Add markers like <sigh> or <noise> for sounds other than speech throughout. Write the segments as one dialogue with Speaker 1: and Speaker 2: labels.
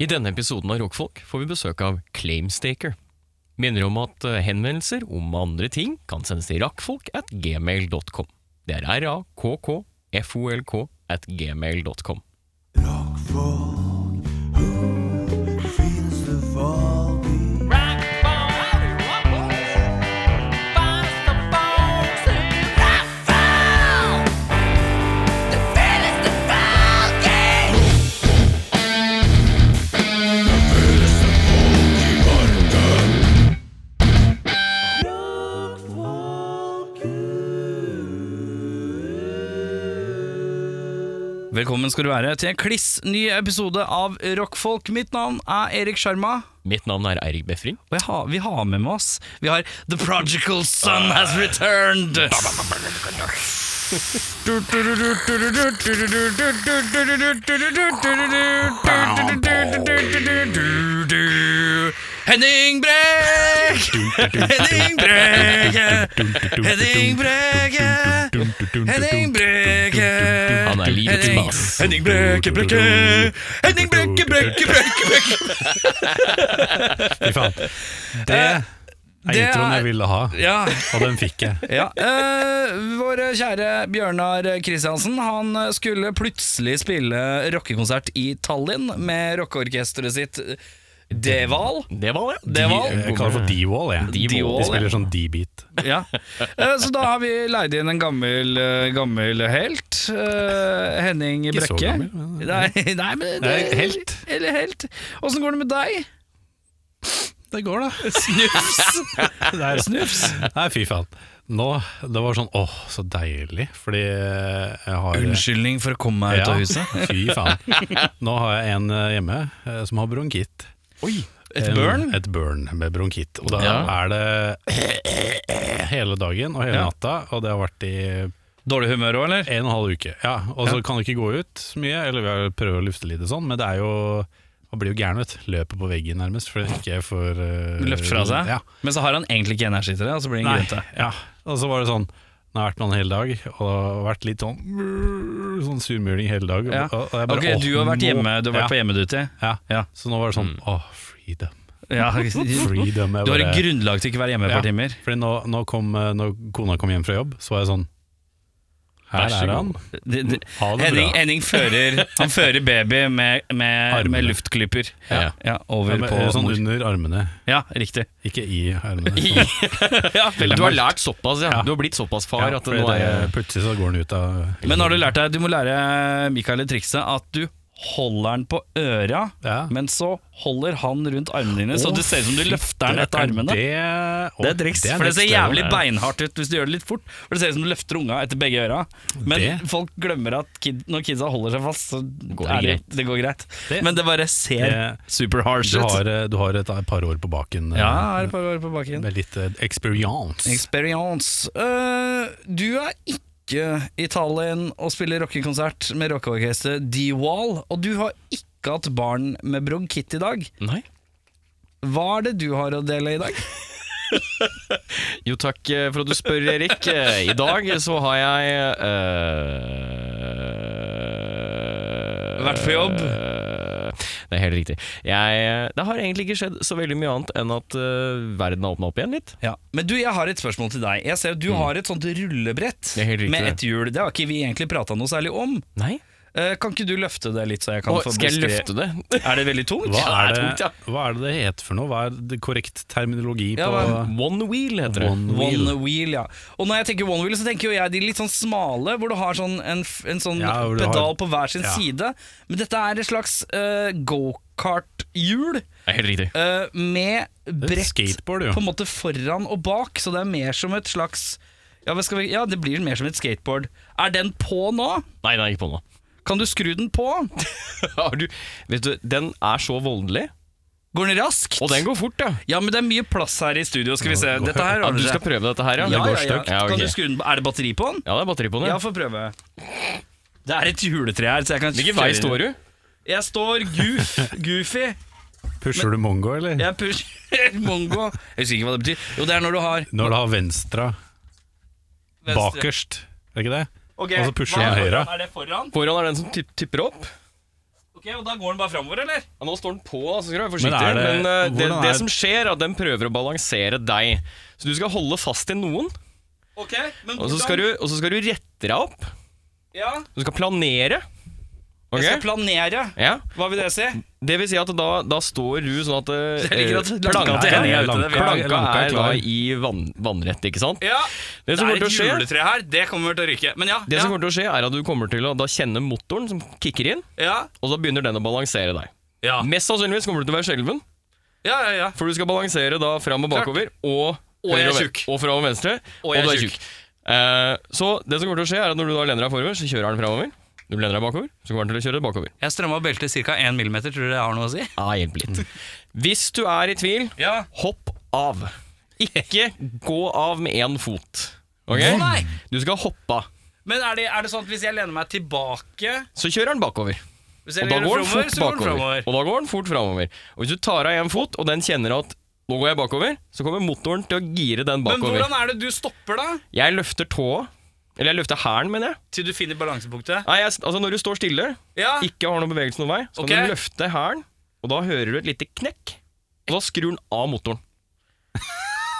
Speaker 1: I denne episoden av Rockfolk får vi besøk av Claimstaker. Minner om at eh, henvendelser om andre ting kan sendes til rakkfolk at gmail.com. Det er r-a-k-k-f-o-l-k at gmail.com.
Speaker 2: Velkommen skal du være til en kliss ny episode av Rockfolk. Mitt navn er Erik Sjarma,
Speaker 1: Mitt navn er Eirik Befring.
Speaker 2: og jeg har, vi har med med oss Vi har The Prodigal Son Has Returned! Henning Breg! <laughs> Henning Brege! Henning Brege! Henning Brege!
Speaker 1: Han er livets
Speaker 2: Henning-
Speaker 1: bass.
Speaker 2: Henning Breke, Breke! Henning Breke, Breke, Breke, Breke!
Speaker 3: Fy faen. Det er
Speaker 2: Eh, det
Speaker 3: introen
Speaker 2: er-
Speaker 3: jeg ville ha,
Speaker 2: Ja,
Speaker 3: og den fikk jeg.
Speaker 2: ja. Eh, vår kjære Bjørnar Kristiansen Han skulle plutselig spille rockekonsert i Tallinn med rockeorkesteret sitt Deval.
Speaker 1: Det var det.
Speaker 2: Det var
Speaker 3: Jeg kaller det for D-Wall, jeg.
Speaker 2: D-Wall,
Speaker 3: De spiller sånn D-beat.
Speaker 2: Ja. Eh, så da har vi leid inn en gammel, eh, gammel helt. eh, Henning
Speaker 3: Ikke så
Speaker 2: Brekke.
Speaker 3: gammel, men- eh.
Speaker 2: Nei, nei, men
Speaker 3: Nei, helt.
Speaker 2: Eller helt. Åssen går det med deg?
Speaker 3: Det går, da.
Speaker 2: <laughs> Snufs.
Speaker 3: Det er snufs. Nei, fy faen. Nå, det var sånn åh, så deilig, fordi jeg har
Speaker 2: Unnskyldning for å komme meg ut av huset.
Speaker 3: Fy faen. Nå har jeg en eh, hjemme eh, som har bronkitt.
Speaker 2: Et
Speaker 3: En-
Speaker 2: burn?
Speaker 3: Et burn med bronkitt. Og da
Speaker 1: Ja.
Speaker 3: er det <coughs> hele dagen og hele
Speaker 2: Ja.
Speaker 3: natta, og det har vært i
Speaker 2: Dårlig humør òg, eller?
Speaker 3: en og en halv uke. Ja, Og så
Speaker 2: Ja.
Speaker 3: kan du ikke gå ut så mye, eller vi har prøvd å lufte litt og sånn, men det er jo man blir jo gæren, vet du. Løper på veggen nærmest, for det ikke får uh,
Speaker 2: Løft fra seg.
Speaker 3: Ja.
Speaker 2: Men så har han egentlig ikke energi til det. Og så blir det ingen grunn til
Speaker 3: Nei,
Speaker 2: det.
Speaker 3: ja. Og så var det sånn Nå har jeg vært med han hele dag, og det har vært litt sånn Sånn surmuling hele dag.
Speaker 2: Ja.
Speaker 3: Og, og jeg bare,
Speaker 2: Ok,
Speaker 3: åh,
Speaker 2: du har vært
Speaker 3: nå-
Speaker 2: hjemme, du har vært på hjemmeduty.
Speaker 3: ja. ja.
Speaker 2: Ja.
Speaker 3: Så nå var det sånn Åh, freedom.
Speaker 2: <laughs> Ja.
Speaker 3: Freedom jeg
Speaker 2: Du har
Speaker 3: bare-
Speaker 2: et grunnlag til ikke å være hjemme et par
Speaker 3: Ja.
Speaker 2: timer.
Speaker 3: Fordi nå, nå kom, eh, når kona kom hjem fra jobb, så var jeg sånn
Speaker 1: Vær
Speaker 3: Her
Speaker 1: så
Speaker 3: er
Speaker 1: god.
Speaker 3: han.
Speaker 2: Det- det-
Speaker 3: Ha det
Speaker 2: Henning,
Speaker 3: bra.
Speaker 2: Henning fører, han fører baby med, med,
Speaker 3: Armene.
Speaker 2: med luftklyper
Speaker 1: Ja.
Speaker 2: Ja, over
Speaker 3: Ja, men,
Speaker 2: på
Speaker 3: eh, sånn
Speaker 2: mor.
Speaker 3: under armene,
Speaker 2: Ja, riktig.
Speaker 3: ikke i armene. Sånn.
Speaker 1: I-
Speaker 2: <laughs> Ja, veldig
Speaker 1: Du har
Speaker 2: bra.
Speaker 1: lært såpass, ja.
Speaker 3: Ja.
Speaker 1: Du har blitt såpass far
Speaker 3: Ja,
Speaker 1: at
Speaker 3: fordi
Speaker 1: nå er
Speaker 3: det-
Speaker 1: jeg
Speaker 3: Plutselig så går den ut av
Speaker 2: Men har du lært deg Du må lære Mikael et trikset at du holder den på øra,
Speaker 3: Ja.
Speaker 2: men så holder han rundt armene dine, så
Speaker 3: Å,
Speaker 2: det ser ut som du løfter den
Speaker 3: Det-
Speaker 2: etter armene.
Speaker 3: Det, å,
Speaker 2: Det er triks,
Speaker 3: er
Speaker 2: for det ser
Speaker 3: triks,
Speaker 2: jævlig
Speaker 3: det.
Speaker 2: beinhardt ut hvis du gjør det litt fort. For det ser ut som du løfter unga etter begge øra. Men
Speaker 3: Det-
Speaker 2: folk glemmer at kid, når kidsa holder seg fast, så
Speaker 1: går
Speaker 2: er det,
Speaker 1: det
Speaker 2: det går greit.
Speaker 3: Det-
Speaker 2: Men det bare ser
Speaker 3: Det-
Speaker 2: super harsh
Speaker 3: Du
Speaker 2: ut.
Speaker 3: har, eh, du har et eh, par år på baken. eh,
Speaker 2: ja, her på, på bakken.
Speaker 3: Med litt eh, experience.
Speaker 2: Experience. Eh, du er ikke i Tallinn og spiller rockekonsert med rockeorkesteret D-Wall, og du har ikke hatt barn med bronkitt i dag.
Speaker 1: Nei.
Speaker 2: Hva er det du har å dele i dag?
Speaker 1: Jo, takk eh, for at du spør, Erik. Eh, I dag så har jeg eh,
Speaker 2: Vært på jobb?
Speaker 1: eh, Det er helt riktig. Jeg, eh, det har egentlig ikke skjedd så veldig mye annet enn at eh, verden har åpna opp igjen litt.
Speaker 2: Ja, Men du, jeg har et spørsmål til deg. Jeg ser at Du har et sånt rullebrett
Speaker 1: Mm. Det er helt riktig,
Speaker 2: med
Speaker 1: det.
Speaker 2: et hjul. Det har ikke vi egentlig prata noe særlig om.
Speaker 1: Nei?
Speaker 2: Eh, kan ikke du løfte det litt, så jeg kan
Speaker 1: Å,
Speaker 2: få
Speaker 1: skal jeg
Speaker 2: beskrevet-
Speaker 1: løfte det?
Speaker 2: Er det veldig tungt?
Speaker 3: Hva
Speaker 1: Ja,
Speaker 3: er,
Speaker 1: det er tungt, ja.
Speaker 3: det, hva er det det heter for noe? Hva er det korrekt terminologi
Speaker 2: Ja,
Speaker 3: på
Speaker 2: hva-
Speaker 1: One wheel heter det.
Speaker 3: One
Speaker 2: One
Speaker 3: wheel.
Speaker 2: wheel. ja. Og når jeg tenker one wheel, så tenker jo jeg de litt sånn smale, hvor du har sånn en, f- en sånn
Speaker 3: Ja, hvor du har-
Speaker 2: pedal på hver sin
Speaker 3: ja.
Speaker 2: side. Men dette er et slags uh, gokart-hjul
Speaker 1: Det er helt riktig.
Speaker 2: eh, med
Speaker 3: Det er et
Speaker 2: brett
Speaker 3: skateboard, jo.
Speaker 2: på en måte foran og bak, så det er mer som et slags ja, hva skal vi, ja, det blir mer som et skateboard. Er den på nå?
Speaker 1: Nei, nei, ikke på nå. <laughs>
Speaker 2: Kan du skru den på?
Speaker 1: Har du, vet du, den er så voldelig,
Speaker 2: Går den raskt?
Speaker 1: og den går fort, ja.
Speaker 2: Ja, men det er mye plass her i studio, skal vi se. Dette her
Speaker 1: ja
Speaker 2: ordner
Speaker 1: du skal
Speaker 2: seg.
Speaker 1: prøve dette her, ja?
Speaker 2: Ja, ja, ja.
Speaker 1: støkt. Ja,
Speaker 2: Kan du
Speaker 1: ok.
Speaker 2: skru den på? Er det batteri på den?
Speaker 1: ja, det er batteri på den. ja.
Speaker 2: Ja, få prøve. Det er et juletre her, så jeg kan
Speaker 1: Hvilken vei står du?
Speaker 2: Jeg står goof, goofy.
Speaker 3: Pusher du mongo, eller?
Speaker 2: Jeg pusher <laughs> mongo. Jeg husker ikke hva det betyr. Jo, det er når du har
Speaker 3: Når du har venstre
Speaker 2: venstre-
Speaker 3: bakerst, er det ikke det?
Speaker 2: Ok,
Speaker 3: og så pusher
Speaker 2: hva
Speaker 3: du
Speaker 2: er
Speaker 3: høyre.
Speaker 2: foran? Er det foran?
Speaker 1: Foran er den som tipp- tipper opp.
Speaker 2: Ok, og Da går den bare framover, eller?
Speaker 1: Ja, nå står den på, da, så skal du være forsiktig.
Speaker 3: Men er
Speaker 1: Men, eh,
Speaker 3: det-
Speaker 1: det,
Speaker 3: hvordan
Speaker 1: det
Speaker 3: er-
Speaker 1: som skjer, er at den prøver å balansere deg. Så du skal holde fast i noen,
Speaker 2: Ok, men
Speaker 1: og så skal du, og så skal du rette deg opp.
Speaker 2: Ja,
Speaker 1: Du skal planere.
Speaker 2: Jeg skal
Speaker 1: Ok?
Speaker 2: planere.
Speaker 1: Ja.
Speaker 2: Hva vil det si?
Speaker 1: Det vil si at da, da står du sånn at eh,
Speaker 2: Jeg liker at
Speaker 1: planka,
Speaker 2: lanka til Henning er ute.
Speaker 3: Lanka-
Speaker 2: det vet jeg.
Speaker 1: planka
Speaker 3: Lanka er
Speaker 1: er da
Speaker 3: klar.
Speaker 1: i vann, vannrett, ikke sant?
Speaker 2: Ja,
Speaker 1: Det
Speaker 2: det
Speaker 1: som kommer
Speaker 2: er
Speaker 1: til å
Speaker 2: et
Speaker 1: skje-
Speaker 2: juletre her. Det kommer til å ryke. Men ja.
Speaker 1: Det
Speaker 2: ja,
Speaker 1: som kommer til å skje, er at du kommer til å da kjenne motoren som kicker inn,
Speaker 2: ja,
Speaker 1: og da begynner den å balansere deg.
Speaker 2: ja,
Speaker 1: Mest sannsynligvis kommer du til å være skjelven,
Speaker 2: ja, ja, ja.
Speaker 1: for du skal balansere da fram og
Speaker 2: Klart.
Speaker 1: bakover, og,
Speaker 2: Og jeg
Speaker 1: høyre
Speaker 2: er
Speaker 1: ven-
Speaker 2: tjukk.
Speaker 1: og fra og venstre,
Speaker 2: Og
Speaker 1: og,
Speaker 2: jeg
Speaker 1: du
Speaker 2: er
Speaker 1: er
Speaker 2: tjukk.
Speaker 1: tjukk. Eh, så det som kommer til å skje, er at når du da lener deg forover, så kjører den framover. Når du lener deg bakover, så kommer den til å kjøre bakover.
Speaker 2: Jeg strømma beltet ca. 1 mm. Tror du det har noe å si?
Speaker 1: Ja, hjelp litt. <laughs> Hvis du er i tvil,
Speaker 2: Ja.
Speaker 1: hopp av. Ikke gå av med én fot. Ok?
Speaker 2: Å, nei.
Speaker 1: Du skal hoppe av.
Speaker 2: Men er det, er det sånn at hvis jeg lener meg tilbake
Speaker 1: Så kjører den bakover.
Speaker 2: Hvis jeg
Speaker 1: Og da
Speaker 2: lener
Speaker 1: går den
Speaker 2: fremover,
Speaker 1: fort
Speaker 2: så går den
Speaker 1: bakover.
Speaker 2: fremover.
Speaker 1: Og da går den fort framover. Og hvis du tar av én fot, og den kjenner at nå går jeg bakover, så kommer motoren til å gire den
Speaker 2: Men
Speaker 1: bakover.
Speaker 2: hvordan er det du stopper, da?
Speaker 1: Jeg løfter tåa. Eller jeg løfter hælen, mener jeg.
Speaker 2: Til du finner balansepunktet?
Speaker 1: Nei, jeg. Altså Når du står stille,
Speaker 2: Ja.
Speaker 1: ikke har noen bevegelse noen vei, så kan
Speaker 2: Ok.
Speaker 1: du løfte hælen, og da hører du et lite knekk. Og da skrur den av motoren.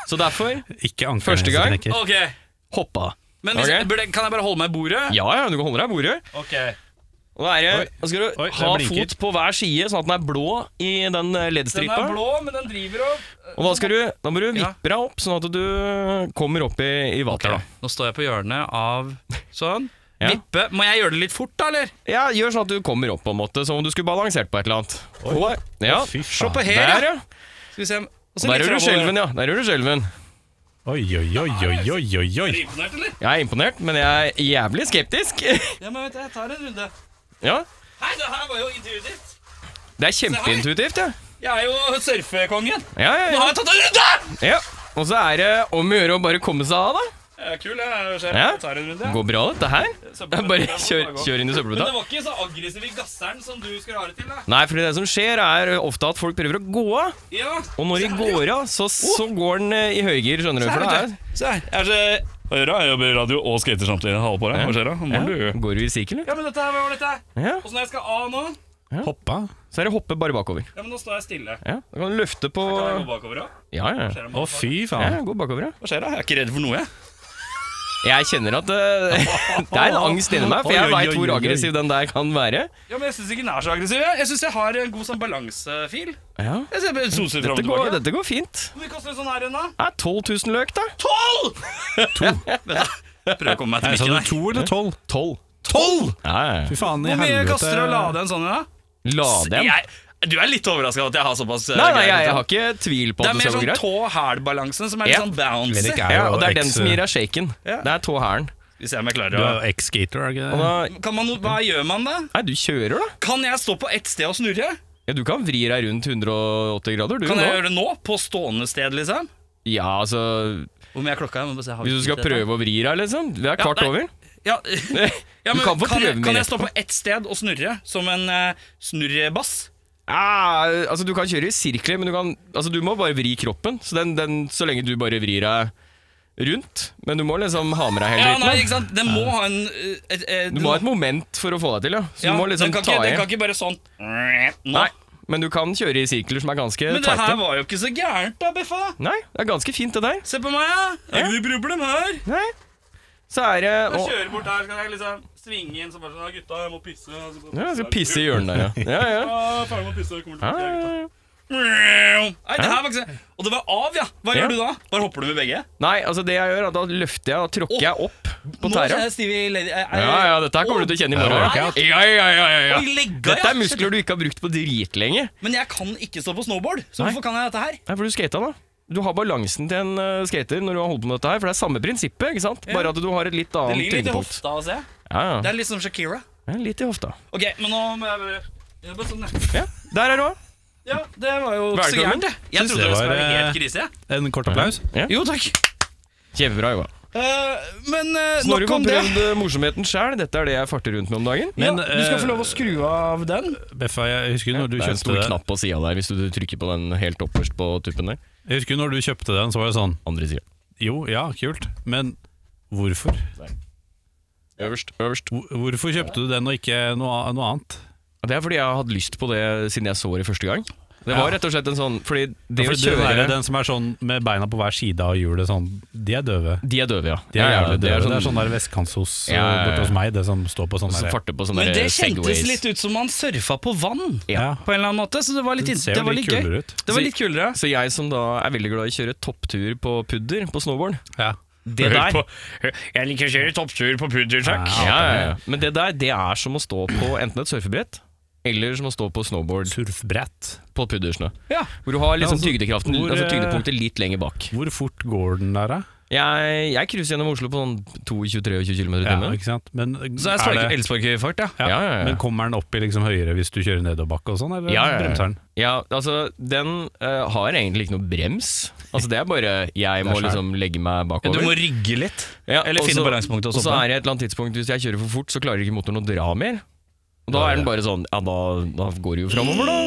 Speaker 1: Så derfor
Speaker 3: Ikke ankerne
Speaker 1: Første
Speaker 3: som
Speaker 1: gang?
Speaker 3: knekker.
Speaker 2: Ok.
Speaker 1: hoppa.
Speaker 2: Men hvis,
Speaker 1: Ok.
Speaker 2: burde- kan jeg bare holde meg i bordet?
Speaker 1: Ja, ja, du kan holde deg i bordet.
Speaker 2: Ok.
Speaker 1: Og da er det,
Speaker 3: Oi.
Speaker 1: da skal du
Speaker 3: Oi, det
Speaker 1: ha
Speaker 3: blinker.
Speaker 1: fot på hver side, sånn at den er blå i den eh,
Speaker 2: Den
Speaker 1: LED-stripa.
Speaker 2: er blå, men den driver og
Speaker 1: Og da, skal du, da må du
Speaker 2: Ja.
Speaker 1: vippe deg opp, sånn at du kommer opp i, i vater. da.
Speaker 2: Nå står jeg på hjørnet av sånn.
Speaker 1: Ja.
Speaker 2: Vippe. Må jeg gjøre det litt fort, da, eller?
Speaker 1: Ja, Gjør sånn at du kommer opp, på en måte, som om du skulle balansert på et eller annet. Oi. Ja.
Speaker 3: Å, fy faen.
Speaker 2: på her,
Speaker 1: Der, ja.
Speaker 2: Skal vi se. Og så
Speaker 1: Der
Speaker 2: litt
Speaker 1: gjør du
Speaker 2: fremover.
Speaker 1: skjelven, ja. Der gjør du skjelven.
Speaker 3: Oi, oi, oi, oi, oi, oi,
Speaker 2: Er
Speaker 3: oi.
Speaker 2: du imponert, eller?
Speaker 1: Jeg er imponert, men jeg er jævlig skeptisk. <laughs>
Speaker 2: Ja, men vet du, jeg tar en runde.
Speaker 1: ja,
Speaker 2: Hei, det her var jo intervjuet ditt.
Speaker 1: Det er kjempeintuitivt, ja.
Speaker 2: Jeg er jo surfekongen.
Speaker 1: Ja,
Speaker 2: Nå
Speaker 1: ja,
Speaker 2: har jeg tatt en runde!
Speaker 1: ja. ja. Og så er det om å gjøre å bare komme seg av, da.
Speaker 2: Jeg er kul, jeg. Sjef.
Speaker 1: Ja.
Speaker 2: Jeg tar en runde.
Speaker 1: Det
Speaker 2: jeg.
Speaker 1: går bra, dette her.
Speaker 2: Søppelbøtta
Speaker 1: Bare
Speaker 2: må
Speaker 1: kjør,
Speaker 2: bare gå.
Speaker 1: kjør inn i
Speaker 2: Men det
Speaker 1: søppelbøtta.
Speaker 2: var ikke så aggressiv i gasseren som du skulle ha det til, da.
Speaker 1: Nei, for det som skjer, er ofte at folk prøver å gå av.
Speaker 2: Ja.
Speaker 1: Og når de går av, så, så går den eh, i høygir, skjønner du. For det er
Speaker 2: Se her.
Speaker 4: Jeg er så- Hva gjør du? Jeg jobber i radio og skater samtidig. Hva på deg? Hva skjer da? Hva må
Speaker 1: ja,
Speaker 4: du?
Speaker 1: Går du i sirkel, du?
Speaker 2: Ja, men dette her, hva var dette?
Speaker 1: Ja.
Speaker 2: Åssen jeg skal av nå?
Speaker 3: Hoppa.
Speaker 1: Så er det hoppe bare bakover.
Speaker 2: Ja, men nå står jeg stille.
Speaker 1: Ja, Da kan du løfte på
Speaker 2: Kan jeg gå bakover òg?
Speaker 1: Ja, ja.
Speaker 3: Å, fy
Speaker 1: ja
Speaker 3: faen.
Speaker 1: gå bakover, ja.
Speaker 4: Hva skjer da? Jeg er ikke redd for noe, jeg.
Speaker 1: Jeg kjenner at eh, <laughs> det er en angst inni meg, for
Speaker 3: Oi,
Speaker 1: jeg
Speaker 3: oi,
Speaker 1: veit
Speaker 3: oi,
Speaker 1: hvor
Speaker 3: oi.
Speaker 1: aggressiv den der kan være.
Speaker 2: Ja, men jeg syns ikke den er så aggressiv. Jeg, jeg syns jeg har en god sånn balansefil.
Speaker 1: Ja,
Speaker 2: Jeg ser bare soser fram og
Speaker 1: Dette går,
Speaker 2: tilbake.
Speaker 1: dette går fint.
Speaker 2: Hvor mye koster en sånn her en, da?
Speaker 1: Det er 12 000 løk, da.
Speaker 4: Prøver å komme meg til
Speaker 3: Nei, Sa
Speaker 4: mikken
Speaker 3: du
Speaker 4: her.
Speaker 3: to eller tolv?
Speaker 1: 12.
Speaker 4: Tolv!
Speaker 1: Ja, ja.
Speaker 3: Fy faen i
Speaker 2: Hvor mye
Speaker 3: helvete.
Speaker 2: koster det å lade en sånn en, da?
Speaker 1: Lade en.
Speaker 4: Jeg, du er litt overraska at jeg har såpass eh,
Speaker 1: Nei, nei,
Speaker 4: greier.
Speaker 1: jeg, jeg har ikke tvil på
Speaker 2: Det
Speaker 1: at
Speaker 2: er
Speaker 1: det
Speaker 2: mer
Speaker 1: skal gå
Speaker 2: sånn
Speaker 1: greit.
Speaker 2: tå-hæl-balansen som er
Speaker 1: Ja.
Speaker 2: litt sånn bouncy.
Speaker 3: Fredrik er
Speaker 1: Ja,
Speaker 3: jo
Speaker 1: og det er
Speaker 3: ex-
Speaker 1: den som gir deg shaken.
Speaker 2: eh, Ja.
Speaker 1: Det er tåhælen.
Speaker 4: Vi ser om jeg klarer
Speaker 3: Du
Speaker 4: å
Speaker 3: er ex-skater, er du ikke
Speaker 1: Og
Speaker 3: det?
Speaker 1: da
Speaker 2: Kan man, hva gjør man da?
Speaker 1: Nei, du kjører, da.
Speaker 2: Kan jeg stå på ett sted og snurre?
Speaker 1: Ja, Du kan vri deg rundt 180 grader, du.
Speaker 2: Kan jeg
Speaker 1: nå.
Speaker 2: gjøre det nå? På stående sted, liksom?
Speaker 1: Ja, altså
Speaker 2: Hvor mye er klokka? Jeg må bare se, har vi
Speaker 1: Hvis du skal
Speaker 2: tid til dette?
Speaker 1: prøve å vri deg, liksom. Det er
Speaker 2: Ja,
Speaker 1: kvart
Speaker 2: nei.
Speaker 1: over.
Speaker 2: Ja, <laughs> ja,
Speaker 1: Du
Speaker 2: men
Speaker 1: kan få
Speaker 2: kan,
Speaker 1: prøve
Speaker 2: jeg,
Speaker 1: med
Speaker 2: kan jeg
Speaker 1: rett
Speaker 2: stå på ett sted og snurre som en eh, snurrebass?
Speaker 1: Ja, altså Du kan kjøre i sirkler, men du, kan, altså, du må bare vri kroppen. Så, den, den, så lenge du bare vrir deg rundt. Men du må liksom ha med deg hele
Speaker 2: Ja, nei,
Speaker 1: rytmen.
Speaker 2: ikke sant? Den må ha en eh, et, eh,
Speaker 1: Du
Speaker 2: den-
Speaker 1: må ha et moment for å få deg til, ja. Så
Speaker 2: ja,
Speaker 1: du må liksom
Speaker 2: den, kan
Speaker 1: ta
Speaker 2: ikke, den kan
Speaker 1: i.
Speaker 2: ikke bare sånn nå.
Speaker 1: Nei, men du kan kjøre i sirkler som er ganske
Speaker 2: Men det her
Speaker 1: tighte.
Speaker 2: var jo ikke så gærent, da, Beffa.
Speaker 1: Nei, det er ganske fint, det der.
Speaker 2: Se på meg, ja. Det er ikke noe problem her.
Speaker 1: Nei. Så er det å,
Speaker 2: Jeg kjører bort her, så kan jeg liksom svinge inn så bare sånn «Ja, Gutta, jeg må pisse. Og så bare-
Speaker 1: ja, jeg skal pisse i hjørnet der, ja. Ja, ja.
Speaker 2: Ja, ferdig med å pisse. jeg Kommer
Speaker 1: Ja,
Speaker 2: tilbake.
Speaker 1: ja,
Speaker 2: jeg, gutta.
Speaker 1: ja.
Speaker 2: Nei, det her var ikke så Og det var av, ja. Hva
Speaker 1: Ja.
Speaker 2: gjør du da? Bare hopper du med begge?
Speaker 1: Nei, altså det jeg gjør, er da løfter jeg og tråkker jeg opp på tæra.
Speaker 2: Stevie Lady eh, eh,
Speaker 1: Ja, ja, dette her kommer du til å kjenne i morgen.
Speaker 3: Det er workout.
Speaker 1: Ja, ja, ja, ja, ja.
Speaker 2: Oi, legga,
Speaker 1: Dette
Speaker 2: ja.
Speaker 1: er muskler du ikke har brukt på dritlenge.
Speaker 2: Men jeg kan ikke stå på snowboard, så
Speaker 1: Nei.
Speaker 2: hvorfor kan jeg dette her?
Speaker 1: Nei, for du skata da. Du har balansen til en eh, skater når du har holdt på med dette her, for det er samme prinsippet, ikke sant? Bare at du har et litt
Speaker 2: Det
Speaker 1: annet
Speaker 2: ligger litt i
Speaker 1: tyngdepunkt.
Speaker 2: hofta å se.
Speaker 1: Ja,
Speaker 2: Det
Speaker 1: ja.
Speaker 2: er litt som Shakira.
Speaker 1: ja, litt i hofta.
Speaker 2: Ok, men nå må jeg bare jeg bare sånn, ja.
Speaker 1: Ja, der er du også.
Speaker 2: ja, det var jo ikke så
Speaker 1: Velkommen.
Speaker 2: gærent, det. Jeg
Speaker 3: Synes
Speaker 2: trodde
Speaker 3: det
Speaker 2: det skulle
Speaker 3: var,
Speaker 2: være
Speaker 3: eh,
Speaker 2: helt krise. jeg.
Speaker 3: En kort applaus?
Speaker 2: Jo, takk.
Speaker 1: Kjempebra jobba.
Speaker 2: Eh, men eh,
Speaker 1: Snorre
Speaker 2: nok
Speaker 1: har
Speaker 2: om det.
Speaker 1: prøvd eh, morsomheten sjæl. Dette er det jeg farter rundt med om dagen.
Speaker 3: Men,
Speaker 2: ja, du skal
Speaker 3: eh,
Speaker 2: få lov å skru av den.
Speaker 3: Beffa, jeg husker når du
Speaker 1: det er en
Speaker 3: kjøpte
Speaker 1: stor
Speaker 3: det.
Speaker 1: knapp på sida der, hvis du trykker på den helt opperst på tuppen der.
Speaker 3: Jeg husker når du kjøpte den, så var det sånn
Speaker 1: Andre sida.
Speaker 3: Jo, ja, kult, men hvorfor?
Speaker 1: Øverst, øverst.
Speaker 3: Hvor- Hvorfor kjøpte du den og ikke noe, a- noe annet?
Speaker 1: Det er fordi jeg har hatt lyst på det siden jeg så det første gang. Det var
Speaker 3: Ja.
Speaker 1: rett og slett en sånn Fordi det
Speaker 3: Ja, for
Speaker 1: å kjøre
Speaker 3: døve er jo den som er sånn med beina på hver side av hjulet, sånn, de er døve.
Speaker 1: De er døve, ja.
Speaker 3: De
Speaker 1: Ja,
Speaker 3: er
Speaker 1: ja,
Speaker 3: jævlig
Speaker 1: det
Speaker 3: døve.
Speaker 1: er
Speaker 3: Det
Speaker 1: sånn,
Speaker 3: er sånn der vestkantsos
Speaker 1: Ja, ja, ja.
Speaker 3: borte hos meg, det som står på sånn
Speaker 1: som
Speaker 3: der
Speaker 1: farter på sånne
Speaker 2: Men det
Speaker 1: der
Speaker 2: kjentes
Speaker 1: segways.
Speaker 2: litt ut som man surfa på vann,
Speaker 3: Ja.
Speaker 2: på en eller annen måte. Så det var litt,
Speaker 3: Det
Speaker 2: in-
Speaker 3: ser
Speaker 2: det
Speaker 3: jo
Speaker 2: var
Speaker 3: litt
Speaker 2: litt gøy.
Speaker 3: kulere ut.
Speaker 2: Det var litt kulere.
Speaker 1: Så jeg som da er veldig glad i å kjøre topptur på pudder på snowboard
Speaker 3: Ja.
Speaker 1: Det der
Speaker 2: Jeg liker å kjøre topptur på puddertruck.
Speaker 1: ja, ja, ja. Men det der, det er som å stå på enten et surfebrett eller som å stå på snowboard
Speaker 3: Surfbrett.
Speaker 1: på puddersnø.
Speaker 2: Ja.
Speaker 1: Hvor du har liksom
Speaker 3: Ja, altså,
Speaker 1: tyngdekraften,
Speaker 3: hvor,
Speaker 1: altså
Speaker 3: eh,
Speaker 1: tyngdepunktet litt lenger bak.
Speaker 3: Hvor fort går den der, da?
Speaker 1: Jeg, jeg cruiser gjennom Oslo på sånn 22-23 km i
Speaker 3: Ja,
Speaker 1: timen.
Speaker 3: ikke sant? Men,
Speaker 2: Så jeg
Speaker 3: er
Speaker 2: sparker
Speaker 3: det-
Speaker 2: elsparkefart, ja.
Speaker 3: ja,
Speaker 1: Ja, ja, ja.
Speaker 3: men kommer den opp i liksom høyere hvis du kjører nedoverbakke og sånn, eller
Speaker 1: Ja, ja, ja.
Speaker 3: bremser den?
Speaker 1: Ja, altså, den eh, har egentlig ikke noe brems. Altså, det er bare jeg må
Speaker 3: skjær.
Speaker 1: liksom legge meg
Speaker 2: Du
Speaker 1: bakover.
Speaker 2: må rygge litt.
Speaker 1: ja,
Speaker 2: eller
Speaker 1: og
Speaker 2: finne
Speaker 1: så-
Speaker 2: balansepunktet og
Speaker 1: Og så
Speaker 2: stoppe.
Speaker 1: er det et eller annet tidspunkt, hvis jeg kjører for fort, så klarer ikke motoren å dra mer. Og da
Speaker 3: Ja,
Speaker 1: er den
Speaker 3: ja.
Speaker 1: bare sånn, ja, da, da går det jo framover, da.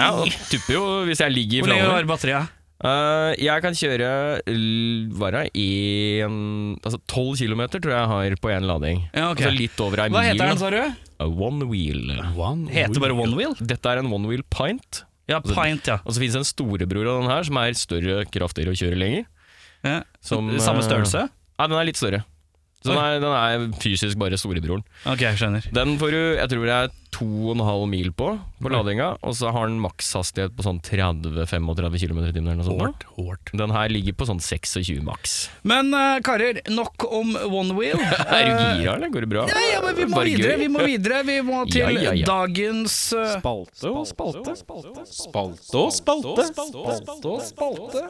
Speaker 1: Ja, da tupper jo hvis jeg ligger
Speaker 2: Hvor lenge
Speaker 1: framover.
Speaker 2: varer batteriet?
Speaker 1: Eh, jeg kan kjøre l- hva er det, en, altså 12 km tror jeg jeg har på én lading.
Speaker 2: Ja, ok.
Speaker 1: Altså litt over ei
Speaker 2: Hva
Speaker 1: mil.
Speaker 2: heter den,
Speaker 1: da.
Speaker 2: sa du?
Speaker 1: A One wheel.
Speaker 3: One
Speaker 2: Heter det bare
Speaker 3: wheel.
Speaker 2: One Wheel?
Speaker 1: Dette er en one wheel pint.
Speaker 2: Ja, Pint, ja.
Speaker 1: Og så finnes det en storebror av den her som er større, kraftigere å kjøre lenger.
Speaker 2: ja.
Speaker 1: Som,
Speaker 2: Samme
Speaker 1: eh,
Speaker 2: størrelse?
Speaker 1: Nei, den er litt større. Så den er, den er fysisk bare storebroren.
Speaker 2: Ok, jeg skjønner.
Speaker 1: Den får du, jeg tror det er 2,5 mil på, på ladinga. Og så har den makshastighet på sånn 30-35 km i timen eller noe sånt. nå.
Speaker 3: Hårt, hårt.
Speaker 1: Den her ligger på sånn 26 maks.
Speaker 2: Men eh, karer, nok om One <laughs> Wheel. Eh,
Speaker 1: Er du gira, eller? Går det bra?
Speaker 2: Ja, ja, men vi må
Speaker 1: Bare gøy.
Speaker 2: videre. Vi må videre Vi må til
Speaker 1: Ja, ja, ja.
Speaker 2: dagens eh,
Speaker 5: Spalte og spalte. Spalte og spalte. Spalte og spalte.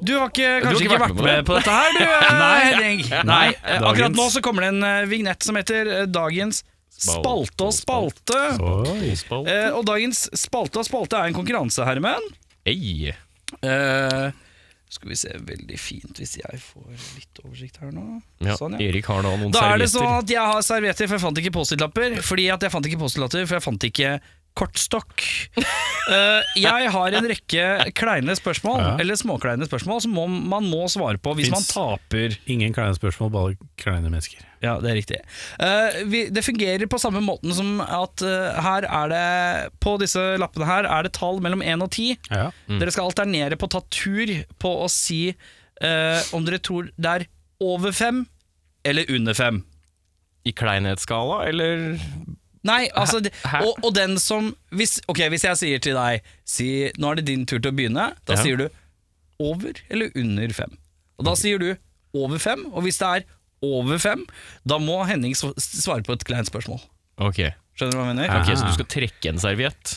Speaker 2: Du har ikke,
Speaker 1: har
Speaker 2: kanskje
Speaker 1: ikke
Speaker 2: ikke
Speaker 1: vært
Speaker 2: vært
Speaker 1: med på
Speaker 2: med på dette her, du? eh, Henning. <laughs> Nei, eh,
Speaker 3: Dagens-
Speaker 2: akkurat nå så kommer det en eh, vignett som heter eh, Dagens spalte og spalte.
Speaker 3: Oi.
Speaker 2: Eh, og dagens spalte og spalte er en konkurranse, Herman.
Speaker 1: Ei.
Speaker 2: Eh, skal vi se veldig fint hvis jeg får litt oversikt her nå.
Speaker 1: Ja,
Speaker 2: Sånn, ja.
Speaker 1: Erik har da noen
Speaker 2: Da er det
Speaker 1: servietter.
Speaker 2: sånn at jeg har servietter, for jeg fant ikke Post-It-lapper. Fordi at jeg fant ikke Post-It-lapper, for jeg fant ikke kortstokk. Eh, jeg har en rekke kleine spørsmål,
Speaker 3: Ja.
Speaker 2: eller småkleine spørsmål, som må, man må svare på hvis man
Speaker 3: Fins-
Speaker 2: taper.
Speaker 3: Ingen kleine spørsmål, bare kleine mennesker.
Speaker 2: Ja, det er riktig. Eh, vi, det fungerer på samme måten som at eh, her er det På disse lappene her er det tall mellom 1 og 10.
Speaker 3: Ja.
Speaker 1: Mm.
Speaker 2: Dere skal alternere på å ta tur på å si eh, om dere tror det er over 5 eller under 5.
Speaker 1: I kleinhetsskala, eller
Speaker 2: Nei, altså det- og, og den som hvis, Ok, hvis jeg sier til deg si, Nå er det din tur til å begynne Da
Speaker 1: Ja.
Speaker 2: sier du over eller under fem Og da sier du over fem Og hvis det er over fem Da må Henning sv- svare på et kleint spørsmål
Speaker 1: Ok.
Speaker 2: Skjønner du hva jeg mener?
Speaker 1: Ok, Så du skal trekke en serviett,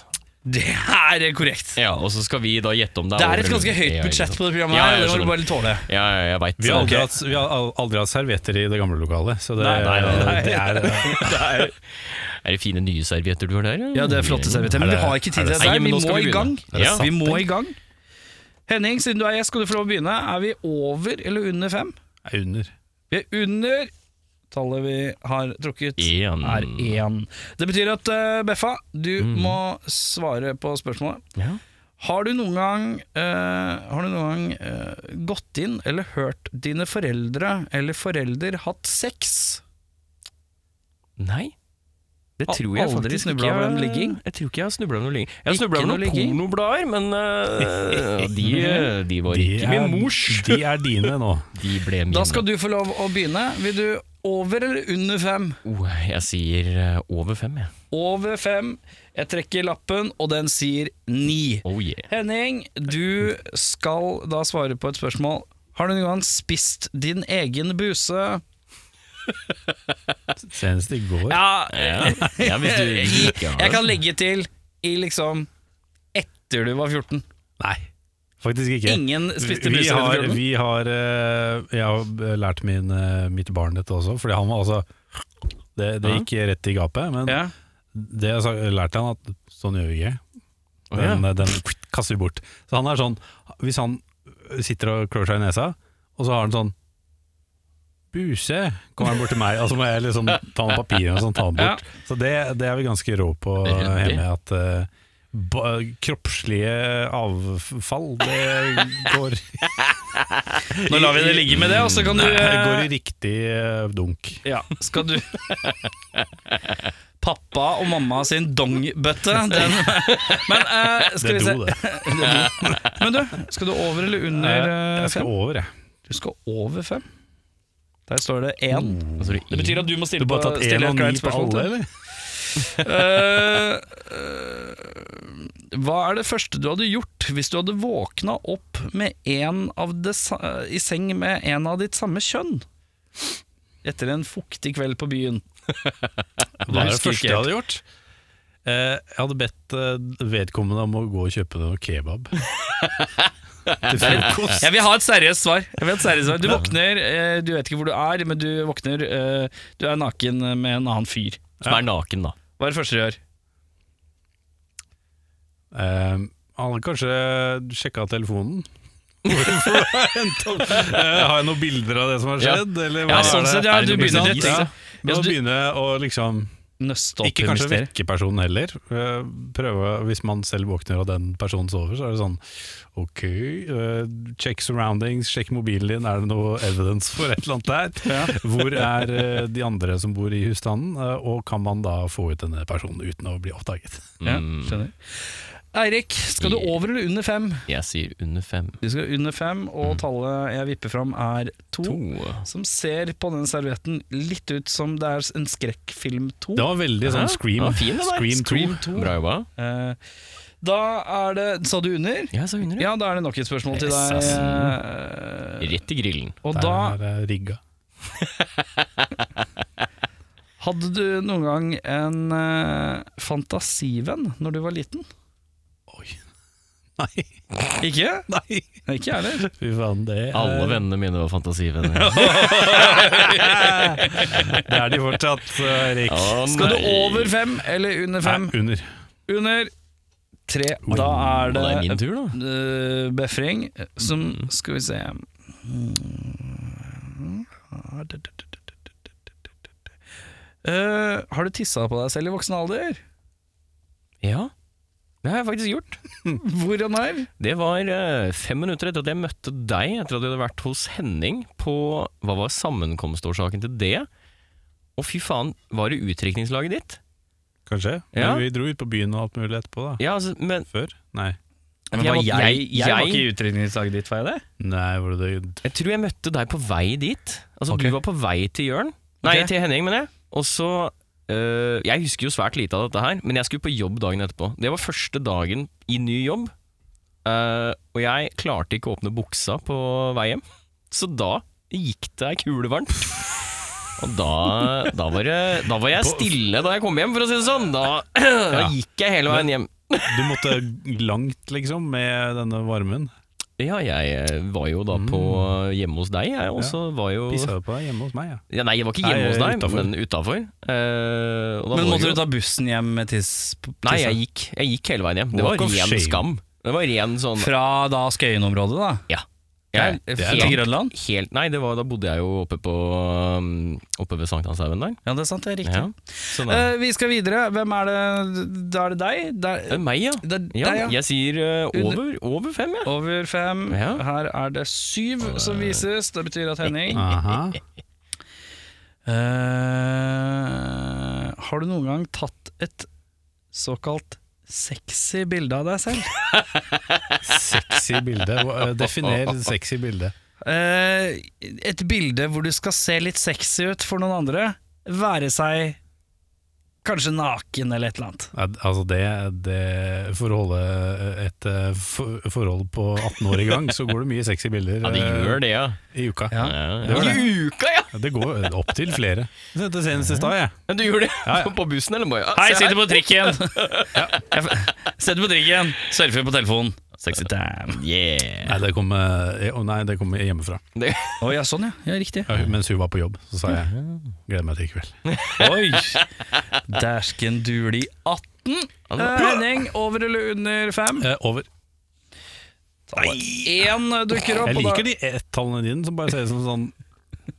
Speaker 2: Det er korrekt
Speaker 1: Ja, og så skal vi da gjette om det
Speaker 2: Det er
Speaker 1: over
Speaker 2: et ganske
Speaker 1: eller-
Speaker 2: høyt
Speaker 1: Ja, ikke
Speaker 2: budsjett
Speaker 1: sant.
Speaker 2: på det programmet
Speaker 1: Ja,
Speaker 2: her
Speaker 1: jeg
Speaker 2: Det må du
Speaker 1: skjønner.
Speaker 2: bare tåle
Speaker 1: Ja, ja, jeg veit.
Speaker 3: Vi har, aldri
Speaker 2: Ok.
Speaker 3: hatt, vi har al- aldri hatt servietter i det gamle lokalet, så det,
Speaker 2: Nei, nei, nei, nei.
Speaker 3: <laughs> det er
Speaker 1: <laughs> Er det fine nye servietter du har der? eller? Mm.
Speaker 2: Ja, det er flotte servietter Men vi
Speaker 3: Er det-
Speaker 2: har ikke tid
Speaker 1: er
Speaker 2: til
Speaker 1: det-
Speaker 2: dette
Speaker 1: Nei,
Speaker 2: her.
Speaker 1: men
Speaker 2: Vi
Speaker 1: nå skal
Speaker 2: må
Speaker 1: vi
Speaker 2: i
Speaker 1: begynne.
Speaker 2: gang
Speaker 1: Er det
Speaker 2: Ja. Vi må i gang Henning, siden du er gjest, skal du få lov å begynne Er vi over eller under fem?
Speaker 3: er under.
Speaker 2: Vi er under tallet vi har trukket,
Speaker 1: En.
Speaker 2: er én. Det betyr at eh, Beffa, du
Speaker 1: Mm.
Speaker 2: må svare på spørsmålet.
Speaker 1: Ja.
Speaker 2: Har du noen gang, eh, har du noen gang eh, gått inn eller hørt dine foreldre eller forelder hatt sex?
Speaker 1: Nei. Det
Speaker 2: Al-
Speaker 1: tror jeg
Speaker 2: aldri
Speaker 1: faktisk
Speaker 2: snublet
Speaker 1: ikke
Speaker 2: over
Speaker 1: jeg-
Speaker 2: en ligging?
Speaker 1: Jeg tror ikke jeg har snubla over noe ligging. Jeg har
Speaker 2: Ikke
Speaker 1: snubla over
Speaker 2: noe
Speaker 1: noen
Speaker 2: ligging?
Speaker 1: pornoblader, men øh,
Speaker 2: <laughs>
Speaker 1: de, de var ikke
Speaker 3: er-
Speaker 1: min mors.
Speaker 3: de er dine nå.
Speaker 1: De ble mine.
Speaker 2: Da skal du få lov å begynne. Vil du over eller under fem?
Speaker 1: oh, Jeg sier øh, over fem, jeg.
Speaker 2: Over fem. Jeg trekker lappen, og den sier ni.
Speaker 1: Oh yeah.
Speaker 2: Henning, du skal da svare på et spørsmål. Har du noen gang spist din egen buse?
Speaker 3: Senest i går.
Speaker 2: Ja,
Speaker 1: Ja, ja hvis
Speaker 2: <laughs>
Speaker 1: du ikke har
Speaker 2: jeg kan legge til i liksom etter du var 14.
Speaker 3: Nei, faktisk ikke.
Speaker 2: Ingen spiste
Speaker 3: vi
Speaker 2: buse
Speaker 3: har,
Speaker 2: etter 14.
Speaker 3: vi har eh, Jeg har lært min, eh, mitt barn dette også, fordi han var altså Det, det gikk rett i gapet, men
Speaker 2: Ja.
Speaker 3: det jeg sa- lærte han at sånn gjør vi ikke.
Speaker 1: Å, ja.
Speaker 3: Den, eh, den kaster vi bort. Så han er sånn Hvis han sitter og klør seg i nesa, og så har han sånn Buse, kommer han bort til meg, og så må jeg liksom ta noen papirer og sånn, ta den bort. Så det, det er vi ganske rå på
Speaker 1: Ryddig.
Speaker 3: hjemme, at eh, ba, kroppslige avfall, det går
Speaker 2: Nå lar vi det ligge med det, og så <laughs> kan du
Speaker 3: Det går
Speaker 2: eh,
Speaker 3: i riktig eh, dunk.
Speaker 2: ja, Skal du <laughs> pappa og mamma sin dongbøtte. Den.
Speaker 3: <laughs>
Speaker 2: Men eh, skal vi
Speaker 3: Det er
Speaker 2: se
Speaker 3: do, det.
Speaker 2: Men du, skal du over eller under eh,
Speaker 3: Jeg skal
Speaker 2: fem?
Speaker 3: over, jeg.
Speaker 2: Du skal over fem. Der står det én.
Speaker 1: Altså,
Speaker 4: Det betyr at du må stille
Speaker 3: Mm. Du har bare
Speaker 4: på
Speaker 3: tatt
Speaker 2: stiller
Speaker 3: én
Speaker 2: jeg
Speaker 3: og
Speaker 2: ikke et
Speaker 3: ni på
Speaker 2: spørsmål
Speaker 3: alle,
Speaker 2: til?
Speaker 3: eller?
Speaker 2: Eh, eh, hva er det første du hadde gjort hvis du hadde våkna opp med en av det, sa- i seng med en av ditt samme kjønn? Etter en fuktig kveld på byen.
Speaker 3: Hva er det
Speaker 2: husker ikke
Speaker 3: første jeg hadde gjort? Eh, jeg hadde bedt eh, vedkommende om å gå og kjøpe noe
Speaker 2: <laughs>
Speaker 3: kebab. Til frokost.
Speaker 2: Jeg vil ha et seriøst svar. Jeg vil ha et seriøst svar. Du våkner, eh, du vet ikke hvor du er, men du våkner eh, Du er naken med en annen fyr.
Speaker 1: Som er naken, da.
Speaker 2: Hva er det første du gjør?
Speaker 3: Eh, han hadde kanskje sjekka telefonen.
Speaker 2: <laughs>
Speaker 3: Hvorfor har jeg hentet opp- Eh, har jeg noen bilder av det som har skjedd? Eller hva
Speaker 2: Ja,
Speaker 3: er
Speaker 2: sånn
Speaker 3: det?
Speaker 2: sett, ja,
Speaker 3: Er det
Speaker 2: du
Speaker 3: noe
Speaker 2: begynner rett,
Speaker 3: business? Ja.
Speaker 2: ikke sant? Ja,
Speaker 3: Da
Speaker 2: så du-
Speaker 3: begynner jeg å liksom
Speaker 2: Nøste opp
Speaker 3: Ikke
Speaker 2: i
Speaker 3: kanskje
Speaker 2: mysteriet.
Speaker 3: vekke personen heller. Eh, Prøve, hvis man selv våkner og den personen sover, så er det sånn Ok, eh, check surroundings, sjekk mobilen din, er det noe evidence for et eller annet der? Hvor er eh, de andre som bor i husstanden, Eh, og kan man da få ut denne personen uten å bli oppdaget?
Speaker 2: Ja,
Speaker 1: Mm,
Speaker 2: skjønner. Eirik, Mm. skal du over eller under fem?
Speaker 1: Jeg sier under fem.
Speaker 2: Du skal under fem, og tallet jeg vipper fram, er Mm. to.
Speaker 1: To.
Speaker 2: Som ser på den servietten litt ut som det er en skrekkfilm to.
Speaker 3: Det var veldig sånn Scream,
Speaker 1: Ja, fin, det der.
Speaker 3: scream 2.
Speaker 1: Bra jobba.
Speaker 2: Eh, da er det Sa du under?
Speaker 1: Jeg sa under, ja.
Speaker 2: Ja, da er det nok et spørsmål til
Speaker 1: Yes,
Speaker 2: deg.
Speaker 1: ass.
Speaker 2: eh,
Speaker 1: Rett i grillen.
Speaker 2: Og
Speaker 3: Der
Speaker 2: da
Speaker 3: er eh, det rigga.
Speaker 2: hadde du noen gang en eh, fantasivenn når du var liten?
Speaker 3: Oi. Nei,
Speaker 2: Ikke?
Speaker 3: nei,
Speaker 2: Ikke jeg heller.
Speaker 3: fy faen. Det er,
Speaker 1: Alle vennene mine var fantasivenner.
Speaker 3: <laughs>
Speaker 1: <laughs>
Speaker 3: det er de fortsatt, eh, Erik.
Speaker 1: Å,
Speaker 2: Skal du
Speaker 1: nei.
Speaker 2: over fem eller under fem?
Speaker 3: Nei, under.
Speaker 2: Under tre. Da er
Speaker 1: Og det er
Speaker 2: det
Speaker 1: min tur, Mm. da.
Speaker 2: uh, befring som Skal vi se Eh, Har du tissa på deg selv i voksen alder?
Speaker 1: Ja, det har jeg faktisk gjort.
Speaker 2: Hvor og når?
Speaker 1: Det var eh, fem minutter etter at jeg møtte deg, etter at du hadde vært hos Henning på Hva var sammenkomstårsaken til det? Og fy faen, var det utdrikningslaget ditt?
Speaker 3: Kanskje.
Speaker 1: Ja.
Speaker 3: Men vi dro ut på byen og alt mulig etterpå, da.
Speaker 1: Ja, altså, men
Speaker 3: Før? Nei.
Speaker 1: Men var jeg- jeg var ikke i
Speaker 2: utdrikningslaget ditt, var jeg det?
Speaker 3: Nei, var det det?
Speaker 1: jeg tror jeg møtte deg på vei dit. Altså,
Speaker 2: Ok.
Speaker 1: du var på vei til Jørn. Nei,
Speaker 2: Ok.
Speaker 1: til Henning, mener jeg. Og så eh, Jeg husker jo svært lite av dette her, men jeg skulle på jobb dagen etterpå. Det var første dagen i ny jobb, eh, og jeg klarte ikke å åpne buksa på vei hjem. Så da gikk det ei kule varmt. Og da, da, var det, da var jeg stille da jeg kom hjem, for å si det sånn. Da, <clears throat> da
Speaker 3: Ja.
Speaker 1: gikk jeg hele veien hjem.
Speaker 3: Du måtte langt, liksom, med denne varmen.
Speaker 1: Ja, jeg eh, var jo da på hjemme hos deg, jeg. Og så var jo
Speaker 3: Pissa du på deg hjemme hos meg, ja.
Speaker 1: Ja, nei, jeg var ikke
Speaker 3: Nei,
Speaker 1: hjemme hos deg,
Speaker 3: utenfor.
Speaker 1: men Eh, utafor.
Speaker 2: Men måtte du ta bussen hjem med tiss? på-
Speaker 1: Nei,
Speaker 2: tissa?
Speaker 1: jeg gikk, jeg gikk hele veien hjem. Det var
Speaker 3: Walk of
Speaker 1: ren
Speaker 3: shame.
Speaker 1: skam. Det var ren sånn
Speaker 2: Fra da Skøyen-området, da?
Speaker 1: Ja. Jeg,
Speaker 2: Det er
Speaker 1: helt,
Speaker 2: Grønland?
Speaker 1: helt, nei, det var, da bodde jeg jo oppe på um, Oppe ved Sankthanshaugen der.
Speaker 2: Ja, det er sant, det er riktig.
Speaker 1: Ja. Så da-
Speaker 2: Eh, vi skal videre. Hvem er det Da er det deg? Det
Speaker 1: Eh, det
Speaker 2: er,
Speaker 1: er meg, ja.
Speaker 2: det er deg,
Speaker 1: ja.
Speaker 2: ja.
Speaker 1: Jeg sier eh, over, over fem, jeg.
Speaker 2: Over fem.
Speaker 1: Ja.
Speaker 2: Her er det syv som vises. Det betyr at Henning
Speaker 3: Aha.
Speaker 2: Eh, Har du noen gang tatt et såkalt sexy bilde av deg selv?
Speaker 3: Sexy bilde. Hva- eh, Definer sexy bilde.
Speaker 2: Eh, et bilde hvor du skal se litt sexy ut for noen andre. Være seg kanskje naken eller et eller annet.
Speaker 3: Ja, Altså, det, det For å holde et eh, for, forhold på 18 år i gang, så går det mye sexy bilder
Speaker 1: Ja, det gjør det, ja.
Speaker 3: eh, i uka.
Speaker 2: Ja.
Speaker 1: ja,
Speaker 3: Det var
Speaker 1: ja.
Speaker 3: det.
Speaker 1: I uka, ja!
Speaker 3: Det går opptil flere. Jeg sendte senest i stad, jeg.
Speaker 1: Men Du gjorde det
Speaker 3: Ja, ja.
Speaker 1: <laughs> på bussen, eller? Bare, ja,
Speaker 2: Hei,
Speaker 1: se
Speaker 2: sitter
Speaker 1: her.
Speaker 2: på <laughs> trikken! Jeg- Sitter på trikken, surfer på telefonen. Sexy time.
Speaker 1: Yeah.
Speaker 3: Nei, det kom, eh, å nei, det kom hjemmefra.
Speaker 1: Det,
Speaker 2: Å ja, sånn ja. Ja, riktig.
Speaker 3: Ja, Mens hun var på jobb, så sa jeg gleder meg til i kveld.
Speaker 2: Oi! <laughs> Dæsken duli 18. Eh, Henning, over eller under fem?
Speaker 3: Eh, over.
Speaker 2: Én dukker opp,
Speaker 3: Jeg
Speaker 2: og da-
Speaker 3: liker de ett-tallene dine som bare ser ut som sånn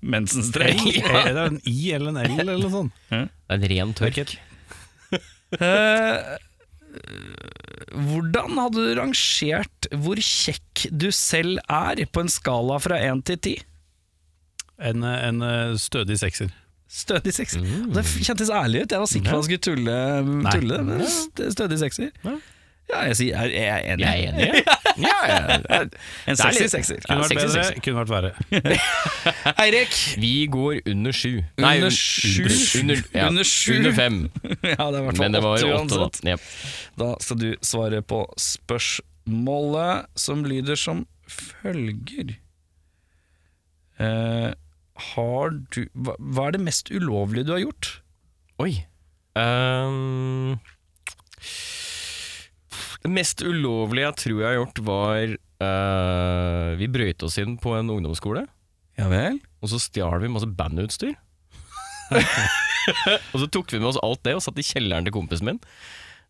Speaker 2: mensenstrek.
Speaker 3: <laughs> Er det en I eller en L eller noe sånt?
Speaker 1: det er en ren tørk.
Speaker 2: <laughs> Eh, hvordan hadde du rangert hvor kjekk du selv er, på en skala fra én til ti?
Speaker 3: En, en eh, stødig sekser.
Speaker 2: Stødig sexy. Og Det kjentes ærlig ut. Jeg var sikker på at han skulle tulle, tulle men st- stødig sexy. Ja, jeg sier jeg, jeg er enig.
Speaker 1: Jeg er enig. jeg. <laughs> Ja, ja, ja.
Speaker 2: En
Speaker 1: Det er
Speaker 2: sexy
Speaker 1: litt-
Speaker 2: sexy.
Speaker 1: Ja,
Speaker 3: Kunne vært
Speaker 1: sexy,
Speaker 3: bedre,
Speaker 1: sexy.
Speaker 3: kunne vært verre.
Speaker 2: Eirik!
Speaker 1: Vi går under sju.
Speaker 2: Under
Speaker 1: un-
Speaker 2: sju.
Speaker 1: Under, ja,
Speaker 2: Under sju.
Speaker 1: under fem.
Speaker 2: <laughs> Ja, det er i hvert
Speaker 1: Men det
Speaker 2: fall
Speaker 1: var åtte,
Speaker 2: åtte uansett.
Speaker 1: da. Ja.
Speaker 2: Da skal du svare på spørsmålet som lyder som følger. Eh, har du hva, hva er det mest ulovlige du har gjort?
Speaker 1: Oi. Ehm, det mest ulovlige jeg tror jeg har gjort, var eh, Vi brøyte oss inn på en ungdomsskole,
Speaker 2: Ja vel?
Speaker 1: og så stjal vi masse bandutstyr. <laughs> og så tok vi med oss alt det og satt i kjelleren til kompisen min.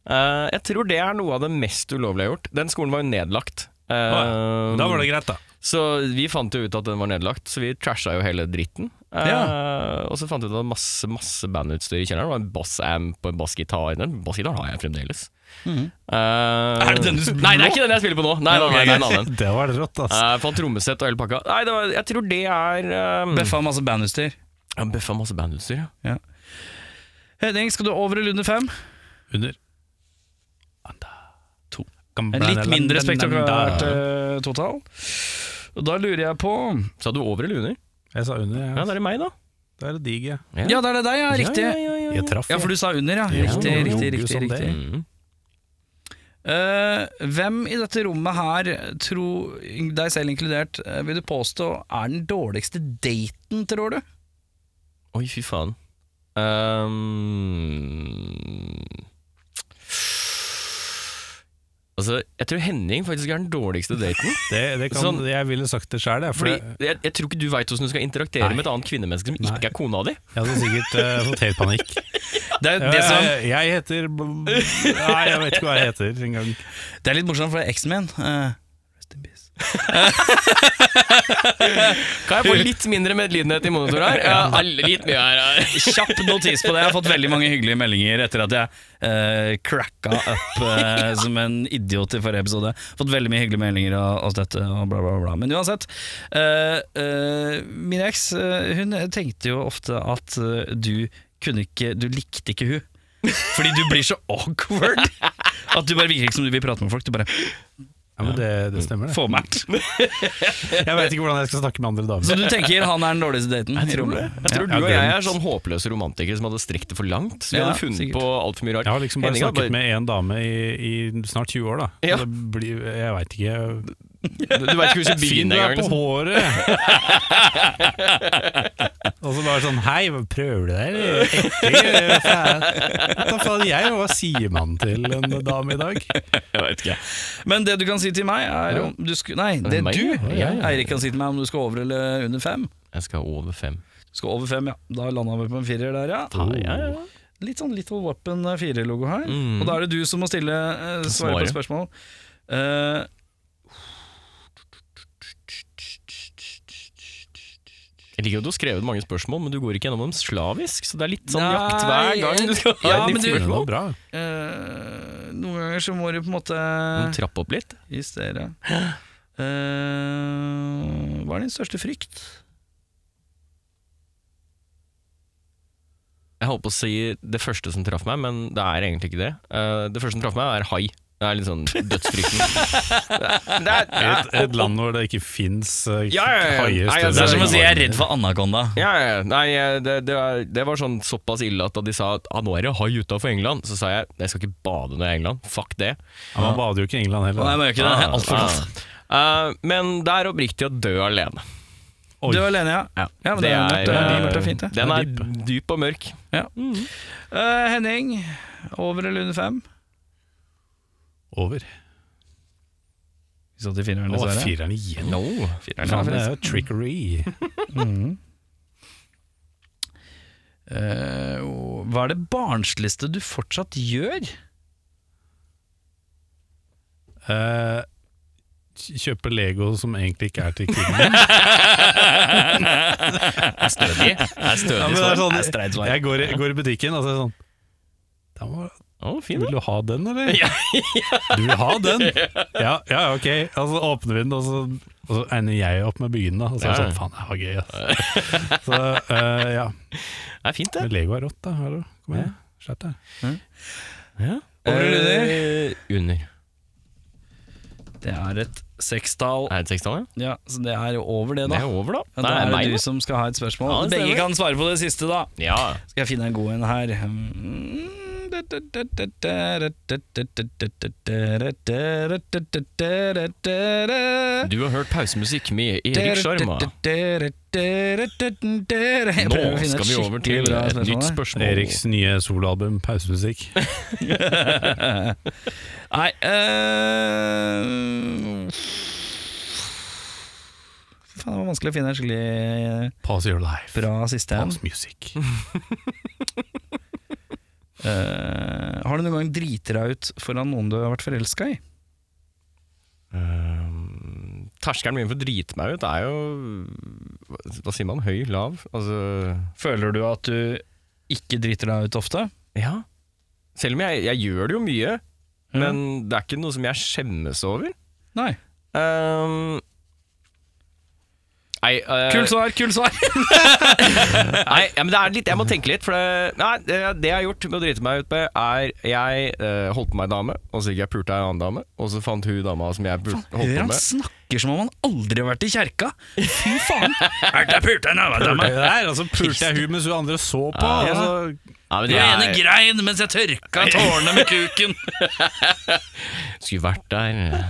Speaker 1: Eh, jeg tror det er noe av det mest ulovlige jeg har gjort. Den skolen var jo nedlagt. Ehm,
Speaker 3: Da var det greit, da.
Speaker 1: så vi fant jo ut at den var nedlagt, så vi trasha jo hele dritten. Eh, og så fant vi ut at det var masse masse bandutstyr i kjelleren. Det var en bassamp og en bassgitar. Den bassgitaren har jeg fremdeles. Eh,
Speaker 4: Er det den du spiller
Speaker 1: Nei, det er
Speaker 4: nå?
Speaker 1: ikke den jeg spiller på nå. Nei, nei, nei, det er en annen.
Speaker 3: Det var rått, ass.
Speaker 1: Uh, Fant trommesett og hele pakka. Nei, det var, jeg tror det er um,
Speaker 2: Bøffa Mm. masse bandutstyr.
Speaker 1: Ja, Bøffa masse bandutstyr, ja.
Speaker 2: Henning, skal du over eller under fem?
Speaker 3: Under.
Speaker 2: To. En litt mindre spektakulært eh, total. Og da lurer jeg på
Speaker 1: Sa du over eller under?
Speaker 3: Jeg sa under,
Speaker 1: Ja,
Speaker 3: jeg.
Speaker 1: det er meg, da.
Speaker 3: Det er digg, jeg.
Speaker 2: Ja, det er det deg, ja. Riktig.
Speaker 1: Ja, ja, ja, ja.
Speaker 3: Jeg traff.
Speaker 2: Ja, for du sa under, ja.
Speaker 3: Ja,
Speaker 2: Riktig,
Speaker 3: jo,
Speaker 2: riktig,
Speaker 3: jo,
Speaker 2: riktig.
Speaker 3: som det.
Speaker 2: riktig.
Speaker 1: Mm.
Speaker 2: Eh, hvem i dette rommet her, tro, deg selv inkludert, eh, vil du påstå er den dårligste daten, tror du?
Speaker 1: Oi, fy faen. Ehm, altså, jeg tror Henning faktisk er den dårligste daten.
Speaker 3: Det, det kan,
Speaker 1: Sånn.
Speaker 3: Jeg ville sagt det sjøl, jeg. For
Speaker 2: <laughs>
Speaker 1: Fordi
Speaker 3: jeg
Speaker 1: jeg, jeg tror ikke du veit hvordan du skal interaktere
Speaker 3: Nei.
Speaker 1: med et annet kvinnemenneske som
Speaker 3: Nei.
Speaker 1: ikke er kona di.
Speaker 3: hadde sikkert eh, fått helt panikk.
Speaker 2: <laughs> Det er, jo det,
Speaker 3: Jeg,
Speaker 2: som,
Speaker 3: jeg, jeg heter bl- Nei, jeg vet ikke hva jeg heter engang.
Speaker 2: det er litt morsomt, for det er eksen min. eh, rest in peace.
Speaker 1: Kan jeg få litt mindre medlidenhet i monitor her? Ja, er litt mye her. er-
Speaker 2: Kjapp notis på det. Jeg har fått veldig mange hyggelige meldinger etter at jeg eh, cracka up eh,
Speaker 1: <laughs>
Speaker 2: som en idiot i forrige episode. Fått veldig mye hyggelige meldinger av, av dette og bla, bla, bla. Men uansett. eh, eh, min eks eh, hun tenkte jo ofte at eh, du kunne ikke Du likte ikke hun. Fordi du blir så awkward at du bare virker ikke som du vil prate med folk. Du bare
Speaker 3: Ja, men det, det stemmer, det.
Speaker 2: får
Speaker 1: <laughs>
Speaker 2: mært.
Speaker 3: Jeg vet ikke hvordan jeg skal snakke med andre
Speaker 2: Så
Speaker 3: damer.
Speaker 2: du tenker han er den dårligste daten? i rommet?
Speaker 1: Jeg tror du og jeg er sånn håpløse romantikere som hadde strekt det for langt. Så vi
Speaker 2: Ja,
Speaker 1: hadde funnet
Speaker 2: sikkert.
Speaker 1: på altfor mye rart.
Speaker 3: Jeg har liksom bare
Speaker 1: Henning hadde
Speaker 3: snakket med én dame i, i snart 20 år, da. Så
Speaker 1: Ja.
Speaker 3: Det blir, jeg veit ikke
Speaker 1: Du veit ikke hvordan du
Speaker 3: Fin du
Speaker 1: begynner
Speaker 3: er
Speaker 1: engang.
Speaker 3: på
Speaker 1: liksom.
Speaker 3: håret! Og så bare sånn Hei, prøver du deg, eller? Ekte, eh, faen. Hva faen jeg, hva sier man til en dame i dag?
Speaker 4: Jeg vet ikke.
Speaker 2: Men det du kan si til meg er om du sku, Nei, det
Speaker 1: meg?
Speaker 2: du,
Speaker 1: Ja, ja, ja.
Speaker 2: Eirik, kan si til meg om du skal over eller under fem.
Speaker 1: Jeg skal over fem.
Speaker 2: Du skal over fem, ja. Da landa vi på en firer der, ja.
Speaker 1: Ja, ja, ja.
Speaker 2: Litt sånn Little Weapon 4-logo her.
Speaker 1: Mm.
Speaker 2: Og da er det du som må stille eh, svare på
Speaker 1: Svare.
Speaker 2: spørsmål. Eh,
Speaker 1: Jeg liker at du har skrevet mange spørsmål, men du går ikke gjennom dem slavisk. Så det er litt sånn
Speaker 2: Nei,
Speaker 1: jakt hver gang du skal ha
Speaker 2: ja,
Speaker 1: et
Speaker 2: men
Speaker 1: nytt
Speaker 2: du-
Speaker 3: Det var
Speaker 1: spørsmål.
Speaker 3: bra.
Speaker 2: eh, noen ganger så må du på en måte
Speaker 1: Du må trappe opp litt.
Speaker 2: justere. Eh, hva er din største frykt?
Speaker 1: Jeg holdt på å si det første som traff meg, men det er egentlig ikke det. Eh, det første som traff meg, er hai. Det er litt sånn
Speaker 2: <laughs>
Speaker 1: dødsfrykten. det er,
Speaker 3: I et, et land hvor det ikke fins uh,
Speaker 1: Ja, ja, ja.
Speaker 3: haier
Speaker 1: Nei, altså, Det
Speaker 2: Det er som å si jeg er
Speaker 3: enn
Speaker 2: redd for anakonda.
Speaker 1: ja, ja, ja. Nei, eh, det, det, er- det var sånn såpass ille at da de sa at ah, nå er det hai utafor England, så sa jeg jeg skal ikke bade når jeg er i England. Fuck det.
Speaker 3: Ja, Man bader jo ikke i England heller.
Speaker 2: Nei, jeg må ikke det. Ah, Alt for kaldt.
Speaker 1: Ah, eh, men det er oppriktig å dø alene.
Speaker 3: Oi.
Speaker 2: Du er alene, ja. ja. men det, er, mørkt, det er
Speaker 1: eh,
Speaker 2: mørkt og fint, det.
Speaker 1: Den er dyp og mørk.
Speaker 2: Eh, Henning, over eller under fem?
Speaker 3: Over.
Speaker 2: Vi satt i fireren,
Speaker 3: Å, fireren igjen.
Speaker 1: No.
Speaker 3: Faen, det er jo trickery.
Speaker 2: Eh, og hva er det barnsligste du fortsatt gjør?
Speaker 3: Eh, Kjøpe Lego som egentlig ikke er til <laughs> kidden.
Speaker 1: Stødig. Det er
Speaker 3: Ja, men
Speaker 1: stødig
Speaker 3: det er
Speaker 1: svar.
Speaker 3: sånn-
Speaker 2: streit
Speaker 3: Jeg går i, går i butikken og så er det sånn Det må,
Speaker 1: Å, fin, da.
Speaker 3: Vil du ha den, eller? Du vil ha den? <laughs> Ja, ja ok. Og så åpner vi den, og så, og så ender jeg opp med byen, da. Og så er det
Speaker 1: Ja.
Speaker 3: sånn, faen, det var gøy, ass. Så eh, <laughs> ja.
Speaker 1: Det er fint, det.
Speaker 3: Men Lego er rått, da. Hallo, kom igjen. Slett det.
Speaker 1: Ja.
Speaker 2: Over eller
Speaker 1: Eh, under.
Speaker 2: Det er et sekstall.
Speaker 1: Er det et sekstall, ja?
Speaker 2: Ja, så det er jo over det,
Speaker 1: Det
Speaker 2: da.
Speaker 1: er over, da.
Speaker 2: Ja,
Speaker 1: Nei,
Speaker 2: da er
Speaker 1: meg,
Speaker 2: det
Speaker 1: da.
Speaker 2: du som skal ha et spørsmål.
Speaker 1: Ja, det stemmer.
Speaker 2: Begge kan svare på det siste, da.
Speaker 1: Ja.
Speaker 2: Skal jeg finne en god en her Mm.
Speaker 1: Du har hørt pausemusikk med Erik Sjarma.
Speaker 2: Jeg
Speaker 1: Nå
Speaker 2: prøver å finne
Speaker 1: skal
Speaker 2: et
Speaker 1: vi over til
Speaker 2: skikkelig bra
Speaker 1: et nytt
Speaker 2: <laughs> her.
Speaker 1: spørsmål.
Speaker 3: Eriks nye soloalbum, pausemusikk.
Speaker 2: Nei eh, Faen, det var vanskelig å finne en skikkelig eh,
Speaker 3: Pause your life.
Speaker 2: bra siste en.
Speaker 3: Pause music.
Speaker 2: Eh, har du noen gang driti deg ut foran noen du har vært forelska i?
Speaker 1: Ehm, terskelen min for å drite meg ut er jo hva- Hva sier man? Høy? Lav? Altså
Speaker 2: Føler du at du ikke driter deg ut ofte?
Speaker 1: Ja. Selv om jeg, jeg gjør det jo mye, men det er ikke noe som jeg skjemmes over.
Speaker 2: Nei.
Speaker 1: Ehm, Nei, eh,
Speaker 2: Kult svar, kult <laughs> svar!
Speaker 1: nei ja, men det er litt, jeg må tenke litt. For det, nei, det, det jeg har gjort med å drite meg ut med, er Jeg eh, holdt på med ei dame, og så gikk jeg og pulte ei annen dame, og så fant hun dama som jeg pul- holdt
Speaker 2: Hør
Speaker 1: på
Speaker 2: han
Speaker 1: med.
Speaker 2: snakker som om han aldri har vært i kjerka! Fy faen! <laughs> Er det pult en annen
Speaker 3: Det
Speaker 2: dame?
Speaker 3: der, altså pulte jeg hun mens hun andre så på.
Speaker 1: Ja.
Speaker 3: altså.
Speaker 1: Nei, men
Speaker 2: Du
Speaker 1: det
Speaker 2: ene
Speaker 1: er-
Speaker 2: grein mens jeg tørka tårene med kuken!
Speaker 1: Skulle vært der.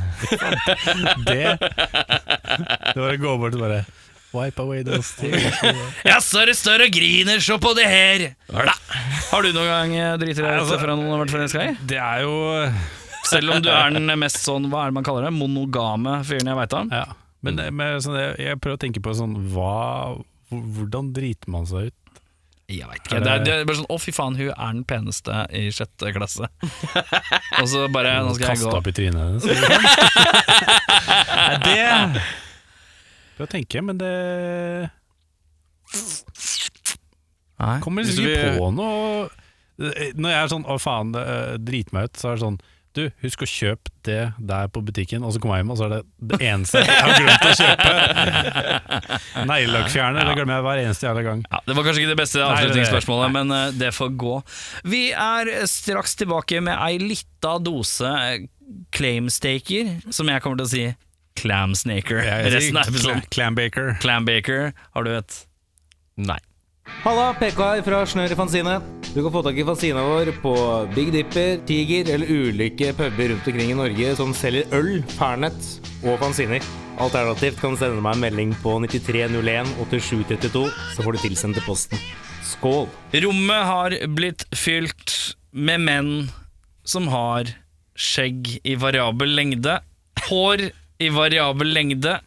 Speaker 3: Det Det var å gå bort og bare Wipe away those tears.
Speaker 2: Jeg står og står og griner, se på det her! Har du noen gang eh, driti deg ut
Speaker 3: Altså,
Speaker 2: foran noen du har vært forelska i?
Speaker 3: Det er jo
Speaker 2: Selv om du er den mest sånn, hva er det man kaller det, monogame fyren jeg veit om?
Speaker 3: Ja. Men det, men sånn, jeg, jeg prøver å tenke på sånn hva, Hvordan driter man seg ut?
Speaker 2: Jeg vet ikke. Det er, det er bare sånn 'Å, fy faen, hun er den peneste i sjette <laughs> klasse'. og så bare 'Nå skal jeg
Speaker 3: Kaste
Speaker 2: gå'.
Speaker 3: opp i trynet
Speaker 2: <laughs>
Speaker 3: hennes? eller noe sånt? Nei, det Prøver å tenke, men det
Speaker 2: Nei.
Speaker 3: kommer
Speaker 1: Hvis
Speaker 3: liksom
Speaker 1: du
Speaker 3: ikke
Speaker 1: vil-
Speaker 3: på noe Når jeg er sånn 'å faen, det eh, driter meg ut', så er det sånn du, husk å kjøpe det der på butikken, og så kommer jeg hjem, og så er det det eneste jeg har glemt å kjøpe. Neglelakkfjerner, det glemmer jeg hver eneste jævla gang.
Speaker 2: Ja, det var kanskje ikke det beste
Speaker 3: Nei, det-
Speaker 2: avslutningsspørsmålet, men eh, det får gå. Vi er straks tilbake med ei lita dose eh, claimstaker, som jeg kommer til å si clamsnaker. Resten av episoden.
Speaker 3: Clambaker.
Speaker 2: Clambaker, har du et
Speaker 1: Nei.
Speaker 6: Halla, PK her fra Snør i Fanzine. Du kan få tak i fanzina vår på Big Dipper, Tiger eller ulike puber rundt omkring i Norge som selger øl, pernett og fanziner. Alternativt kan du sende meg en melding på 9301 8732, så får du tilsendt til posten. Skål!
Speaker 2: Rommet har blitt fylt med menn som har skjegg i variabel lengde, hår i variabel lengde,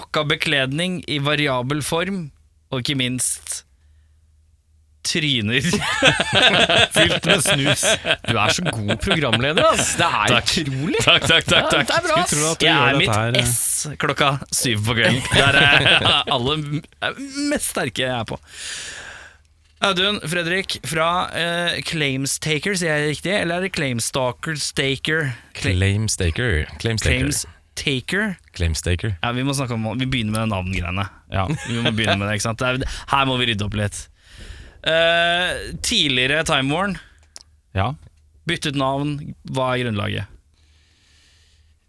Speaker 2: rocka bekledning i variabel form, og ikke minst tryner.
Speaker 3: Fylt med snus.
Speaker 1: Du er så god programleder, ass. Det er utrolig.
Speaker 2: Takk, takk, takk. takk.
Speaker 1: Det er bra, ass.
Speaker 3: Skulle tro at du
Speaker 2: Jeg
Speaker 3: gjør
Speaker 2: er
Speaker 3: dette
Speaker 2: mitt
Speaker 3: her, eh.
Speaker 2: S klokka syv på kvelden. Der er eh,
Speaker 1: <laughs>
Speaker 2: alle er mest sterke jeg er på. Audun Fredrik fra eh, Claimstaker, sier jeg det riktig? Eller er det Claimstalkers Taker? Cla
Speaker 7: Claimstaker. Claimstaker.
Speaker 2: Claimstaker?
Speaker 7: Claimstaker.
Speaker 2: Ja, vi må snakke om Vi begynner med navngreiene. Ja, vi må begynne med det, ikke sant? Det er- Her må vi rydde opp litt. Eh, tidligere Time Warn
Speaker 7: Ja.
Speaker 2: byttet navn. Hva er grunnlaget?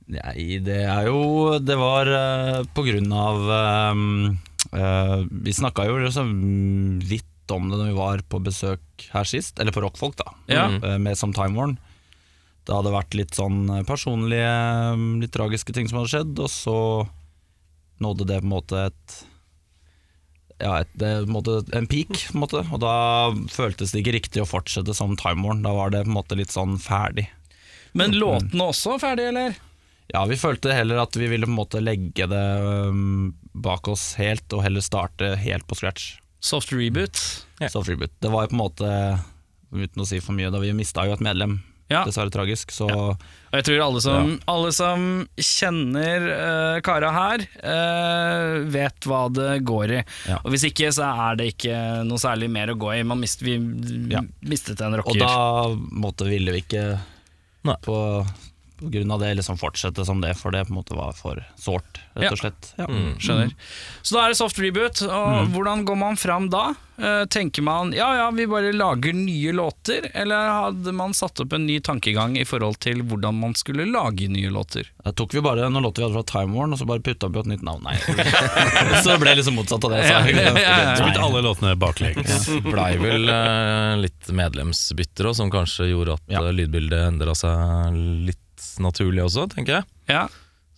Speaker 7: Nei, det er jo Det var eh, på grunn av eh, eh, Vi snakka jo liksom litt om det når vi var på besøk her sist, eller på Rockfolk, da,
Speaker 2: Ja.
Speaker 7: eh, med som Time Warn. Det hadde vært litt sånn personlige, eh, litt tragiske ting som hadde skjedd, og så nådde det på en måte et ja, et, det, på en måte en peak, på en måte. og da føltes det ikke riktig å fortsette som Time Warn. Da var det på en måte litt sånn ferdig.
Speaker 2: Men låtene også ferdig, eller?
Speaker 7: Ja, vi følte heller at vi ville på en måte legge det øhm, bak oss helt, og heller starte helt på scratch.
Speaker 2: Soft reboot.
Speaker 7: Soft Reboot. Det var jo på en måte, uten å si for mye, da vi mista jo et medlem
Speaker 2: Ja.
Speaker 7: dessverre tragisk. Så
Speaker 2: Og jeg tror alle som, alle som kjenner eh, kara her, eh, vet hva det går i.
Speaker 7: Ja.
Speaker 2: Og hvis ikke, så er det ikke noe særlig mer å gå i. Man mist, vi mistet en
Speaker 7: Og
Speaker 2: rocker.
Speaker 7: da måtte, ville vi ikke
Speaker 1: Nei.
Speaker 7: på, på grunn av det liksom fortsette som det, for det på en måte var for sårt,
Speaker 2: Ja.
Speaker 7: rett og slett. Mm. Ja.
Speaker 2: Skjønner. Så da er det soft reboot, og hvordan går man fram da? Eh, tenker man ja ja, vi bare lager nye låter, eller hadde man satt opp en ny tankegang i forhold til hvordan man skulle lage nye låter?
Speaker 7: Da tok vi bare noen låter vi hadde fra Time Warn, og så bare putta vi på et nytt navn. Nei. så det ble liksom motsatt av det. Så.
Speaker 2: Ja, ja, ja.
Speaker 3: Så blitt alle låtene baklengs.
Speaker 8: blei
Speaker 7: <laughs>
Speaker 8: vel eh, litt medlemsbytter også, som kanskje gjorde at
Speaker 7: Ja.
Speaker 8: eh, lydbildet endra seg litt naturlig også, tenker jeg.
Speaker 2: Ja,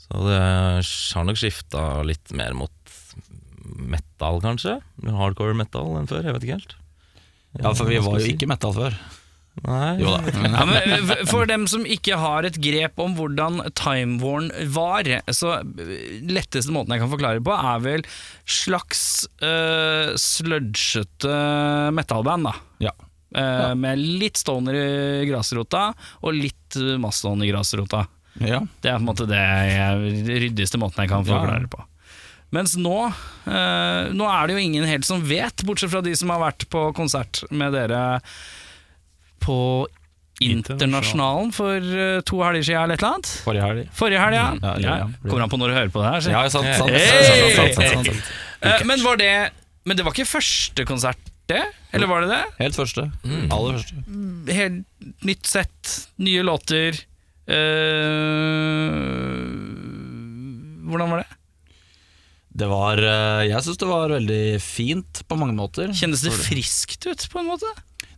Speaker 8: Så det har nok skifta litt mer mot metal, kanskje. Hardcore metal enn før, jeg vet ikke helt.
Speaker 7: Ja, for vi
Speaker 8: Hva
Speaker 7: var
Speaker 8: skal
Speaker 7: jo
Speaker 8: jeg si?
Speaker 7: ikke metal før.
Speaker 8: Nei,
Speaker 7: Jo da.
Speaker 2: ja, men eh, For dem som ikke har et grep om hvordan Time Warn var, så eh, letteste måten jeg kan forklare på, er vel slags uh, sludgete metalband, da.
Speaker 7: Ja.
Speaker 2: Eh, Med litt stoner i grasrota og litt eh, mastodon i grasrota.
Speaker 7: Ja.
Speaker 2: Det er på en måte det jeg- ryddigste måten jeg kan forklare det på. Mens nå eh, Nå er det jo ingen helt som vet, bortsett fra de som har vært på konsert med dere på Internasjonalen for eh, to helger siden eller et eller annet.
Speaker 7: Forrige helg.
Speaker 2: Forrige helg, Mm. ja.
Speaker 7: Ja, eller-
Speaker 2: ja. Kommer an på når du hører på det her. så-
Speaker 7: Ja, sant, sant, sant,
Speaker 2: Hey!
Speaker 7: sant, sant, sant, sant, sant.
Speaker 2: Eh, men, var det, men det var ikke første konsert, det? Eller var det det?
Speaker 7: Helt første. Aller første.
Speaker 2: helt nytt sett, nye låter. Eh, hvordan var det?
Speaker 7: Det var eh, Jeg syns det var veldig fint på mange måter.
Speaker 2: Kjennes det friskt ut, på en måte?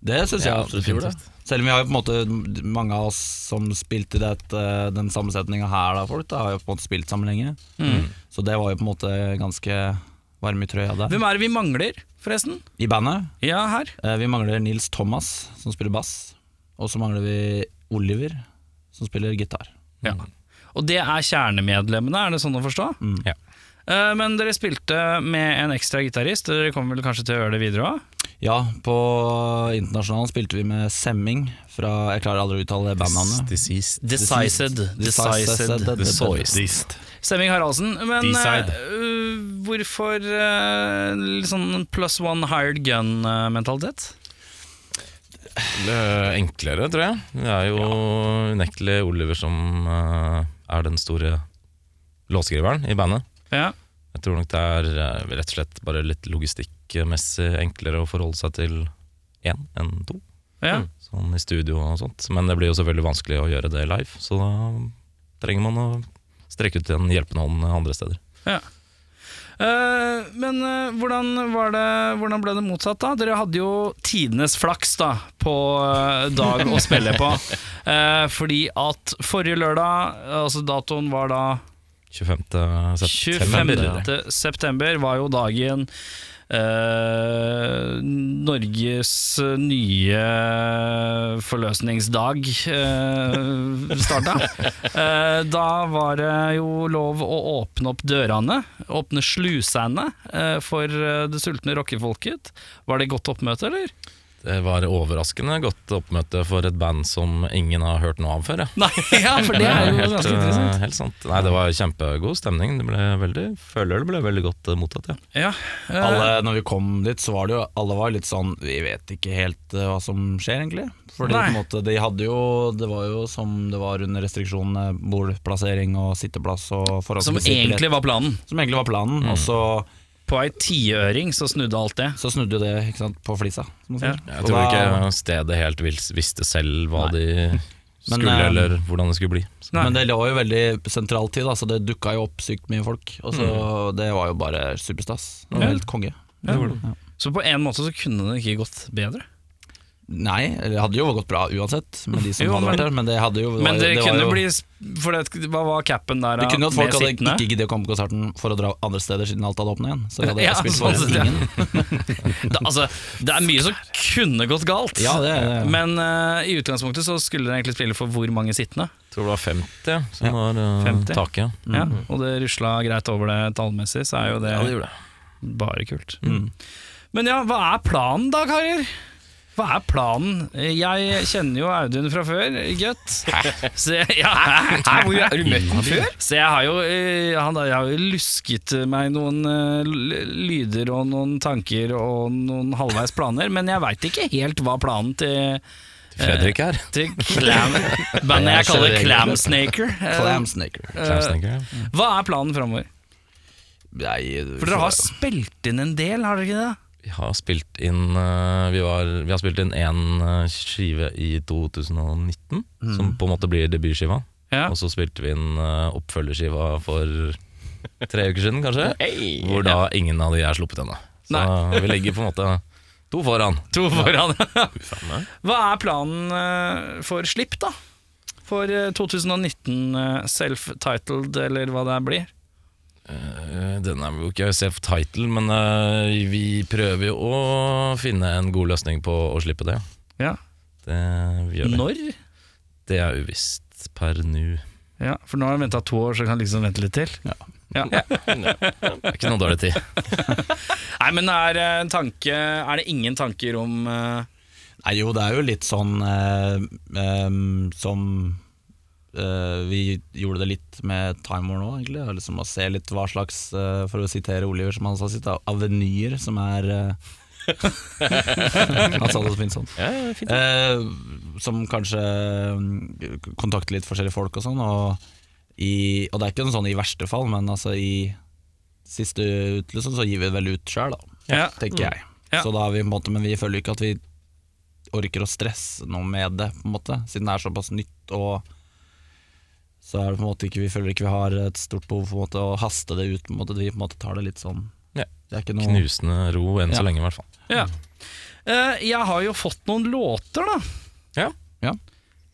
Speaker 7: Det syns jeg absolutt gjorde. Selv om vi har jo på en måte mange av oss som spilte i dette, den sammensetninga her, da, folk, da, har jo på en måte spilt sammen lenge. Så det var jo på en måte ganske varme i trøya der.
Speaker 2: Hvem er det vi mangler, forresten?
Speaker 7: I bandet
Speaker 2: Ja, her.
Speaker 7: eh, vi mangler Nils Thomas, som spiller bass. Og så mangler vi Oliver, som spiller gitar.
Speaker 2: Ja. Og det er kjernemedlemmene, er det sånn å forstå?
Speaker 7: Mm.
Speaker 8: Ja.
Speaker 2: Eh, men dere spilte med en ekstra gitarist, og dere kommer vel kanskje til å gjøre det videre òg?
Speaker 7: Ja, på internasjonalen spilte vi med Semming fra Jeg klarer aldri å uttale bandnavnet.
Speaker 8: Diseased.
Speaker 2: Decised. Stemming Haraldsen. Men
Speaker 3: Decide.
Speaker 2: eh, eh, hvorfor eh, litt sånn plus one hired gun-mentalitet?
Speaker 8: Eh, Enklere, tror jeg. Det er jo unektelig Oliver som eh, er den store låtskriveren i bandet.
Speaker 2: Ja.
Speaker 8: Jeg tror nok det er eh, rett og slett bare litt logistikkmessig enklere å forholde seg til én enn to.
Speaker 2: ja.
Speaker 8: Sånn i studio og sånt. Men det blir jo selvfølgelig vanskelig å gjøre det live, så da trenger man å strekke ut en hjelpende hånd andre steder.
Speaker 2: Eh, men eh, hvordan, var det, hvordan ble det motsatt da? Dere hadde jo tidenes flaks da på eh, dag å spille på. Eh, fordi at forrige lørdag, altså datoen var da
Speaker 8: 25. september.
Speaker 2: 25. september, var jo dagen eh, Norges nye forløsningsdag uh, starta. Eh, da var det jo lov å åpne opp dørene, åpne slusene eh, for eh, det sultne rockefolket. Var det godt oppmøte, eller? <laughs>
Speaker 8: Det var overraskende godt oppmøte for et band som ingen har hørt noe av før. Ja.
Speaker 2: Nei, ja, for det er jo
Speaker 8: helt,
Speaker 2: ganske
Speaker 8: eh,
Speaker 2: interessant.
Speaker 8: Helt sant. Nei, det var kjempegod stemning. Det ble veldig, føler det ble veldig godt eh, mottatt, ja.
Speaker 2: Ja, eh,
Speaker 7: alle, når vi kom dit, så var det jo alle var litt sånn Vi vet ikke helt eh, hva som skjer, egentlig. Fordi på
Speaker 2: Nei.
Speaker 7: en måte, de hadde jo Det var jo som det var under restriksjonene, bordplassering og sitteplass og
Speaker 2: som
Speaker 7: forholdsvis
Speaker 2: egentlig Mm. var planen.
Speaker 7: Som egentlig var planen, og så,
Speaker 2: På ei tiøring så snudde alt det.
Speaker 7: så snudde jo det ikke sant, på flisa. Som man
Speaker 2: Ja.
Speaker 7: sier.
Speaker 8: Jeg
Speaker 7: Og
Speaker 8: tror
Speaker 7: da-
Speaker 8: ikke stedet helt vis- visste selv hva <laughs> de skulle,
Speaker 7: eh,
Speaker 8: eller hvordan det skulle bli. Så
Speaker 2: Nei.
Speaker 7: Men det lå jo veldig sentralt til, da, så det dukka jo opp sykt mye folk. Og så
Speaker 2: Mm.
Speaker 7: Det var jo bare superstas. Det var Helt konge.
Speaker 2: Så på en måte så kunne det ikke gått bedre.
Speaker 7: Nei, eller det hadde jo gått bra uansett, med de som
Speaker 2: Jo,
Speaker 7: hadde
Speaker 2: men-
Speaker 7: vært der, men det hadde jo det var
Speaker 2: Men
Speaker 7: jo-
Speaker 2: det,
Speaker 7: var
Speaker 2: kunne
Speaker 7: jo-
Speaker 2: bli sp- For det, hva var capen der?
Speaker 7: Det
Speaker 2: da?
Speaker 7: kunne jo at folk
Speaker 2: Med
Speaker 7: hadde
Speaker 2: sittende?
Speaker 7: ikke giddet å komme på konserten for å dra andre steder siden alt hadde åpnet igjen. Så det hadde
Speaker 2: Ja,
Speaker 7: jeg spilt
Speaker 2: sånn
Speaker 7: for
Speaker 2: sett, ja.
Speaker 7: ingen.
Speaker 2: Da, altså, det er mye som kunne gått galt.
Speaker 7: Ja, det,
Speaker 2: Men eh, i utgangspunktet så skulle dere egentlig spille for hvor mange sittende.
Speaker 8: jeg tror det var 50 ja, som var eh,
Speaker 2: 50.
Speaker 8: taket.
Speaker 2: Ja,
Speaker 7: Mm.
Speaker 2: og det rusla greit over det tallmessig, så er jo det,
Speaker 8: Ja, det gjorde det.
Speaker 2: Mm. bare kult. Men ja, hva er planen da, karer? Hva er planen? Jeg kjenner jo Audun fra før, gutt. Så jeg, ja, Hæ? Hvor har du møtt ham før? Så jeg har jo, eh, han, jeg har jo lusket meg noen eh, l- lyder og noen tanker og noen halvveis planer, men jeg veit ikke helt hva planen til
Speaker 8: Fredrik her.
Speaker 2: til Clam Bandet jeg kaller Clamsnaker. eh,
Speaker 7: Clamsnaker.
Speaker 8: Klemsnekker.
Speaker 2: Hva er planen framover?
Speaker 7: Nei,
Speaker 2: For dere har spilt inn en del, har dere ikke det?
Speaker 8: Vi har spilt inn eh, Vi, var, vi har spilt inn én eh, skive i 2019, som på en måte blir debutskiva.
Speaker 2: Mm. Ja.
Speaker 8: Og så spilte vi inn eh, oppfølgerskiva for tre uker siden, kanskje. hvor da ingen av de er sluppet ennå. Så eh, vi legger på en måte to foran.
Speaker 2: To foran. Hva er planen eh, for slipp, da? For eh, 2019 eh, self-titled, eller hva det her blir.
Speaker 8: Eh, Den er jo ikke self-title, men eh, vi prøver jo å finne en god løsning på å slippe det.
Speaker 2: Ja.
Speaker 8: Det gjør vi.
Speaker 2: Når?
Speaker 8: Det er uvisst per nå.
Speaker 2: Ja, For nå har jeg venta to år, så jeg kan liksom vente litt til.
Speaker 8: Det er ikke noe dårlig tid.
Speaker 2: Nei, men er, det en tanke, er det ingen tanker om eh,
Speaker 7: Nei, jo, det er jo litt sånn eh, em, som eh, Vi gjorde det litt med Time War nå, egentlig. og Liksom å se litt hva slags, eh, for å sitere Oliver, som han sa sitt, da, avenyer som er eh, <laughs> Han sa det så fint sånn. Eh, som kanskje mm, kontakter litt forskjellige folk og sånn. Og, i, og det er ikke noe sånn i verste fall, men altså i siste utløsning så gir vi det vel ut sjøl, da
Speaker 2: ja. Mm.
Speaker 7: tenker jeg.
Speaker 2: Ja.
Speaker 7: Så da har vi på en måte, men vi føler ikke at vi orker å stresse noe med det, på en måte, siden det er såpass nytt. og så er det på en måte ikke, Vi føler ikke vi har et stort behov for på en måte, å haste det ut. på en måte, Vi på en måte tar det litt sånn
Speaker 8: Ja.
Speaker 7: Det er ikke noe
Speaker 8: Knusende ro enn
Speaker 7: Ja.
Speaker 8: så lenge, i hvert fall.
Speaker 2: ja. Eh, jeg har jo fått noen låter, da.
Speaker 8: Ja.
Speaker 7: Ja.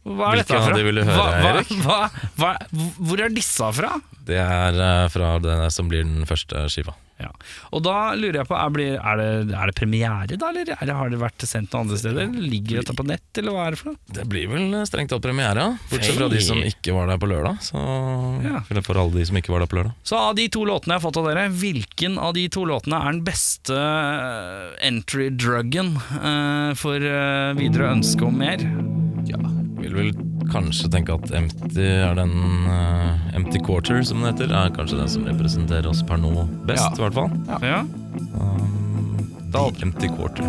Speaker 2: Hva er
Speaker 8: Hvilke
Speaker 2: dette
Speaker 8: av
Speaker 2: fra?
Speaker 8: de vil du høre,
Speaker 2: hva,
Speaker 8: Erik?
Speaker 2: hva, hva, hva, hvor er disse fra?
Speaker 8: Det er eh, fra det som blir den første skiva.
Speaker 2: Ja. Og da lurer jeg på, er, blir, er, det, er det premiere da, eller er det, har det vært sendt noen andre steder? Eller Ligger dette på nett, eller hva er det for noe?
Speaker 8: Det blir vel eh, strengt tatt premiere, ja. bortsett fra
Speaker 2: Hei.
Speaker 8: de som ikke var der på lørdag. Så,
Speaker 2: Ja.
Speaker 8: Eller for alle de som ikke var der på lørdag.
Speaker 2: Så av de to låtene jeg har fått av dere, hvilken av de to låtene er den beste eh, entry-druggen eh, for eh, videre ønske om mer?
Speaker 8: Vil vel kanskje tenke at MT er den eh, MT Quarter, som det heter, er kanskje den som representerer oss per nå best, i hvert fall.
Speaker 2: Ja.
Speaker 8: Um, da MT Quarter.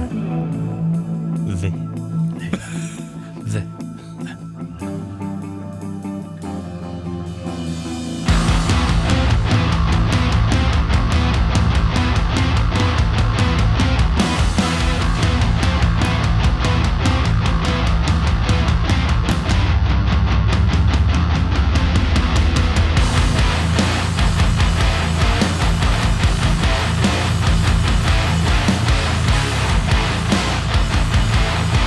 Speaker 9: Thank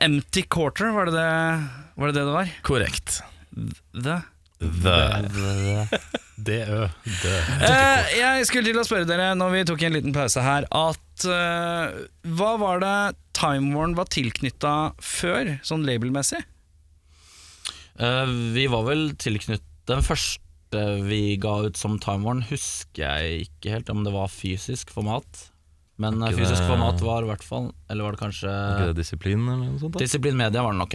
Speaker 2: empty quarter, var det det var? Det det, det var?
Speaker 8: Korrekt.
Speaker 2: The.
Speaker 8: The.
Speaker 3: DØ.
Speaker 2: Eh, jeg skulle til å spørre dere, når vi tok en liten pause her, at eh, hva var det Time Warn var tilknytta før, sånn labelmessig?
Speaker 7: Eh, vi var vel tilknyttet Den første vi ga ut som Time Warn, husker jeg ikke helt om det var fysisk format. Men eh,
Speaker 8: ikke
Speaker 7: fysisk
Speaker 8: det-
Speaker 7: format var i hvert fall Eller var det kanskje
Speaker 8: Er ikke det disiplin eller noe sånt? da?
Speaker 7: Disiplin Media var det Mm. nok,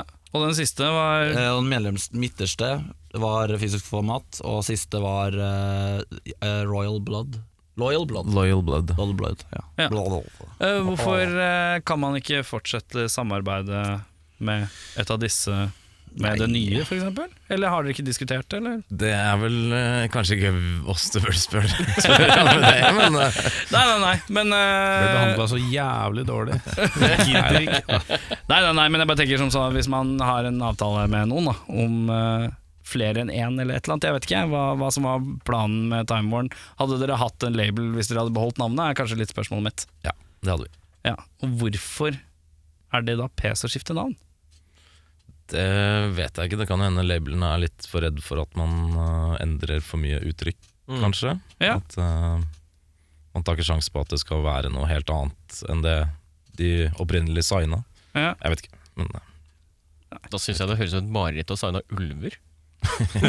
Speaker 2: Ja, og den siste var
Speaker 7: Eh, og den medlems midterste var fysisk format, og siste var eh, eh, Royal Blood. Loyal Blood.
Speaker 8: Loyal Blood.
Speaker 7: Loyal Blood, ja.
Speaker 2: Ja.
Speaker 7: Blah, blah, blah.
Speaker 2: eh, Hvorfor eh, kan man ikke fortsette samarbeidet med et av disse med det nye, f.eks.? Eller har dere ikke diskutert det, eller?
Speaker 8: Det er vel eh, kanskje ikke oss du burde spørre <laughs> spørre om det, men eh,
Speaker 2: Nei, nei, nei, men
Speaker 3: Ble
Speaker 2: eh,
Speaker 3: behandla så jævlig dårlig. Gidder ikke.
Speaker 2: Nei, nei, nei, men jeg bare tenker som sånn Hvis man har en avtale med noen da, Om eh, flere enn en eller et eller annet Jeg vet ikke hva, hva som var planen med Time Warn Hadde dere hatt en label hvis dere hadde beholdt navnet Er kanskje litt spørsmålet mitt
Speaker 8: Ja, det hadde vi.
Speaker 2: ja. Og hvorfor er det da pes å skifte navn?
Speaker 8: Det eh, vet jeg ikke. Det kan jo hende labelen er litt for redd for at man eh, endrer for mye uttrykk, kanskje.
Speaker 2: Mm. Ja.
Speaker 8: At eh, man tar ikke sjanse på at det skal være noe helt annet enn det de opprinnelig signa.
Speaker 2: Ja.
Speaker 8: Jeg vet ikke. Men eh, <laughs>
Speaker 1: Da syns jeg det høres ut som et mareritt å signe ulver.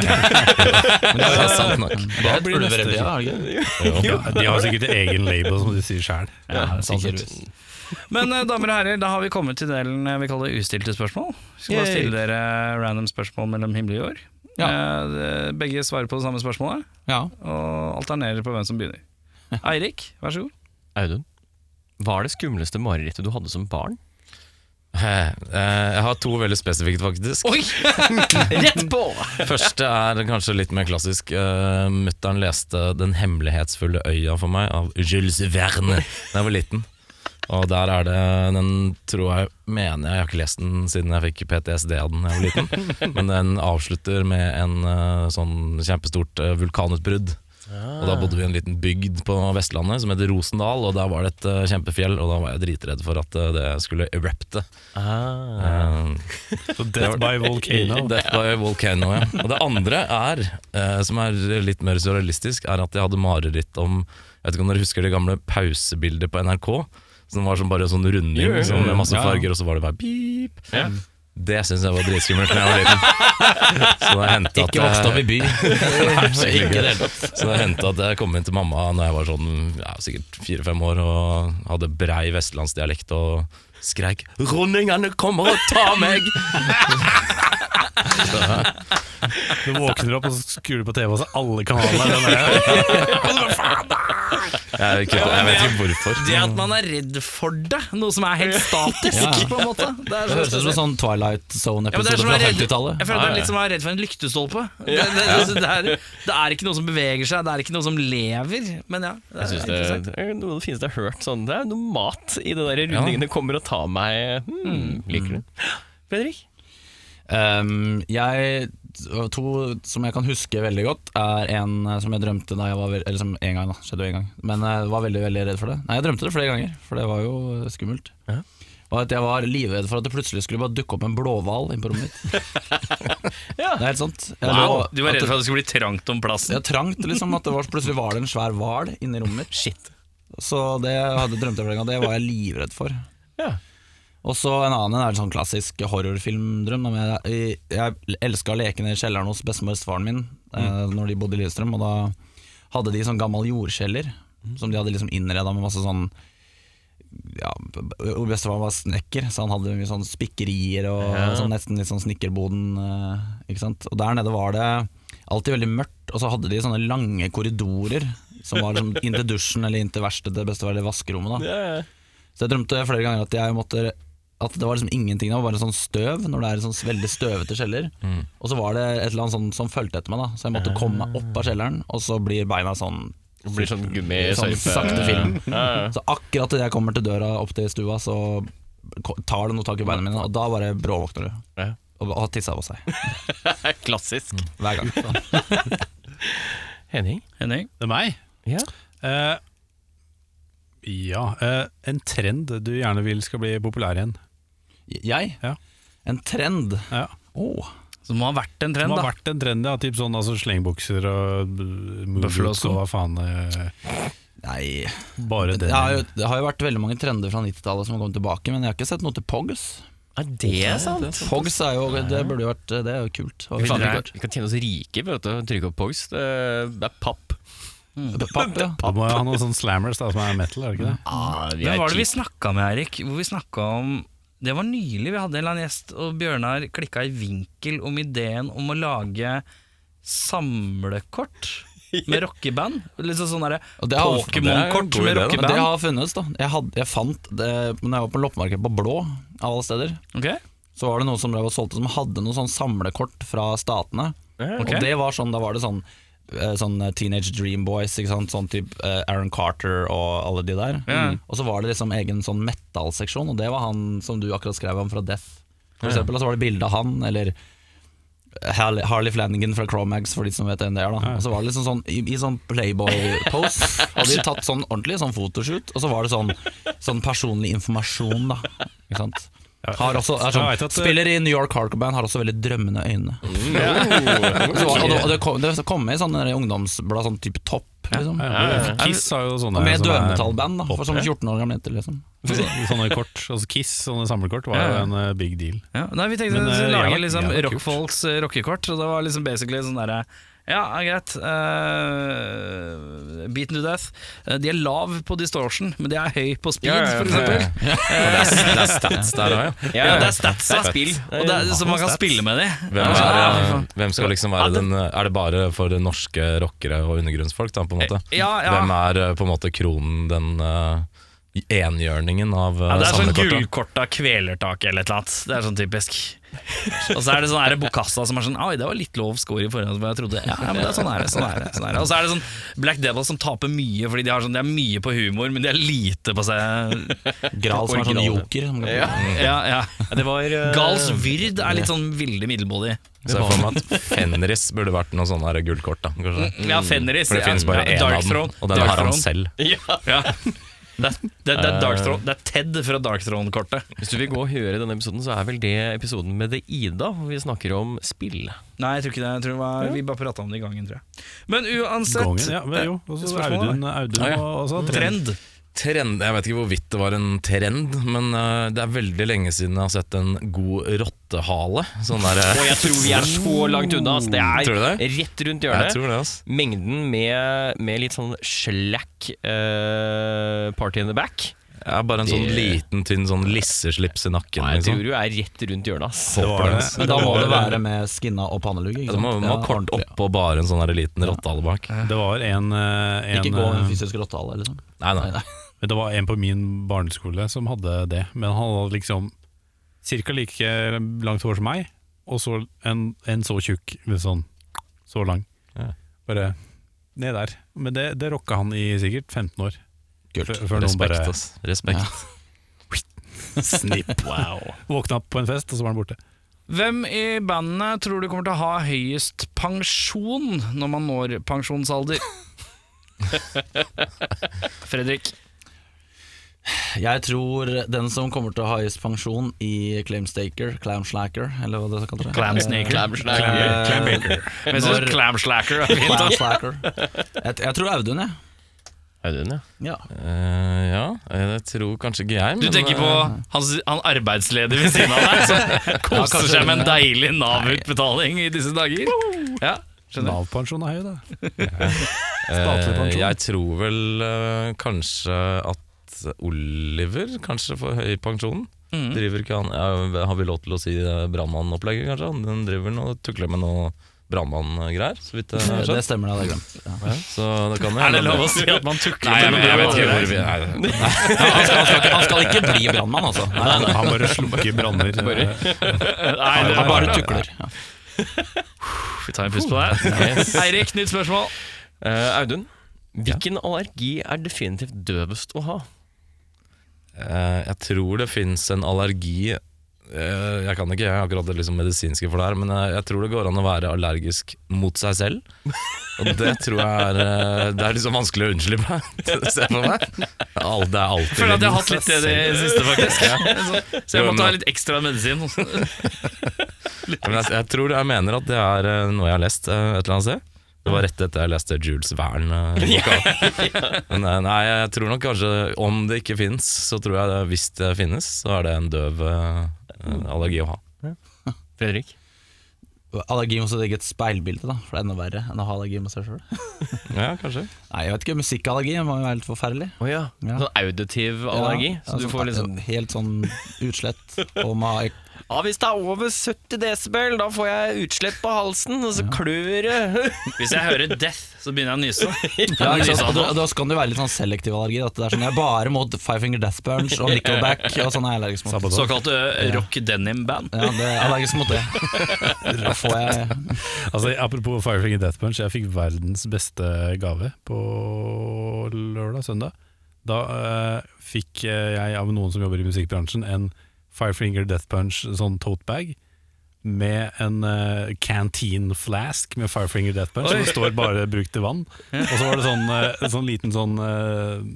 Speaker 8: det er sant nok.
Speaker 7: Det er et ulverevy, ja, er det ikke?
Speaker 3: Ja, de har sikkert egen label, som de sier sjæl.
Speaker 2: Ja, sannsynligvis. Men eh, damer og herrer, da har vi kommet til delen eh, vi kaller ustilte spørsmål. Vi skal bare
Speaker 7: Yay.
Speaker 2: stille dere random spørsmål mellom himmel og jord. Eh, det- Begge svarer på det samme spørsmålet,
Speaker 7: Ja.
Speaker 2: og alternerer på hvem som <laughs> begynner. Eirik, vær så god.
Speaker 1: Audun, hva er det skumleste marerittet du hadde som barn?
Speaker 8: Eh, eh, Jeg har to veldig spesifikt, faktisk.
Speaker 2: Rett på!
Speaker 8: Første er kanskje litt mer klassisk. Uh, Mutter'n leste 'Den hemmelighetsfulle øya' for meg av Jules Verne da jeg var liten. Og der er det Den tror jeg mener jeg, jeg har ikke lest den siden jeg fikk PTSD av den da jeg var liten. Men den avslutter med en eh, sånn kjempestort eh, vulkanutbrudd. Og da bodde vi i en liten bygd på Vestlandet som heter Rosendal, og der var det et eh, kjempefjell, og da var jeg dritredd for at eh, det skulle erupte. Eh,
Speaker 3: Så Death by
Speaker 8: <laughs>
Speaker 3: Volcano.
Speaker 8: Death by Volcano, ja. Og det andre er, eh, som er litt mer surrealistisk, er at jeg hadde mareritt om Jeg vet ikke om dere husker det gamle pausebildet på NRK? Som var som bare sånn runding sånn med masse farger, og så var det bare pip. Det syns jeg var dritskummelt da jeg var liten.
Speaker 7: <laughs>
Speaker 8: Så det hendte at
Speaker 7: Ikke vokst opp i by.
Speaker 8: jeg, ikke det. Så det hendte at jeg kom inn til mamma Når jeg var sånn ja, sikkert fire-fem år og hadde brei vestlandsdialekt og skreik 'Rundingene kommer og tar meg!'
Speaker 3: Du våkner opp og så skrur du på TV, og så alle kanalene.
Speaker 8: Jeg, kutta, jeg vet ikke hvorfor.
Speaker 2: Det at man er redd for det, noe som er helt statisk,
Speaker 7: Ja.
Speaker 2: på en måte. Det er
Speaker 7: Det høres ut som en sånn Twilight
Speaker 2: Ja, men det er som
Speaker 7: Zone-episode
Speaker 2: å
Speaker 7: fra
Speaker 2: være redd, jeg
Speaker 7: 50-tallet.
Speaker 2: føler at det er litt som å være redd for en lyktestolpe. Det, det, det, det, er, det er ikke noe som beveger seg, det er ikke noe som lever. Men ja, det
Speaker 1: Jeg synes
Speaker 2: er
Speaker 1: det,
Speaker 2: interessant.
Speaker 1: det er noe av det fineste jeg har hørt. Sånn, det er noe mat i det der rundingene kommer og tar meg. Hmm, liker det. Fredrik?
Speaker 7: Um, jeg, to som jeg kan huske veldig godt, er en eh, som jeg drømte da jeg var vel- Eller som en gang, da. Skjedde jo en gang. Men jeg var veldig veldig redd for det. Nei, jeg drømte det flere ganger, for det var jo eh, skummelt. Og at Jeg var livredd for at det plutselig skulle bare dukke opp en blåhval inn på rommet mitt.
Speaker 1: <laughs>
Speaker 2: Ja.
Speaker 7: Det er helt sant. Jeg
Speaker 2: Wow,
Speaker 7: lå-
Speaker 2: du var redd
Speaker 7: at det-
Speaker 2: for at det skulle bli trangt om plassen.
Speaker 7: Ja, trangt, liksom. At det var, plutselig var det en svær hval inni rommet mitt. Shit. Så det hadde drømt jeg flere ganger, det var jeg livredd for.
Speaker 1: Ja.
Speaker 7: Og så en annen en er en sånn klassisk horrorfilmdrøm. da, men Jeg, jeg elska å leke ned i kjelleren hos bestemor og bestefaren min eh, Når de bodde i Lillestrøm. Og da hadde de sånn gammel jordkjeller som de hadde liksom innreda med masse sånn ja, b- b- Bestefaren var snekker, så han hadde mye sånn spikkerier og sånn, nesten litt sånn snekkerboden. eh, Ikke sant? Og der nede var det alltid veldig mørkt, og så hadde de sånne lange korridorer som var liksom inn til dusjen eller inn til verkstedet, bestefar eller vaskerommet. da Så jeg drømte flere ganger at jeg måtte at det var liksom ingenting, det var bare sånn støv når det er en sånn veldig støvete kjeller.
Speaker 1: Mm.
Speaker 7: Og så var det et eller annet sånn som fulgte etter meg, da så jeg måtte komme meg opp av kjelleren, og så blir beina sånn
Speaker 1: Det blir sånn
Speaker 7: Sånn
Speaker 1: gummisøyfe.
Speaker 7: sakte film.
Speaker 1: Ja, ja.
Speaker 7: Så akkurat idet jeg kommer til døra opp til stua, så ko- tar det noe tak i beina mine, og da bare bråvåkner du.
Speaker 1: Ja.
Speaker 7: Og og har tissa på seg.
Speaker 1: Klassisk.
Speaker 7: Hver gang.
Speaker 1: Henning?
Speaker 2: Henning?
Speaker 3: Det er meg.
Speaker 1: Ja.
Speaker 3: Eh, ja, eh, en trend du gjerne vil skal bli populær igjen.
Speaker 7: Jeg?
Speaker 3: Ja.
Speaker 7: En trend?
Speaker 3: Ja.
Speaker 7: Åh.
Speaker 2: Så det må ha vært en
Speaker 3: Det
Speaker 2: trend,
Speaker 3: har
Speaker 2: da.
Speaker 3: vært en trend, ja. Typ sånn altså, slengbukser og movies
Speaker 2: Buffalo-sko.
Speaker 3: og hva faen. eh,
Speaker 7: Nei
Speaker 3: Bare
Speaker 7: det
Speaker 3: det.
Speaker 7: har, jo, det har jo vært veldig mange trender fra 90-tallet som har kommet tilbake, men jeg har ikke sett noe til Pogs.
Speaker 1: Er det sant?
Speaker 7: Pogs er jo Det burde jo vært Det er jo kult.
Speaker 1: Vi
Speaker 7: Faen,
Speaker 1: kan, vi kan tjene oss rike ved å trykke opp Pogs. Det
Speaker 2: Eh,
Speaker 1: det er papp.
Speaker 7: Papp, ja.
Speaker 3: Da må jeg ha noen sånne slammers da, som er metal, er det ikke det?
Speaker 1: vi
Speaker 2: Hvem
Speaker 1: er
Speaker 2: var det vi
Speaker 1: cheap.
Speaker 2: snakka med, Erik? Hvor vi snakket om Det var nylig. Vi hadde en eller annen gjest, og Bjørnar klikka i vinkel om ideen om å lage samlekort med rockeband. Liksom sånn derre
Speaker 7: Og det har-
Speaker 2: Pokémon-kort
Speaker 8: det er en god
Speaker 2: med
Speaker 8: idé, da.
Speaker 7: Det
Speaker 2: rockeband.
Speaker 7: har funnes, da. Jeg, hadde, jeg fant det Når jeg var på loppemarkedet på Blå, av alle steder,
Speaker 2: Ok.
Speaker 7: så var det noen som drev og solgte som hadde noen sånn samlekort fra statene.
Speaker 2: ok.
Speaker 7: Og det var sånn, da var det sånn eh, Sånn Teenage Dream Boys, ikke sant? sånn type eh, Aaron Carter og alle de der.
Speaker 2: Ja.
Speaker 7: Og så var det liksom egen sånn metal-seksjon, og det var han som du akkurat skrev om fra Death. For eksempel, og så var det bilde av han, eller Harley Harley Flanagan fra Cromags, for de som vet hvem det er. da Og så var det liksom sånn i, i sånn Playboy-pose. Hadde de tatt sånn ordentlig, sånn fotoshoot, og så var det sånn, sånn personlig informasjon, da. Ikke sant? Har også, er sånn,
Speaker 3: Jeg vet at- eh,
Speaker 7: spiller i New York Hardcore Band, har også veldig drømmende øyne.
Speaker 8: Mm.
Speaker 7: Og så var- og det, og det kom, det kom med i sånne der ungdomsblad, sånn type topp, liksom.
Speaker 3: Kiss har jo sånne.
Speaker 7: Med
Speaker 3: Sånn som er- <laughs>
Speaker 7: dømetallband, da, for sånn 14 år gamle jenter, liksom.
Speaker 3: Sånne kort, altså Kiss, sånne samlekort, var jo
Speaker 2: Ja.
Speaker 3: en eh, big deal.
Speaker 2: Ja, nei, vi tenkte
Speaker 3: Men,
Speaker 2: å
Speaker 3: eh,
Speaker 2: lage
Speaker 3: jævla-
Speaker 2: liksom
Speaker 3: jævla kult.
Speaker 2: rockfolks eh, rockekort, og det var liksom basically sånn derre ja, er greit. eh, beaten to death. Eh, de er lav på distortion, men de er høy på speed,
Speaker 1: Ja, ja, ja.
Speaker 2: for eksempel. Eh,
Speaker 8: Det er stats
Speaker 2: <laughs>
Speaker 8: der òg, ja.
Speaker 1: Ja,
Speaker 2: det
Speaker 1: det
Speaker 2: er stats,
Speaker 1: er
Speaker 2: da.
Speaker 1: spill.
Speaker 2: Og det er, så man kan spille med de.
Speaker 8: Hvem,
Speaker 2: Ja, fy
Speaker 8: er,
Speaker 2: faen.
Speaker 8: hvem skal liksom være den Er det bare for norske rockere og undergrunnsfolk, da, på en måte?
Speaker 2: Ja, ja.
Speaker 8: Hvem er eh, på en måte kronen, den uh, enhjørningen av uh,
Speaker 2: Ja, det er sånn
Speaker 8: samlekortet?
Speaker 2: gullkorta kvelertak eller et eller annet. Det er sånn typisk. Og så er det sånn her Bokassa som er sånn Oi, det var litt lov score i forhold til hva jeg trodde. Ja, ja, men det er sånn er det. Sånn er det, sånn er det. Og så er det sånn Black Devil som taper mye fordi de har sånn De er mye på humor, men de er lite på seg
Speaker 7: Gral som er sånn joker. som-
Speaker 2: Ja, ja.
Speaker 1: Det var eh,
Speaker 2: Gals Vyrd er litt sånn veldig middelmådig.
Speaker 8: Så jeg får meg at Fenris burde vært noe sånn her gullkort, da. Kanskje.
Speaker 2: Ja, Fenris.
Speaker 8: For det
Speaker 2: ja,
Speaker 8: finnes bare
Speaker 2: ja,
Speaker 8: én
Speaker 2: Dark
Speaker 8: av den,
Speaker 2: Throne,
Speaker 8: og den
Speaker 2: Dark
Speaker 8: har han
Speaker 2: Throne.
Speaker 8: selv. Eh.
Speaker 2: Ja. Det er, det, det, er Dark Throne, det er Ted fra Dark Throne-kortet.
Speaker 1: Hvis du vil gå og høre denne episoden, så er vel det episoden med det Ida, hvor vi snakker om spill.
Speaker 2: Nei, jeg tror ikke det. Jeg tror det var, Vi bare prata om det i gangen, tror jeg. Men uansett
Speaker 3: Gongen, ja, men jo. Og så
Speaker 2: Spørsmålet,
Speaker 3: Audun, eh, Audun
Speaker 8: Ah, ja.
Speaker 3: og sånn. også trend.
Speaker 2: Trend.
Speaker 8: Trend, Jeg vet ikke hvorvidt det var en trend, men eh, det er veldig lenge siden jeg har sett en god rottehale. Sånn der, eh,
Speaker 1: Og jeg tror vi er så langt unna. ass. Det
Speaker 8: Tror du
Speaker 1: er
Speaker 8: det?
Speaker 1: rett rundt
Speaker 8: <laughs> jeg
Speaker 1: hjørnet.
Speaker 8: tror det, altså.
Speaker 1: Mengden med, med litt sånn slack eh, party in the back
Speaker 8: Jeg er bare en sånn
Speaker 1: Det-
Speaker 8: liten, tynn sånn lisseslips i nakken.
Speaker 1: Nei, jeg
Speaker 8: liksom.
Speaker 1: tror du er rett rundt hjørnet. ass.
Speaker 3: Det var det.
Speaker 7: Men da må det være med skinna og pannelugg. ikke
Speaker 8: Ja, det Altså, må,
Speaker 7: sant?
Speaker 8: må
Speaker 7: Ja,
Speaker 8: kort
Speaker 7: ordentlig.
Speaker 8: oppå bare en sånn her liten rottehale bak.
Speaker 3: Det var en, eh, en
Speaker 7: Ikke gå med
Speaker 3: eh,
Speaker 7: fysisk rottehale, liksom.
Speaker 8: Nei, nei.
Speaker 3: Men det var en på min barneskole som hadde det, men han hadde liksom cirka like langt hår som meg, og så en, en så tjukk, litt sånn, så lang.
Speaker 8: Ja.
Speaker 3: Bare ned der. Men det, det rocka han i sikkert 15 år.
Speaker 7: Kult.
Speaker 3: Før- før noen
Speaker 8: Respekt,
Speaker 3: bare-
Speaker 8: ass. Respekt.
Speaker 3: Snipp, wow. Våkna opp på en fest, og så var han borte.
Speaker 2: Hvem i bandene tror du kommer til å ha høyest pensjon når man når pensjonsalder? <laughs> Fredrik.
Speaker 7: Jeg tror den som kommer til å ha høyest pensjon i Claimstaker, Clamslacker, eller hva det skal kalles.
Speaker 1: Clamsnaker.
Speaker 2: Jeg synes Clamslacker er fint. da.
Speaker 7: Clamslacker. Jeg, jeg tror Audun, jeg.
Speaker 1: Audun, ja.
Speaker 7: Ja.
Speaker 8: Eh, ja, det tror kanskje ikke jeg.
Speaker 2: Du
Speaker 8: men,
Speaker 2: tenker på han, han arbeidsleder ved siden av deg som koser seg med en deilig Nav-utbetaling i disse dager? Ja, skjønner
Speaker 3: Nav-pensjon er høy, da.
Speaker 8: eh,
Speaker 3: statlig pensjon.
Speaker 8: Jeg tror vel eh, kanskje at Oliver kanskje får høy pensjon. Driver ikke han ja, Har vi lov til å si eh, brannmannopplegget, kanskje? Han driver nå og tukler med noe brannmanngreier, så vidt jeg har
Speaker 7: Det
Speaker 8: skjønt.
Speaker 7: stemmer, det hadde jeg glemt. Ja.
Speaker 8: Så det kan jo
Speaker 2: Er det
Speaker 8: hende
Speaker 2: lov å
Speaker 8: at-
Speaker 2: si at man tukler
Speaker 8: Nei, jeg,
Speaker 2: med
Speaker 8: jeg vet ikke hvor
Speaker 2: brannmann?
Speaker 8: vi er.
Speaker 7: Han, skal, han, skal ikke, han skal ikke bli brannmann, <laughs> altså. Nei, nei,
Speaker 3: Han bare slukker branner.
Speaker 2: Nei, det
Speaker 7: han
Speaker 2: er bare
Speaker 7: bare tukler. Ja.
Speaker 2: Vi tar en pust på deg. Eirik, nytt spørsmål.
Speaker 1: Eh, Audun, hvilken allergi er definitivt døvest å ha?
Speaker 8: Eh, jeg tror det fins en allergi eh, eh, Jeg kan ikke akkurat det liksom medisinske for det her, men eh, jeg tror det går an å være allergisk mot seg selv. Og det tror jeg er eh, Det er liksom vanskelig å unnskylde meg. <laughs> Se for meg. Al- Det er alltid
Speaker 2: Føler at jeg har
Speaker 8: mot
Speaker 2: hatt litt
Speaker 8: seg
Speaker 2: det i det
Speaker 8: selv.
Speaker 2: siste, faktisk. Så jeg
Speaker 8: Jo,
Speaker 2: måtte ha
Speaker 8: men-
Speaker 2: litt ekstra medisin.
Speaker 8: Men jeg, jeg tror jeg mener at det er eh, noe jeg har lest eh, et eller annet sted. Det var rett etter jeg leste Jules <laughs> Verne-boka. Men eh, nei, jeg tror nok kanskje Om det ikke fins, så tror jeg det, hvis det finnes, så er det en døv eh, allergi å ha.
Speaker 1: Fredrik?
Speaker 7: Allergi mot sitt eget speilbilde, da. For det er enda verre enn å ha allergi mot seg sjøl.
Speaker 8: Ja, kanskje.
Speaker 7: Nei, jeg vet ikke. Musikkallergi må jo være helt forferdelig.
Speaker 1: Å ja.
Speaker 7: Ja.
Speaker 1: Sånn auditiv allergi?
Speaker 7: Ja,
Speaker 1: så du
Speaker 7: altså,
Speaker 1: får liksom
Speaker 7: Helt sånn utslett. Og <laughs> man har
Speaker 1: Ja, hvis det er over 70 desibel, da får jeg utslett på halsen, og så klør det.
Speaker 2: Hvis jeg hører death, så begynner jeg å nyse.
Speaker 7: Ja, ikke sant?
Speaker 2: Liksom.
Speaker 7: Og da, da kan det jo være litt sånn selektiv allergi. At det er sånn, jeg er bare mot Five Finger Death Punch og Nickelback. Og sånn er jeg allergisk mot.
Speaker 2: Såkalt ø, rock denim band.
Speaker 7: Ja, det jeg er allergisk mot det. Da får jeg
Speaker 3: Altså, apropos Firefinger Death Punch, jeg fikk verdens beste gave på lørdag, søndag. Da eh, fikk eh, jeg av noen som jobber i musikkbransjen en Firefinger Death Punch sånn tote bag med en eh, canteen flask med Firefinger Death Punch, som det står bare 'bruk til vann'. Og så var det sånn, eh, en sånn liten sånn eh,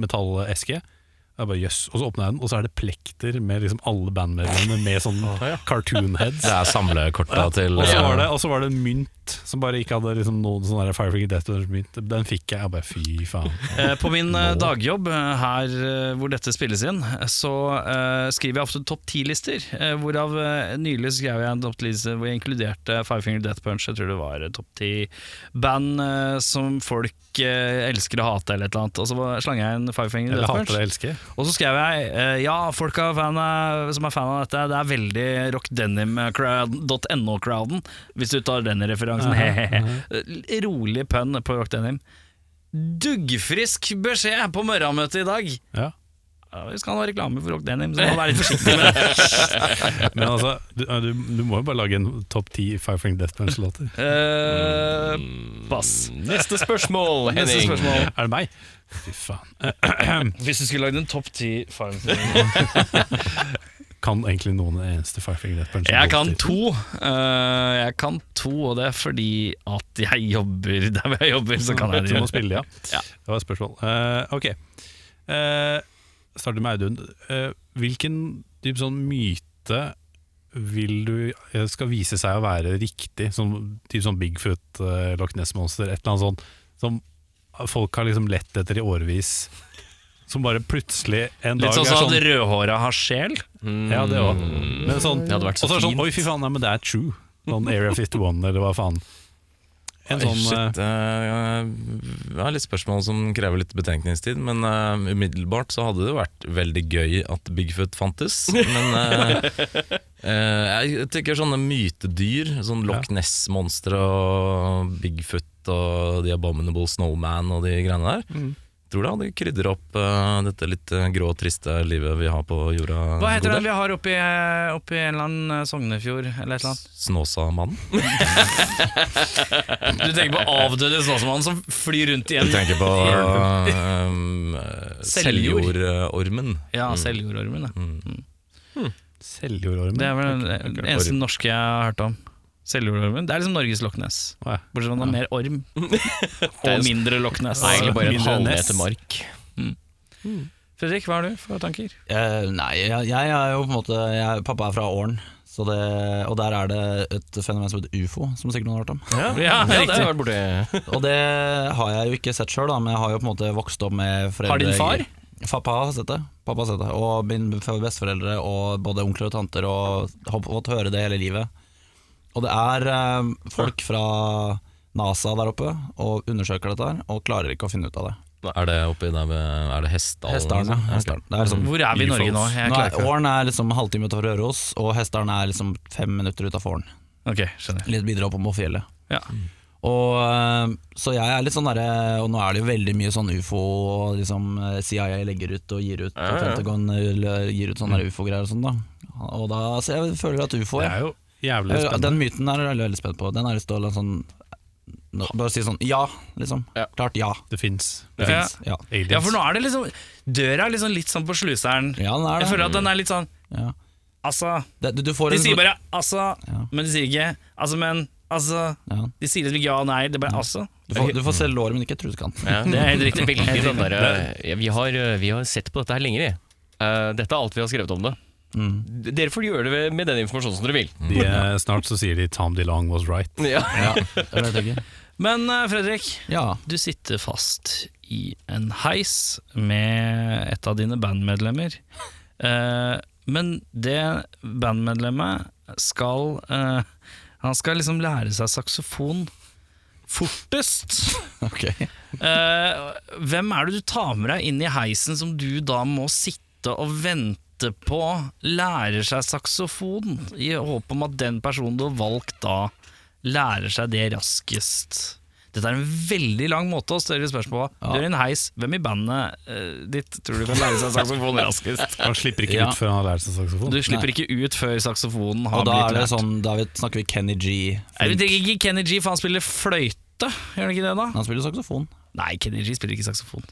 Speaker 3: metalleske. Jeg bare, jøss, Og så åpna jeg den, og så er det plekter med liksom alle bandmedlemmene med sånn cartoon heads.
Speaker 8: Det er samlekorta til
Speaker 3: Og så
Speaker 8: eh,
Speaker 3: var det, og så var det en mynt som bare ikke hadde liksom noen sånn der Firefinger Death Punch-mynt. Den fikk jeg, og bare fy
Speaker 2: <laughs>
Speaker 3: faen.
Speaker 2: Eh, På min eh, dagjobb, eh, her eh, hvor dette spilles inn, eh, så eh, skriver jeg ofte topp ti-lister. eh, Hvorav eh, nylig skrev jeg en topp ti-liste hvor jeg inkluderte Five Finger Death Punch. Jeg tror det var eh, topp ti band eh, som folk eh, elsker å hate, eller et eller annet. Og så var- slang jeg inn Five Finger
Speaker 3: Eller
Speaker 2: Death
Speaker 3: hater
Speaker 2: Punch.
Speaker 3: det, elsker.
Speaker 2: Og så skrev jeg eh, Ja, folka fan av- som er fan av dette, det er veldig rockdenim.no-crowden, hvis du tar den referansen. Hehehe. Eh, Rolig pønn på rockdenim. Duggfrisk beskjed på morgenmøtet i dag!
Speaker 3: Ja.
Speaker 2: Ja, vi skal ha reklame for rockdenim, så må være litt forsiktig med det.
Speaker 3: Men altså, du, du, du må jo bare lage en topp ti Firefinger Death Punch-låter.
Speaker 2: Eh, pass.
Speaker 1: Neste spørsmål, Henning.
Speaker 3: Er det meg? Fy faen. <clears throat> Eh,
Speaker 2: Hvis du skulle lagd en topp ti
Speaker 3: Kan egentlig noen en eneste Firefinger Death Punch?
Speaker 2: <laughs> Jeg kan to. Eh, jeg kan to, og det er fordi at jeg jobber der hvor jeg jobber, så kan jeg
Speaker 3: Du
Speaker 2: det.
Speaker 3: må spille, ja.
Speaker 2: Ja.
Speaker 3: Det var et spørsmål. Eh, ok. Eh, starter med Audun. Eh, hvilken typ sånn myte vil du eh, skal vise seg å være riktig? Sånn, typ sånn Bigfoot, uh, Loch Ness-monster, et eller annet sånt. Som folk har liksom lett etter i årevis. Som bare plutselig en
Speaker 2: Litt
Speaker 3: dag
Speaker 2: sånn
Speaker 3: er
Speaker 2: som
Speaker 3: sånn
Speaker 2: at Mm. rødhåra har sjel.
Speaker 3: Ja, det òg. Men sånn,
Speaker 1: Det hadde vært så
Speaker 3: og så er det sånn
Speaker 1: fint.
Speaker 3: Oi, fy faen, nei, men det er true. Sånn Area 51, eller hva faen. En
Speaker 8: Oi,
Speaker 3: sånn eh,
Speaker 8: Shit, eh, jeg har litt spørsmål som krever litt betenkningstid, men eh, umiddelbart så hadde det vært veldig gøy at Bigfoot fantes.
Speaker 2: <laughs>
Speaker 8: Men eh, eh, jeg tenker sånne mytedyr, sånn Loch Ness-monstre og Bigfoot og The Abominable Snowman og de greiene der.
Speaker 2: Mm.
Speaker 8: Tror det hadde krydder opp eh, dette litt eh, grå, triste livet vi har på jorda.
Speaker 2: Hva heter
Speaker 8: God
Speaker 2: den
Speaker 8: del.
Speaker 2: vi har oppi, oppi en eller annen eh, Sognefjord? Eller et eller annet? <laughs>
Speaker 8: Snåsamannen?
Speaker 2: Du tenker på avdøde snåsamannen som flyr rundt igjen?
Speaker 8: Du tenker på eh,
Speaker 2: Seljord.
Speaker 8: Seljordormen.
Speaker 2: Ja, Seljordormen. ja.
Speaker 3: Seljordormen.
Speaker 2: Det er vel den eneste norske jeg har hørt om. Seljordormen. Det er liksom Norges Loch Ness.
Speaker 3: Å, ja.
Speaker 2: Bortsett fra at det er mer orm. <laughs> Og mindre Loch Ness.
Speaker 1: Egentlig bare en
Speaker 3: Mindre enn S.
Speaker 1: halvmeter mark.
Speaker 2: Fredrik, hva har du for tanker?
Speaker 7: Eh, nei, jeg, jeg er jo på en måte jeg, Pappa er fra Åren, så det, og der er det et fenomen som heter ufo, som sikkert noen har hørt om.
Speaker 2: Ja, ja,
Speaker 1: Ja, det
Speaker 2: riktig.
Speaker 1: har vært borte.
Speaker 7: Og det har jeg jo ikke sett sjøl, men jeg har jo på en måte vokst opp med foreldre
Speaker 2: Har din far?
Speaker 7: Pappa har sett det. Pappa har sett det Og mine besteforeldre og både onkler og tanter og har fått høre det hele livet. Og det er eh, folk fra NASA der oppe og undersøker dette her og klarer ikke å finne ut av det.
Speaker 8: Er det oppi der ved Er det Mm. Hessdalen?
Speaker 7: Hestdalen, ja. Hestdalen. Det er liksom
Speaker 2: Hvor er vi i Norge nå? Jeg
Speaker 7: Nå
Speaker 2: klarer
Speaker 7: er, Åren er liksom halvtime utenfor Røros, og Hestdalen er liksom fem minutter utenfor Åren.
Speaker 2: Ok, skjønner.
Speaker 7: Litt videre opp på fjellet.
Speaker 2: Ja.
Speaker 7: Og, eh, så jeg er litt sånn derre Og nå er det jo veldig mye sånn ufo og liksom eh, CIA legger ut og gir ut, og Pentagon eh, gir ut sånne der ufo-greier og sånn, da. Og da så jeg føler at ufo
Speaker 3: Det
Speaker 7: jeg,
Speaker 3: er jo jævlig
Speaker 7: jeg-
Speaker 3: spennende.
Speaker 7: Eh, Den myten er jeg veldig, veldig spent på. Den er det stål en sånn nå, Bare si sånn ja, liksom. Klart ja.
Speaker 3: Det fins
Speaker 7: Det
Speaker 2: Ja.
Speaker 7: finnes. Ja.
Speaker 3: aliens.
Speaker 2: Ja, for nå er det liksom Døra er liksom litt sånn på sluseren.
Speaker 7: ja, den er
Speaker 2: Jeg
Speaker 7: det.
Speaker 2: føler at den er litt sånn
Speaker 7: Ja.
Speaker 2: altså
Speaker 7: Det, du, du får
Speaker 2: De
Speaker 7: en
Speaker 2: sier
Speaker 7: sånn-
Speaker 2: bare 'altså',
Speaker 7: Ja.
Speaker 2: men de sier ikke 'altså, men altså'.
Speaker 7: ja.
Speaker 2: De sier liksom ja og nei, det er bare 'altså'.
Speaker 7: du, får, du får selv låret, men ikke trusekant.
Speaker 1: Ja, det er helt riktig. Veldig
Speaker 2: Helt
Speaker 1: den der, eh, vi, har, eh, vi har sett på dette her lenger, vi. Eh, dette er alt vi har skrevet om det.
Speaker 7: Mm.
Speaker 1: D- Dere får gjøre det med den informasjonen som dere vil.
Speaker 3: De, eh, snart så sier de 'Tom DeLong was right'.
Speaker 1: Ja.
Speaker 7: Ja, det er det jeg tenker.
Speaker 2: Men eh, Fredrik,
Speaker 7: <laughs> ja.
Speaker 2: du sitter fast i en heis med et av dine bandmedlemmer. Eh, men det bandmedlemmet skal eh, Han skal liksom lære seg saksofon fortest.
Speaker 7: Ok.
Speaker 2: Eh, hvem er det du tar med deg inn i heisen som du da må sitte og vente på lærer seg saksofon, i håp om at den personen du har valgt da, lærer seg det raskest? Dette er en veldig lang måte å stille spørsmål på. Du er i en heis. Hvem i bandet eh, ditt tror du kan lære seg saksofon raskest?
Speaker 3: Han slipper ikke
Speaker 7: Ja.
Speaker 3: ut før han har lært seg saksofon.
Speaker 2: Du slipper ikke ut før saksofonen har
Speaker 7: Og da
Speaker 2: blitt
Speaker 7: er det
Speaker 2: lært.
Speaker 7: sånn, da er vi, snakker vi Kenny G.
Speaker 2: Nei, Vi trenger ikke Kenny G, for han spiller fløyte. Gjør han ikke det, da?
Speaker 7: Han spiller saksofon.
Speaker 2: Nei, Kenny G spiller ikke saksofon.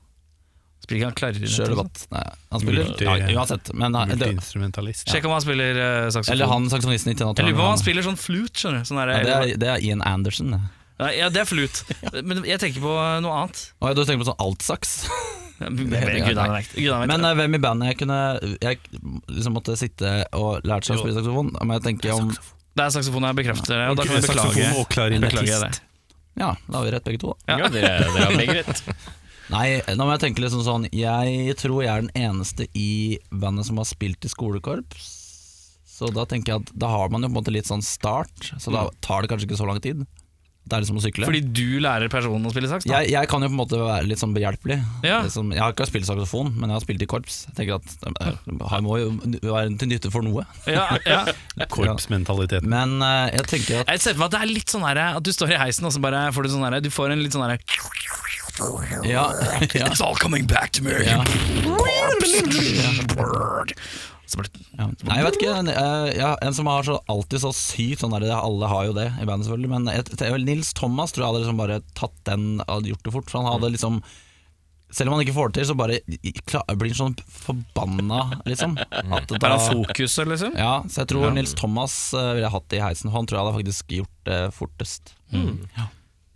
Speaker 2: Spiller ikke han klarinett?
Speaker 7: Kjører
Speaker 2: liksom?
Speaker 7: debatt. Nei, han spiller
Speaker 3: Multi-
Speaker 7: ja, Uansett. Men, han- det,
Speaker 3: Multiinstrumentalist.
Speaker 2: Sjekk om han spiller eh, saksofon.
Speaker 7: eller han saksofonisten i Tina
Speaker 2: Jeg
Speaker 7: Turner,
Speaker 2: lurer på om han
Speaker 7: han-
Speaker 2: spiller sånn flute, skjønner du. Sånn der,
Speaker 7: ja, det, er, det er Ian Anderson. det.
Speaker 2: Nei, ja, det er flute.
Speaker 7: <laughs>
Speaker 2: Men jeg tenker på eh, noe annet.
Speaker 7: Å, ja, du tenker på sånn altsaks?
Speaker 2: Ja, men- men Gud, han vet- Gud, han vet
Speaker 7: Men eh, hvem i bandet jeg kunne Jeg liksom måtte sitte og lære seg å spille saksofon? Men jeg tenker om
Speaker 2: Det er saksofon jeg bekrefter det, og da kan vi beklage.
Speaker 3: Saksofon og
Speaker 2: Beklager jeg
Speaker 3: klarinettist.
Speaker 2: det.
Speaker 7: Ja, da har vi rett begge to. da.
Speaker 1: Ja, dere, dere
Speaker 2: <laughs>
Speaker 1: har begge rett.
Speaker 7: Nei, nå må jeg tenke liksom sånn Jeg tror jeg er den eneste i bandet som har spilt i skolekorps. Så da tenker jeg at da har man jo på en måte litt sånn start, så
Speaker 2: Mm.
Speaker 7: da tar det kanskje ikke så lang tid. Det er liksom å sykle.
Speaker 2: Fordi du lærer personen å spille saks? da?
Speaker 7: jeg, jeg kan jo på en måte være litt sånn behjelpelig.
Speaker 2: Ja.
Speaker 7: Liksom, jeg har ikke spilt saksofon, men jeg har spilt i korps. Jeg tenker at øh, Han må jo være til nytte for noe.
Speaker 2: Ja, ja.
Speaker 3: Korpsmentaliteten.
Speaker 7: Men øh, jeg tenker at
Speaker 2: Jeg ser for meg at det er litt sånn her, at du står i heisen og så bare får du sånn her, du får en litt sånn her <laughs>
Speaker 7: Ja, ja,
Speaker 2: It's all coming back to me! <laughs>
Speaker 7: ja.
Speaker 2: Så bare,
Speaker 7: Ja. Nei, jeg vet ikke. En, eh, ja, en som har så, alltid så sykt sånn der, det- Alle har jo det i bandet, selvfølgelig. Men jeg, jeg, vel, Nils Thomas tror jeg hadde liksom bare tatt den og gjort det fort. For han hadde liksom Selv om han ikke får det til, så bare i- kla- blir han sånn forbanna, liksom. At
Speaker 2: er han
Speaker 7: da,
Speaker 2: fokuset, liksom?
Speaker 7: ja, så jeg tror Nils Thomas eh, ville jeg hatt i heisen. for Han tror jeg hadde faktisk gjort det fortest.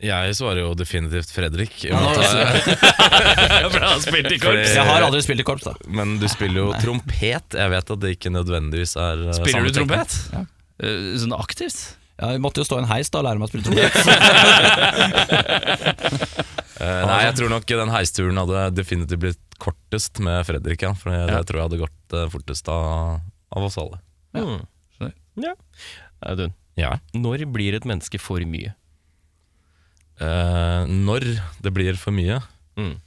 Speaker 8: Jeg svarer jo definitivt Fredrik. i og
Speaker 7: Ja,
Speaker 8: med at jeg- korps.
Speaker 7: Jeg har aldri spilt i korps, da.
Speaker 8: Men du spiller jo trompet. Jeg vet at det ikke nødvendigvis er eh,
Speaker 2: Spiller du
Speaker 8: samme teknikk.
Speaker 2: trompet? Eh, Sånn aktivt?
Speaker 7: Ja, jeg måtte jo stå i en heis da og lære meg å spille <laughs> trompet.
Speaker 8: Eh, nei, jeg tror nok den heisturen hadde definitivt blitt kortest med Fredrik. Ja, for jeg, jeg tror jeg hadde gått eh, fortest av, av oss alle.
Speaker 1: Ja. Audun,
Speaker 8: Ja.
Speaker 1: når blir et menneske for mye?
Speaker 8: Eh, når det blir for mye?
Speaker 1: Mm.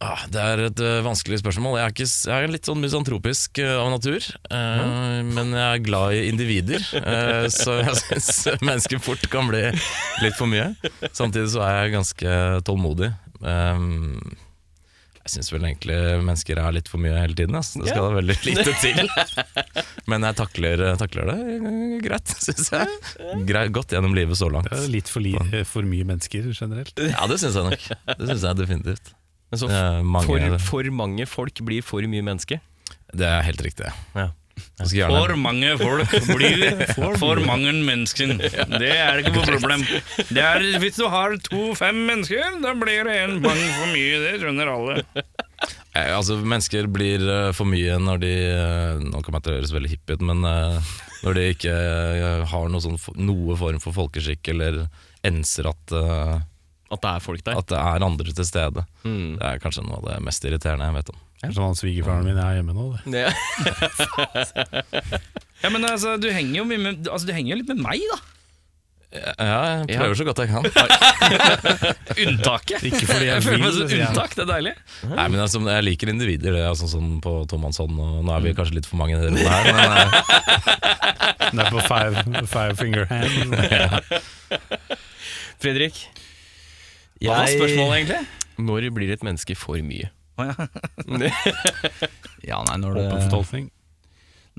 Speaker 8: Ah, det er et eh, vanskelig spørsmål. Jeg er, ikke, s- jeg er litt sånn misantropisk eh, av natur. eh, Men jeg er glad i individer, eh, så jeg <laughs> syns mennesker fort kan bli litt for mye. Samtidig så er jeg ganske tålmodig. Ehm, jeg syns vel egentlig mennesker er litt for mye hele tiden. ass. Det skal da veldig lite til. Men jeg takler, takler det eh, greit, syns jeg. Grei, godt gjennom livet så langt.
Speaker 3: Det er litt for, li for mye mennesker generelt.
Speaker 8: Ja, det syns jeg nok. Det syns jeg definitivt.
Speaker 1: Men så
Speaker 8: Det er, mange,
Speaker 1: for, for mange folk blir for mye menneske.
Speaker 8: det er helt riktig.
Speaker 1: Ja.
Speaker 8: Jeg skal gjerne,
Speaker 2: mange folk blir for mange mennesker. Det er ikke noe problem. Det er, hvis du har to-fem mennesker, da blir det en mange for mye. Det skjønner alle.
Speaker 8: eh, altså, mennesker blir eh, for mye når de eh, Nå kommer jeg til å høres veldig hippie ut, men eh, når de ikke eh, har noe, sånn, for- noe form for folkeskikk eller enser at, eh,
Speaker 1: At det er folk der.
Speaker 8: at det er andre til stede.
Speaker 1: Mm.
Speaker 8: Det er kanskje noe av det mest irriterende jeg vet om.
Speaker 3: Som han svigerfaren min er hjemme nå. Det.
Speaker 1: Ja.
Speaker 2: Ja, men altså, du henger jo mye med, altså, du henger jo litt med meg, da.
Speaker 8: Ja, jeg prøver så godt jeg kan.
Speaker 2: Unntaket.
Speaker 3: Ikke fordi jeg
Speaker 2: Jeg føler meg som et
Speaker 3: vil. ja.
Speaker 2: unntak, det er deilig.
Speaker 8: Nei, men altså, Jeg liker individer, det er sånn som på tomannshånd. og Nå
Speaker 1: Hmm.
Speaker 8: er vi kanskje litt for mange i det rommet her, men eh,
Speaker 3: Det er på five, five finger hand.
Speaker 1: Fredrik,
Speaker 2: Hva var
Speaker 7: Jeg-
Speaker 2: spørsmålet, egentlig?
Speaker 1: når blir et menneske for mye?
Speaker 7: Ja, nei, når
Speaker 3: Åpen for
Speaker 7: det,
Speaker 3: tolkning.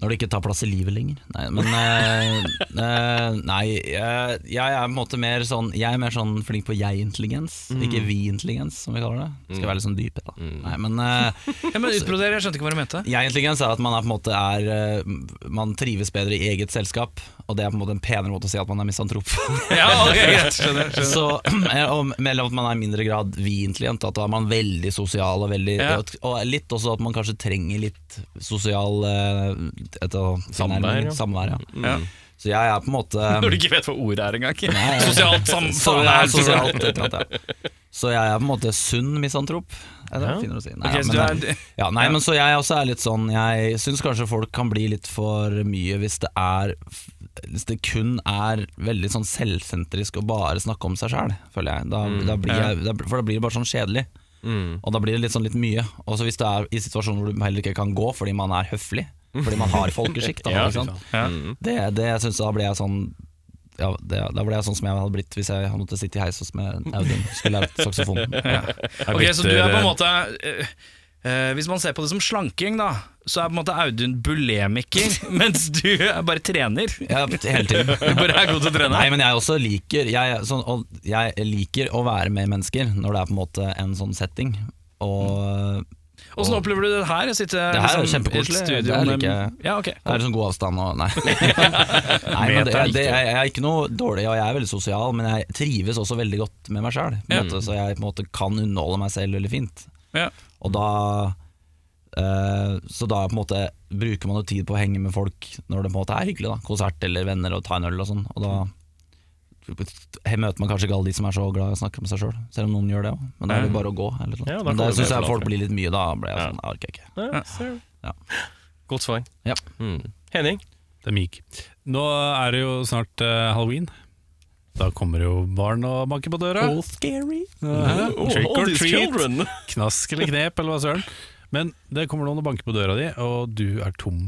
Speaker 7: Når det ikke tar plass i livet lenger. Nei, men eh, <laughs> eh, Nei, jeg, jeg er på en måte mer sånn Jeg er mer sånn flink på jeg-intelligens, ikke vi-intelligens, som vi kaller det. Skal være litt sånn dyp, jeg, da. Nei, men eh,
Speaker 2: Ja, men Utbroder, jeg skjønte ikke hva du mente.
Speaker 7: jeg-intelligens er at man er på en måte er eh, Man trives bedre i eget selskap, og det er på en måte en penere måte å si at man er misantrop. <laughs>
Speaker 2: Ja, ok, greit, skjønner, skjønner.
Speaker 7: Så, <clears throat> eh, og mellom at man er i mindre grad vi-intelligent, at da er man veldig sosial og veldig
Speaker 2: Ja.
Speaker 7: og, og litt også at man kanskje trenger litt sosial eh, et- og-
Speaker 1: Samvær, ja.
Speaker 7: samvær ja.
Speaker 2: Ja.
Speaker 7: Så jeg er på en måte
Speaker 2: <laughs> Når du ikke vet hva ordet er engang. ikke?
Speaker 7: Nei, jeg-
Speaker 2: Sosialt
Speaker 7: så,
Speaker 2: samfunn
Speaker 7: ja,
Speaker 2: er sosialt.
Speaker 7: sosialt, et eller annet, ja. så jeg er på en måte sunn misantrop. Er det finere å si? Nei,
Speaker 2: Ok,
Speaker 7: ja,
Speaker 2: så
Speaker 7: men,
Speaker 2: du er-
Speaker 7: det- ja, nei, men så jeg også er litt sånn Jeg syns kanskje folk kan bli litt for mye hvis det er Hvis det kun er veldig sånn selvsentrisk å bare snakke om seg sjæl, føler jeg. Da, da blir jeg da, for da blir det bare sånn kjedelig. Og da blir det litt sånn litt mye. Og så hvis det er i situasjoner hvor du heller ikke kan gå fordi man er høflig, fordi man har folkeskikk, <laughs> da, ikke sant? Det, det jeg synes da ble jeg sånn ja, det, Da ble jeg sånn som jeg hadde blitt hvis jeg hadde måttet sitte i heis hos med Audun skulle lært saksofon. <laughs>
Speaker 2: Ok, så du er på en måte eh, eh, Hvis man ser på det som slanking, da, så er på en måte Audun bulemiker, <laughs> mens du er bare trener.
Speaker 7: Ja, hele tiden.
Speaker 2: Du bare er god til å trene.
Speaker 7: Nei, men jeg også liker jeg, sånn, og, jeg liker å være med mennesker når det er på en måte en sånn setting. Og
Speaker 2: Åssen opplever du det her? Å sitte
Speaker 7: Det her
Speaker 2: liksom,
Speaker 7: er
Speaker 2: i et
Speaker 7: kjempekoselig.
Speaker 2: studio
Speaker 7: Det her
Speaker 2: med-
Speaker 7: liker jeg.
Speaker 2: Ja, ok
Speaker 7: det er sånn god avstand og <laughs> Nei. nei men det, jeg, det, jeg, jeg er ikke noe dårlig, og jeg er veldig sosial, men jeg trives også veldig godt med meg sjæl.
Speaker 2: Ja.
Speaker 7: Så jeg på en måte kan underholde meg selv veldig fint.
Speaker 2: Ja.
Speaker 7: Og da eh, Så da på en måte bruker man jo tid på å henge med folk når det på en måte er hyggelig. da Konsert eller venner og ta en øl og sånn. Og da møter man kanskje ikke alle de som er så glad i å snakke med seg sjøl, selv, selv om noen gjør det òg. Men da er det bare å gå. Eller noe.
Speaker 1: Ja, da kan
Speaker 7: Men
Speaker 1: du
Speaker 7: det
Speaker 1: bli
Speaker 7: syns jeg
Speaker 1: forlatt,
Speaker 7: folk
Speaker 1: ja.
Speaker 7: blir litt mye. Da ble jeg sånn, jeg orker ikke.
Speaker 1: Ja, ser du.
Speaker 7: Ja.
Speaker 1: Godt svar.
Speaker 7: Ja.
Speaker 1: Mm. Henning?
Speaker 3: Det er myk. Nå er det jo snart eh, halloween. Da kommer jo barn og banker på døra.
Speaker 1: Oh, scary.
Speaker 3: Hæ? Trick or treat,
Speaker 1: children.
Speaker 3: knask eller knep, eller hva søren. Men det kommer noen og banker på døra di, og du er tom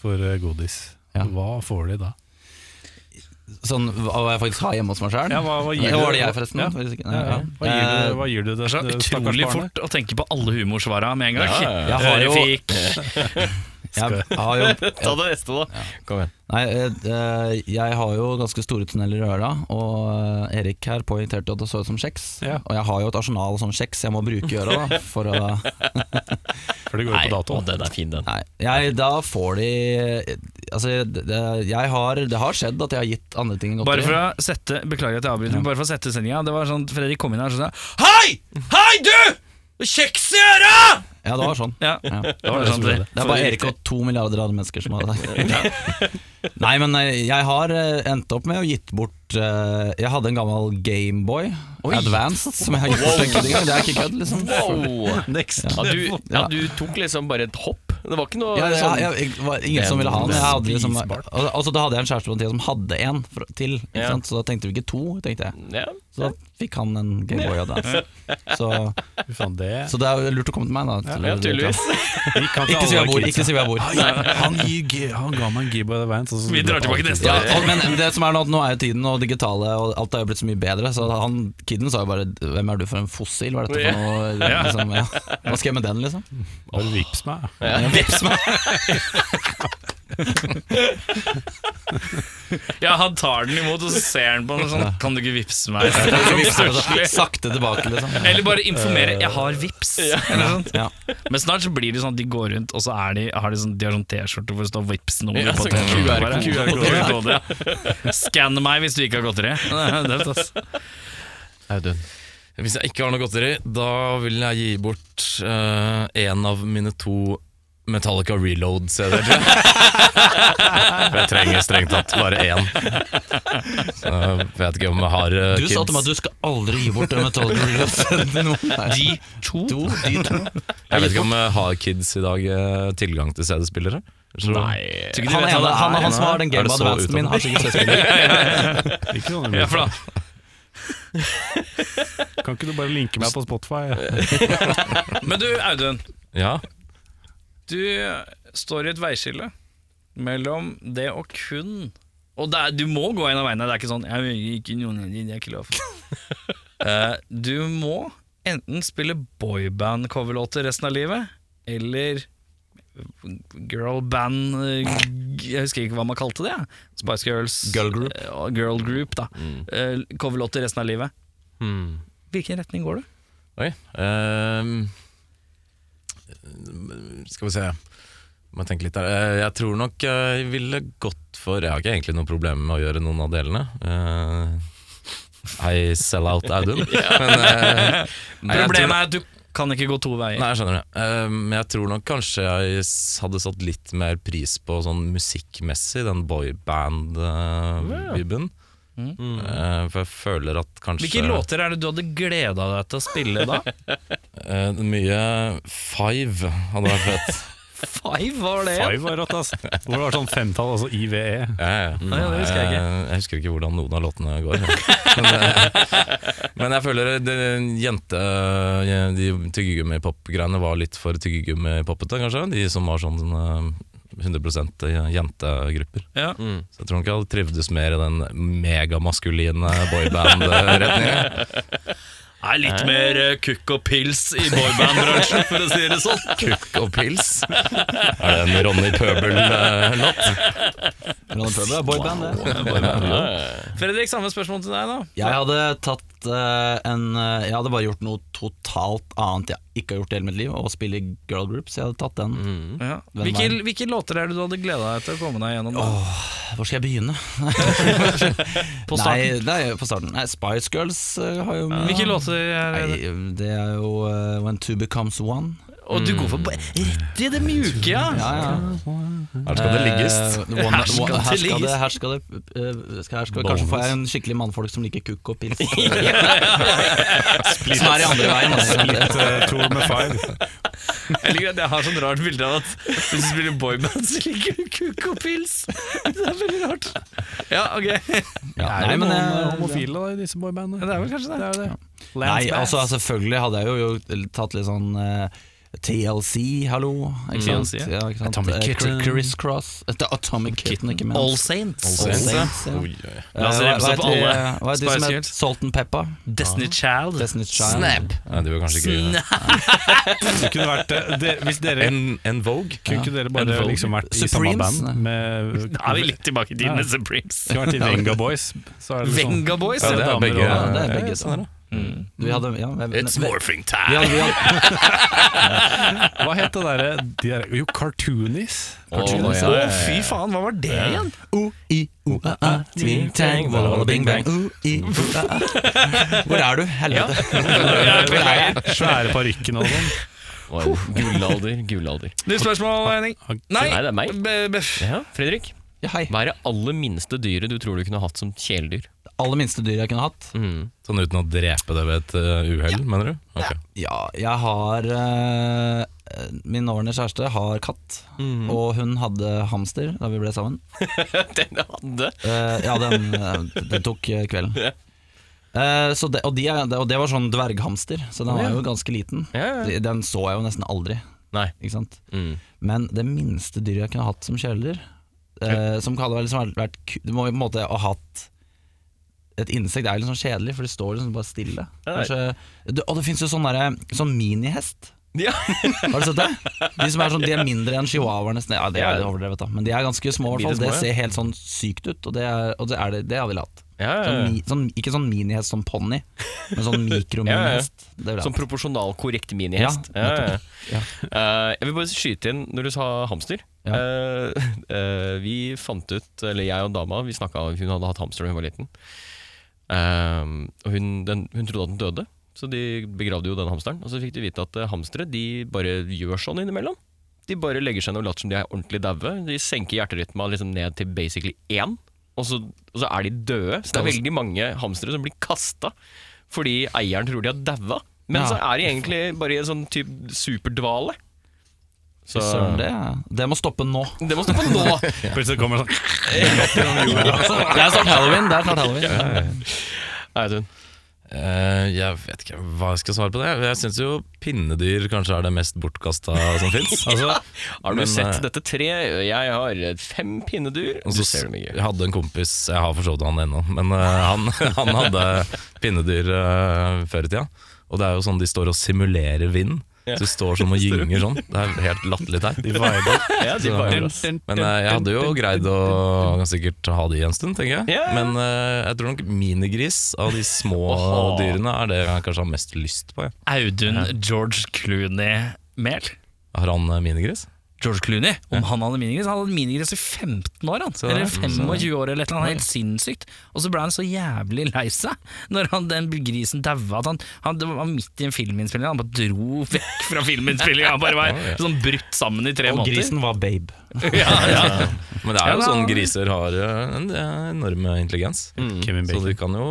Speaker 3: for eh, godis.
Speaker 7: Ja.
Speaker 3: Hva får de da?
Speaker 7: Sånn hva hva jeg faktisk har hjemme hos meg sjøl.
Speaker 3: Ja, hva- hva gir
Speaker 7: Ja, var
Speaker 3: du-
Speaker 7: det jeg, forresten?
Speaker 3: Ja.
Speaker 7: Hvis ikke-
Speaker 3: Ja, ja. Hva gir
Speaker 7: Eh,
Speaker 3: du, hva gir du det,
Speaker 2: Det er så
Speaker 3: det stakkars
Speaker 2: utrolig
Speaker 3: barnet?
Speaker 2: fort å tenke på alle humorsvara med en gang. Eh,
Speaker 7: Jeg har jo-
Speaker 2: Ørefik.
Speaker 7: Jeg, jeg har jo
Speaker 1: <laughs> Ta det neste, da. Kom igjen.
Speaker 7: Nei, eh, eh, jeg har jo ganske store tunneler i øra, og eh, Erik her poengterte at det så ut som kjeks.
Speaker 3: Ja.
Speaker 7: Og jeg har jo et arsenal av sånne kjeks jeg må bruke i øra, da, for å
Speaker 3: For det går jo på dato.
Speaker 1: Å, den er fin, <laughs> den.
Speaker 7: Nei, jeg, da får de Altså, det, jeg har, det har skjedd at jeg har gitt andre ting enn
Speaker 2: Bare
Speaker 7: godteri.
Speaker 2: for å sette Beklager at jeg avbryter, men bare for å sette sendinga. Det var sånn Fredrik kom inn her og sa Hei! Hei, du! Det er Kjeks i øra!
Speaker 7: Ja, det var sånn.
Speaker 2: Ja.
Speaker 7: Ja.
Speaker 2: Det var sånn det.
Speaker 7: Det er bare Erik og to milliarder andre mennesker som har det. <laughs> Nei, men eh, jeg har eh, endt opp med å gitt bort eh, Jeg hadde en gammel Gameboy Advanced som jeg har gitt bort enkelte ganger. Det er ikke kødd, liksom.
Speaker 1: Ja, du, ja, du tok liksom bare et hopp. Det var ikke noe
Speaker 7: Ja, ja,
Speaker 1: sånn
Speaker 7: ja, jeg, var ingen som ville ha den. Jeg hadde liksom, al- altså, da hadde jeg en kjæreste på den tida som hadde en fra- til, ikke
Speaker 1: Ja.
Speaker 7: sant? så da tenkte vi ikke to, tenkte jeg.
Speaker 1: ja.
Speaker 7: Så da fikk han en Gameboy Advance. Så,
Speaker 3: Fy faen, det
Speaker 7: så det er jo lurt å komme til meg, da.
Speaker 1: ja, tydeligvis.
Speaker 3: Vi kan
Speaker 7: Ikke si hvor jeg bor.
Speaker 3: kidsa.
Speaker 7: Ikke si hvor jeg bor.
Speaker 3: Nei, han, gir, G- han ga meg en Gibbo Advance. og så-
Speaker 2: Vi drar tilbake neste
Speaker 7: Ja,
Speaker 2: år.
Speaker 7: og, men det som er nå, at nå er jo tiden og digitale og alt er jo blitt så mye bedre, så han kiden sa jo bare 'Hvem er du for en fossil? Hva er dette for noe?' Liksom, <laughs> ja. Hva skal jeg med den, liksom?
Speaker 3: Bare vips meg.
Speaker 7: <laughs> Vips meg!
Speaker 2: Ja, han tar den imot, og så ser han på den sånn Kan du ikke vippse meg?
Speaker 7: Sakte tilbake, liksom.
Speaker 2: <laughs> Eller bare informere 'jeg har vips'. Eller sånt.
Speaker 7: Ja.
Speaker 2: Men snart så blir det sånn at de går rundt, og så er de, har de, sånn, de har sånn T-skjorte hvor det står Vipps-nummer
Speaker 1: Ja,
Speaker 2: på
Speaker 1: sånn
Speaker 2: T-skjorta.
Speaker 1: QR
Speaker 2: bare. QR-kode, ja. Skann meg hvis du ikke har godteri. Det er tøft, ass.
Speaker 1: Audun.
Speaker 8: Hvis jeg ikke har noe godteri, da vil jeg gi bort eh, en av mine to Metallica Reload-CD-er. tror jeg. <laughs> For jeg trenger strengt tatt bare én. Så jeg vet ikke om jeg har eh,
Speaker 7: Du
Speaker 8: kids.
Speaker 7: sa til meg at du skal aldri gi bort en <laughs> metallgulrot.
Speaker 2: De to
Speaker 7: To, de to.
Speaker 8: Jeg vet ikke om jeg har kids i dag eh, tilgang til CD-spillere. Nei
Speaker 2: Tror ikke de vet
Speaker 7: Han,
Speaker 2: hva
Speaker 7: ene,
Speaker 2: det
Speaker 7: han,
Speaker 2: er.
Speaker 7: han som har den
Speaker 8: Er
Speaker 7: Game
Speaker 8: det så
Speaker 7: Advancen min, har sikkert søsken. <laughs>
Speaker 3: Ikke sånn,
Speaker 2: Ja, for da
Speaker 3: Kan ikke du bare linke meg på Spotify?
Speaker 2: Men du, Audun.
Speaker 8: Ja,
Speaker 2: Du står i et veiskille mellom det å kun Og det er, du må gå en av veiene. Det er ikke sånn jeg vil ikke noen av de, det er ikke
Speaker 8: <laughs>
Speaker 2: lov. Eh, du må enten spille boyband-coverlåter resten av livet, eller girlband eh, g- Jeg husker ikke hva man kalte det. jeg. Spice Girls.
Speaker 7: Girl group.
Speaker 2: eh, og Girl group da.
Speaker 8: Mm.
Speaker 2: Eh, Coverlåter resten av livet.
Speaker 1: Hmm.
Speaker 2: Hvilken retning går du?
Speaker 8: Oi. ehm, skal vi se. Må jeg tenke litt der. Eh, jeg tror nok eh, jeg ville gått for Jeg har ikke egentlig noe problem med å gjøre noen av delene. Eh, I sell out
Speaker 2: <laughs>
Speaker 8: Audun. Men eh, nei, jeg tror-
Speaker 2: Problemet er at du kan ikke gå to veier.
Speaker 8: Nei, jeg skjønner det. Eh, Men jeg tror nok kanskje jeg s- hadde satt litt mer pris på sånn musikkmessig, den boyband-viben. Eh, For jeg føler at kanskje
Speaker 2: Hvilke låter er det du hadde gleda deg til å spille
Speaker 8: <laughs>
Speaker 2: da?
Speaker 8: Eh, Mye Five hadde vært fett.
Speaker 2: Five, hva var det? igjen?
Speaker 3: Five var rått, ass. Hvor det var sånn femtall, altså IVE.
Speaker 8: Ja, ja.
Speaker 2: Nei, det husker jeg ikke.
Speaker 8: Eh, jeg husker ikke hvordan noen av låtene går. Men, <laughs> eh, men jeg føler det, jente, de tyggegummipop-greiene var litt for tyggegummipoppete, kanskje. De som var sånn eh, 100 jentegrupper.
Speaker 2: Ja.
Speaker 8: Så jeg tror nok jeg hadde trivdes mer i den megamaskuline boyband-retninga.
Speaker 2: Nei, litt mer eh, kukk og pils i boybandbransjen, <laughs> for å si det sånn.
Speaker 8: Kukk og pils. Er det en Ronny eh, Pøbel-låt?
Speaker 7: Ronny Pøbel er boyband, det.
Speaker 2: <laughs> Fredrik, samme spørsmål til deg, da.
Speaker 7: Jeg hadde tatt eh, en eh, Jeg hadde bare gjort noe totalt annet jeg ikke har gjort i hele mitt liv, og spille i girl group, så jeg hadde tatt den.
Speaker 2: Ja.
Speaker 7: Hvem
Speaker 2: Hvilke,
Speaker 7: er den?
Speaker 2: hvilke låter er det du hadde gleda deg til å komme deg gjennom? da?
Speaker 7: Hvor skal jeg begynne?
Speaker 2: <laughs> På starten.
Speaker 7: Nei, nei, på starten. Nei, Spice Girls eh, har jo
Speaker 2: Hvilke låter er det?
Speaker 7: Nei, det er jo eh, When Two Becomes One.
Speaker 2: Og du går for ba- rett i det mjuke, ja!
Speaker 7: Ja, ja.
Speaker 8: Her skal det ligges.
Speaker 7: Eh, one,
Speaker 2: Her skal
Speaker 7: one,
Speaker 2: det
Speaker 7: her skal
Speaker 2: ligges.
Speaker 7: det, her skal det, eh, skal, her skal, Kanskje får jeg en skikkelig mannfolk som liker kukk og
Speaker 2: <laughs>
Speaker 7: pils. som er i andre veien. da.
Speaker 3: Uh, tour med five.
Speaker 2: Jeg, liker at jeg har sånn rart bilde av at hvis du spiller boyband, så liker du kukk og pils. Det er veldig rart. Ja, ok.
Speaker 7: Ja,
Speaker 3: Er
Speaker 7: nei,
Speaker 3: det
Speaker 7: men,
Speaker 3: noen
Speaker 7: eh,
Speaker 3: eh, homofile da, i disse boybandene?
Speaker 2: Det er vel kanskje det.
Speaker 7: Nei, altså selvfølgelig hadde jeg jo, jo tatt litt sånn eh, TLC, hallo. Ikke sant?
Speaker 2: TLC,
Speaker 7: Ja, ikke sant?
Speaker 3: Atomic
Speaker 7: Eh,
Speaker 3: Kitten.
Speaker 7: Chris Cross. Eh, Atomic Kitten, ikke minst.
Speaker 2: All Saints.
Speaker 7: All Saints, ja. Eh,
Speaker 2: La oss
Speaker 7: hva-
Speaker 2: remse
Speaker 7: hva
Speaker 2: opp
Speaker 7: heter de- Eh,
Speaker 2: alle
Speaker 7: Hva heter de
Speaker 2: Spice
Speaker 7: som het
Speaker 2: Girls.
Speaker 7: Salt and Pepper?
Speaker 2: Destiny Child.
Speaker 7: Destiny's Child.
Speaker 8: Nei, det var kanskje ikke
Speaker 2: Snap.
Speaker 3: Det kunne vært eh, det, Hvis dere
Speaker 8: En, en Vogue?
Speaker 3: Kunne ikke dere
Speaker 8: En
Speaker 3: bare
Speaker 8: Vogue.
Speaker 3: liksom vært i samme
Speaker 7: Supremes?
Speaker 3: band med
Speaker 2: Da er vi litt tilbake i tiden
Speaker 3: Ja.
Speaker 2: med Supremes.
Speaker 3: Skulle vært i Venga Boys. Så er det sånn
Speaker 2: Venga Boys,
Speaker 8: Ja,
Speaker 2: ja.
Speaker 8: det er
Speaker 3: damer og-
Speaker 8: begge.
Speaker 7: Ja, det er
Speaker 8: ja,
Speaker 7: begge sånne. Vi hadde, ja, vi-
Speaker 8: It's morphing
Speaker 7: vi
Speaker 8: time!
Speaker 7: hadde, vi hadde,
Speaker 3: Hva het det derre de der, Jo, Cartoonies.
Speaker 2: Å,
Speaker 8: Cartoonies, ja, ja, ja.
Speaker 2: fy faen, hva var det igjen?
Speaker 7: O-i-o-a-a, ting-tang, walla-walla, bing-bang. O-i-o-a-a. Hvor er du? Helvete. Hvor er jeg?
Speaker 3: Svære parykken og sånn.
Speaker 1: Var det Gullalder, gullalder.
Speaker 2: Nytt spørsmål, Henning. Nei,
Speaker 1: Nei, det er meg.
Speaker 2: Be- be-
Speaker 1: Ja, Fredrik,
Speaker 7: Ja, hei.
Speaker 1: hva er det aller minste dyret du tror du kunne hatt som kjæledyr?
Speaker 7: Aller minste dyr jeg kunne hatt.
Speaker 8: Sånn uten å drepe det ved et eh, uhell, mener du? Ok.
Speaker 7: Ja, jeg har eh, Min nåværende kjæreste har katt,
Speaker 1: Mm.
Speaker 7: og hun hadde hamster da vi ble sammen.
Speaker 1: <laughs> Den jeg hadde.
Speaker 7: Eh, ja, den, eh, den tok eh, kvelden. Eh, så det, og, de, er- og det var sånn dverghamster, så den var jo ganske liten.
Speaker 1: Ja, ja.
Speaker 7: De- Den så jeg jo nesten aldri.
Speaker 1: Nei.
Speaker 7: Ikke sant?
Speaker 1: Mm.
Speaker 7: Men det minste dyret jeg kunne hatt som kjæledyr, eh, som hadde liksom vært- vært ku- Du må på en måte ha hatt et insekt er litt sånn kjedelig, for det står liksom bare stille.
Speaker 1: Ja, det
Speaker 7: Kanskje, det, og det fins jo sånn derre- sånn minihest.
Speaker 1: Ja.
Speaker 7: Har du sett det? De som er sånn, de er mindre enn chihuahuer nesten. Ja, det er
Speaker 1: Ja.
Speaker 7: overdrevet, da. Men de er ganske små, i hvert fall.
Speaker 1: Bitte små,
Speaker 7: Det
Speaker 1: ja.
Speaker 7: ser helt sånn sykt ut, og det, er, og det, er det, det jeg ville hatt.
Speaker 1: Ja,
Speaker 7: Sånn, mi, sånn, ikke sånn minihest som ponni, men
Speaker 1: <laughs>
Speaker 7: sånn mikrominihest. Det ville jeg
Speaker 1: Som
Speaker 7: hatt.
Speaker 1: proporsjonal korrekt minihest.
Speaker 7: Ja,
Speaker 1: ja. Eh, jeg vil bare skyte inn når du sa hamster.
Speaker 7: Ja.
Speaker 1: Eh, <laughs> eh, vi fant ut, eller jeg og dama, vi snakket, om- hun hadde hatt hamster da hun var liten. Eh, og hun, den, hun trodde at den døde, så de begravde jo den hamsteren. Og så fikk de vite at eh, hamstere de bare gjør sånn innimellom. De bare legger seg ned og later som de er ordentlig daue. De senker hjerterytma liksom ned til basically én, og så, og så er de døde. Så det er veldig mange hamstere som blir kasta fordi eieren tror de har daua. Men
Speaker 7: Ja.
Speaker 1: så er de egentlig bare i en sånn typ superdvale. Så
Speaker 7: Søren, det, det må stoppe <laughs> nå.
Speaker 1: det må stå på
Speaker 8: <laughs>
Speaker 1: nå!
Speaker 3: Plutselig kommer det sånn
Speaker 7: Det er snart halloween. Det er snart halloween.
Speaker 1: Audun.
Speaker 8: Eh, jeg vet ikke hva jeg skal svare på det. Jeg syns jo pinnedyr kanskje er det mest bortkasta som fins. <laughs> Altså,
Speaker 1: Har du
Speaker 8: Men,
Speaker 1: sett
Speaker 8: eh,
Speaker 1: dette treet? Jeg har fem pinnedyr.
Speaker 8: og
Speaker 1: Du
Speaker 8: så
Speaker 1: ser dem
Speaker 8: jeg
Speaker 1: ikke.
Speaker 8: hadde en kompis Jeg har forstått han ennå, men eh, han, <laughs> han hadde pinnedyr eh, før i tida. Og det er jo sånn de står og simulerer vind. Så de står sånn og gynger sånn. Det er helt latterlig teit. De viber. <laughs> Så- Men eh, jeg hadde jo greid å ganske sikkert ha de en stund, tenker jeg.
Speaker 1: Ja, ja.
Speaker 8: Men eh, jeg tror nok minigris av de små dyrene er det jeg kanskje har mest lyst på. Jeg.
Speaker 2: Audun George Clooney-mel.
Speaker 8: Har han eh, minigris?
Speaker 2: George Clooney, om han hadde minigris. Han hadde minigris i 15 år, han.
Speaker 8: det.
Speaker 2: eller
Speaker 8: Mm,
Speaker 2: 25 år, eller et eller annet. Helt sinnssykt. Og så ble han så jævlig lei seg når han, den grisen daua. at Han, han det var midt i en filminnspilling, han bare dro vekk fra filminnspillinga. Han bare var sånn brutt sammen i tre
Speaker 7: Og
Speaker 2: måneder.
Speaker 7: grisen var babe.
Speaker 8: <laughs> Men det er jo
Speaker 2: Ja, da-
Speaker 8: sånn griser har eh, en eh, enorm intelligens.
Speaker 3: "Ah, Kevin
Speaker 8: Så
Speaker 3: Bacon.
Speaker 8: du kan jo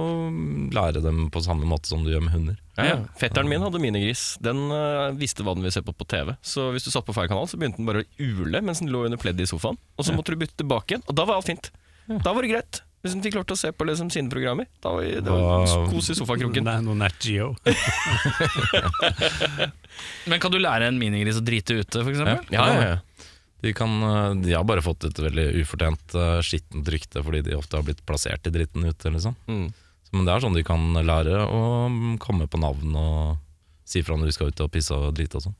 Speaker 8: lære dem på samme måte som du gjør med hunder.
Speaker 1: Ja. Fetteren min hadde minigris. Den eh, visste hva den ville se på på TV. Så hvis du satt på feil kanal, så begynte den bare å ule mens den lå under pleddet i sofaen. Og så måtte du bytte tilbake igjen, og da var alt fint. Da var det greit. Hvis den fikk lov til å se på liksom, sine programmer. Da var det var
Speaker 8: Wow.
Speaker 1: kos i sofakroken.
Speaker 3: Nei, noe Nat Geo.
Speaker 2: Men kan du lære en minigris å drite ute, for eksempel?
Speaker 8: Ja, ja, ja. De, kan, eh, de har bare fått et veldig ufortjent eh, skittent rykte fordi de ofte har blitt plassert i dritten ute. Liksom.
Speaker 1: Mm.
Speaker 8: Så, men det er sånn de kan lære å mm, komme på navn og si fra når de skal ut og pisse og drite og sånn.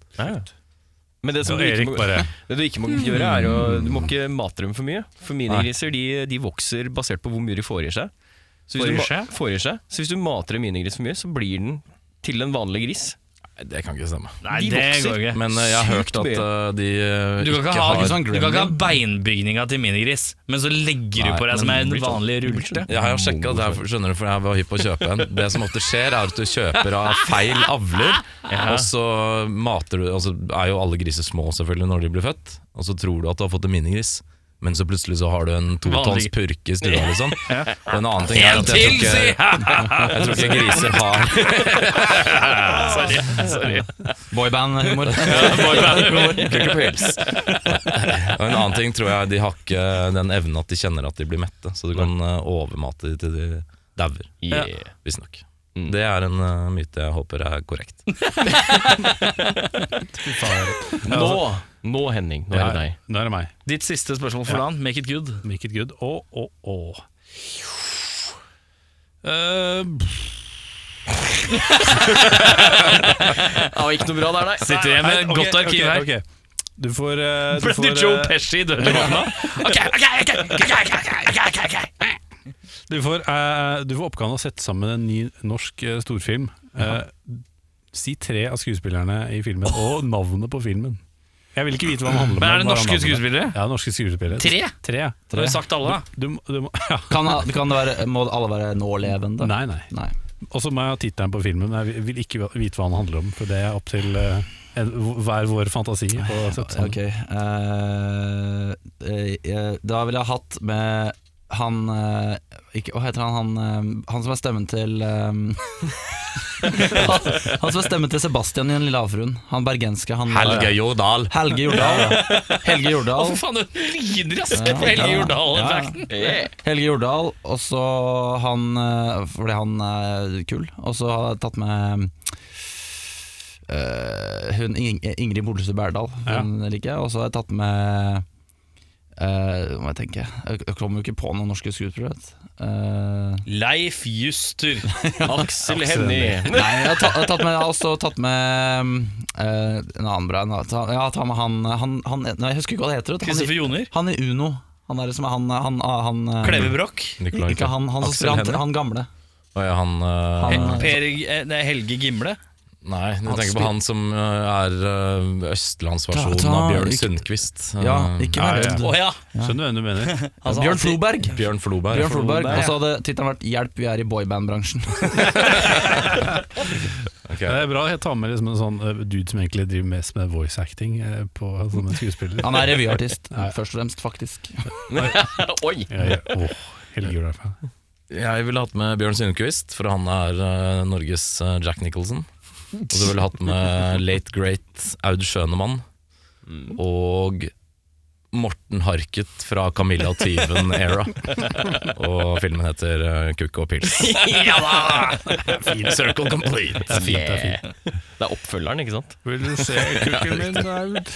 Speaker 1: Men det som
Speaker 3: Og
Speaker 1: du ikke
Speaker 3: Erik
Speaker 1: må,
Speaker 3: bare
Speaker 1: det du ikke må gjøre, er å Du må ikke mate dem for mye. For minigriser de, de vokser basert på hvor mye de får i seg. Så hvis,
Speaker 2: Får i
Speaker 1: du, ma-
Speaker 2: seg?
Speaker 1: Får i seg. så hvis du mater en minigris for mye, så blir den til en vanlig gris.
Speaker 8: Nei, det kan ikke stemme.
Speaker 2: Nei,
Speaker 1: De
Speaker 2: det
Speaker 1: vokser.
Speaker 2: går ikke.
Speaker 8: Men eh, jeg har hørt at eh, de eh,
Speaker 2: Du kan ikke, ha, sånn
Speaker 8: har
Speaker 2: du kan ikke ha beinbygninga til minigris, men så legger du
Speaker 8: Nei,
Speaker 2: på deg som
Speaker 8: men
Speaker 2: en
Speaker 8: det blir sånn-
Speaker 2: vanlig rulte.
Speaker 8: Jeg har sjekka det, her, skjønner du, for jeg var hypp på å kjøpe en. Det som ofte skjer, er at du kjøper av feil avler, og så mater du altså, Er jo alle griser små selvfølgelig når de blir født, og så tror du at du har fått en minigris. Men så plutselig så har du en totons
Speaker 2: Vanlig.
Speaker 8: purke i stua, liksom.
Speaker 2: <laughs>
Speaker 8: Og en annen ting er
Speaker 2: En
Speaker 8: at jeg
Speaker 2: til,
Speaker 8: tror
Speaker 2: si!
Speaker 8: ikke, <laughs> jeg tror ikke griser har
Speaker 2: Sorry.
Speaker 1: <laughs>
Speaker 2: sorry.
Speaker 7: <laughs> Boyband-humor. <laughs>
Speaker 8: Pils. Og en annen ting tror jeg de har ikke den evnen at de kjenner at de blir mette, så du kan eh, overmate de til de dauer.
Speaker 1: Yeah.
Speaker 8: Visstnok.
Speaker 2: Mm.
Speaker 8: Det er en eh, myte jeg håper er korrekt.
Speaker 1: Nå,
Speaker 8: altså,
Speaker 1: nå Henning, nå er det deg.
Speaker 3: Nå er det meg.
Speaker 2: Ditt siste spørsmål for dagen, make it good.
Speaker 3: Make it good. Å, å, å. Eh,
Speaker 1: Ja, ikke noe bra der, nei.
Speaker 2: Sitter igjen med et
Speaker 3: ok,
Speaker 2: godt arkiv
Speaker 3: ok,
Speaker 2: her.
Speaker 3: ok. Du får, eh, du
Speaker 2: Ble
Speaker 3: får
Speaker 2: du Joe
Speaker 3: eh,
Speaker 2: Pesci i Dørvåkna? Ok, ok, ok, ok, ok, ok, ok, ok, ok.
Speaker 3: Du får, eh, du får oppgaven å sette sammen en ny norsk eh, storfilm. Eh, si tre av skuespillerne i filmen, og navnet på filmen. Jeg vil ikke vite hva den handler om.
Speaker 2: Men er det
Speaker 3: bare
Speaker 2: norske
Speaker 3: navnet.
Speaker 2: skuespillere?
Speaker 3: Ja, norske skuespillere.
Speaker 2: Tre?
Speaker 3: Tre.
Speaker 2: Har du sagt alle, da?
Speaker 3: Du, må- du må, <laughs> ja.
Speaker 7: Kan, kan det være, må alle være nålevende?
Speaker 3: Nei, nei.
Speaker 7: Nei.
Speaker 3: Og så må jeg ha tittelen på filmen. men Jeg vil ikke vite hva den handler om, for det er opp til eh, en, hver vår fantasi. å sette sammen.
Speaker 7: Ok eh, eh, Da ville jeg hatt med han eh, ikke, Hva heter han? Han, eh, han som er stemmen til <laughs> eh, han, han som er stemmen til Sebastian i Den lille havfruen. Han bergenske. Han, eh,
Speaker 8: Jordal.
Speaker 7: Helge Jordal. ja. Helge Jordal.
Speaker 2: Å, faen, du griner, ass!
Speaker 7: Ja,
Speaker 2: på Helge
Speaker 7: ja,
Speaker 2: Jordal-effekten.
Speaker 7: Helge Jordal, og så han eh, Fordi han er kul. Og så har jeg tatt med eh, hun Ing Ingrid Bolse Berdal, hun liker jeg. Og så har jeg tatt med eh, Hva må jeg tenke Jeg jeg kommer jo ikke på noen norske skuespillere. vet du. Eh,
Speaker 2: Leif Juster.
Speaker 1: Aksel Hennie.
Speaker 7: nei, jeg har, ta, jeg har tatt med, jeg har også tatt med eh, en annen bra en. da. Ta- Jeg har tatt med han, han, han nei, Jeg husker ikke hva det heter. vet du.
Speaker 2: Kristoffer Joner.
Speaker 7: Han, i- han i Uno. Han derre som er han, han, han, eh,
Speaker 2: Klevebrokk.
Speaker 7: Ikke han, han, som
Speaker 8: Aksel
Speaker 7: spiller- han,
Speaker 8: Hennie?
Speaker 7: han gamle.
Speaker 8: Å ja, han, eh,
Speaker 7: Han-
Speaker 2: Per, eh, nei, Helge Gimle.
Speaker 8: Nei, du
Speaker 7: han
Speaker 8: tenker på
Speaker 7: spil-
Speaker 8: han som eh, er eh,
Speaker 7: Ta-
Speaker 8: østlandsversjonen
Speaker 7: ta-
Speaker 8: av Bjørn
Speaker 7: ikke-
Speaker 8: Sundquist. Eh,
Speaker 7: Ja,
Speaker 3: ja,
Speaker 7: ikke vær
Speaker 3: ja.
Speaker 7: redd.
Speaker 2: Å ja!
Speaker 3: Skjønner du hva du mener?
Speaker 2: Altså,
Speaker 7: Ah. Bjørn
Speaker 2: alltid-
Speaker 7: Floberg.
Speaker 8: Bjørn Floberg.
Speaker 7: Bjørn Floberg. Og så hadde tittelen vært 'Hjelp, vi er i boybandbransjen'.
Speaker 3: <laughs> Ja, Det er bra å ta med liksom en sånn eh, dude som egentlig driver mest med voice acting eh, på <laughs> sånne skuespillere.
Speaker 7: <laughs> Han er revyartist, først og fremst, faktisk.
Speaker 1: <laughs> Oi!
Speaker 3: Jeg, jeg, åh, Helge Jordal.
Speaker 8: Jeg ville hatt med Bjørn Sundquist, for han er eh, Norges eh, Jack Nicholson. Og så ville jeg hatt med late great Aud Schønemann. Og Morten Harket fra Camilla og Tyven Era. Og filmen heter eh, Kukk og pils.
Speaker 2: Ja da!
Speaker 8: Circle complete.
Speaker 3: Det er fint, det er fint.
Speaker 1: Det er oppfølgeren, ikke sant?
Speaker 3: Vil du se kukken min, Aud?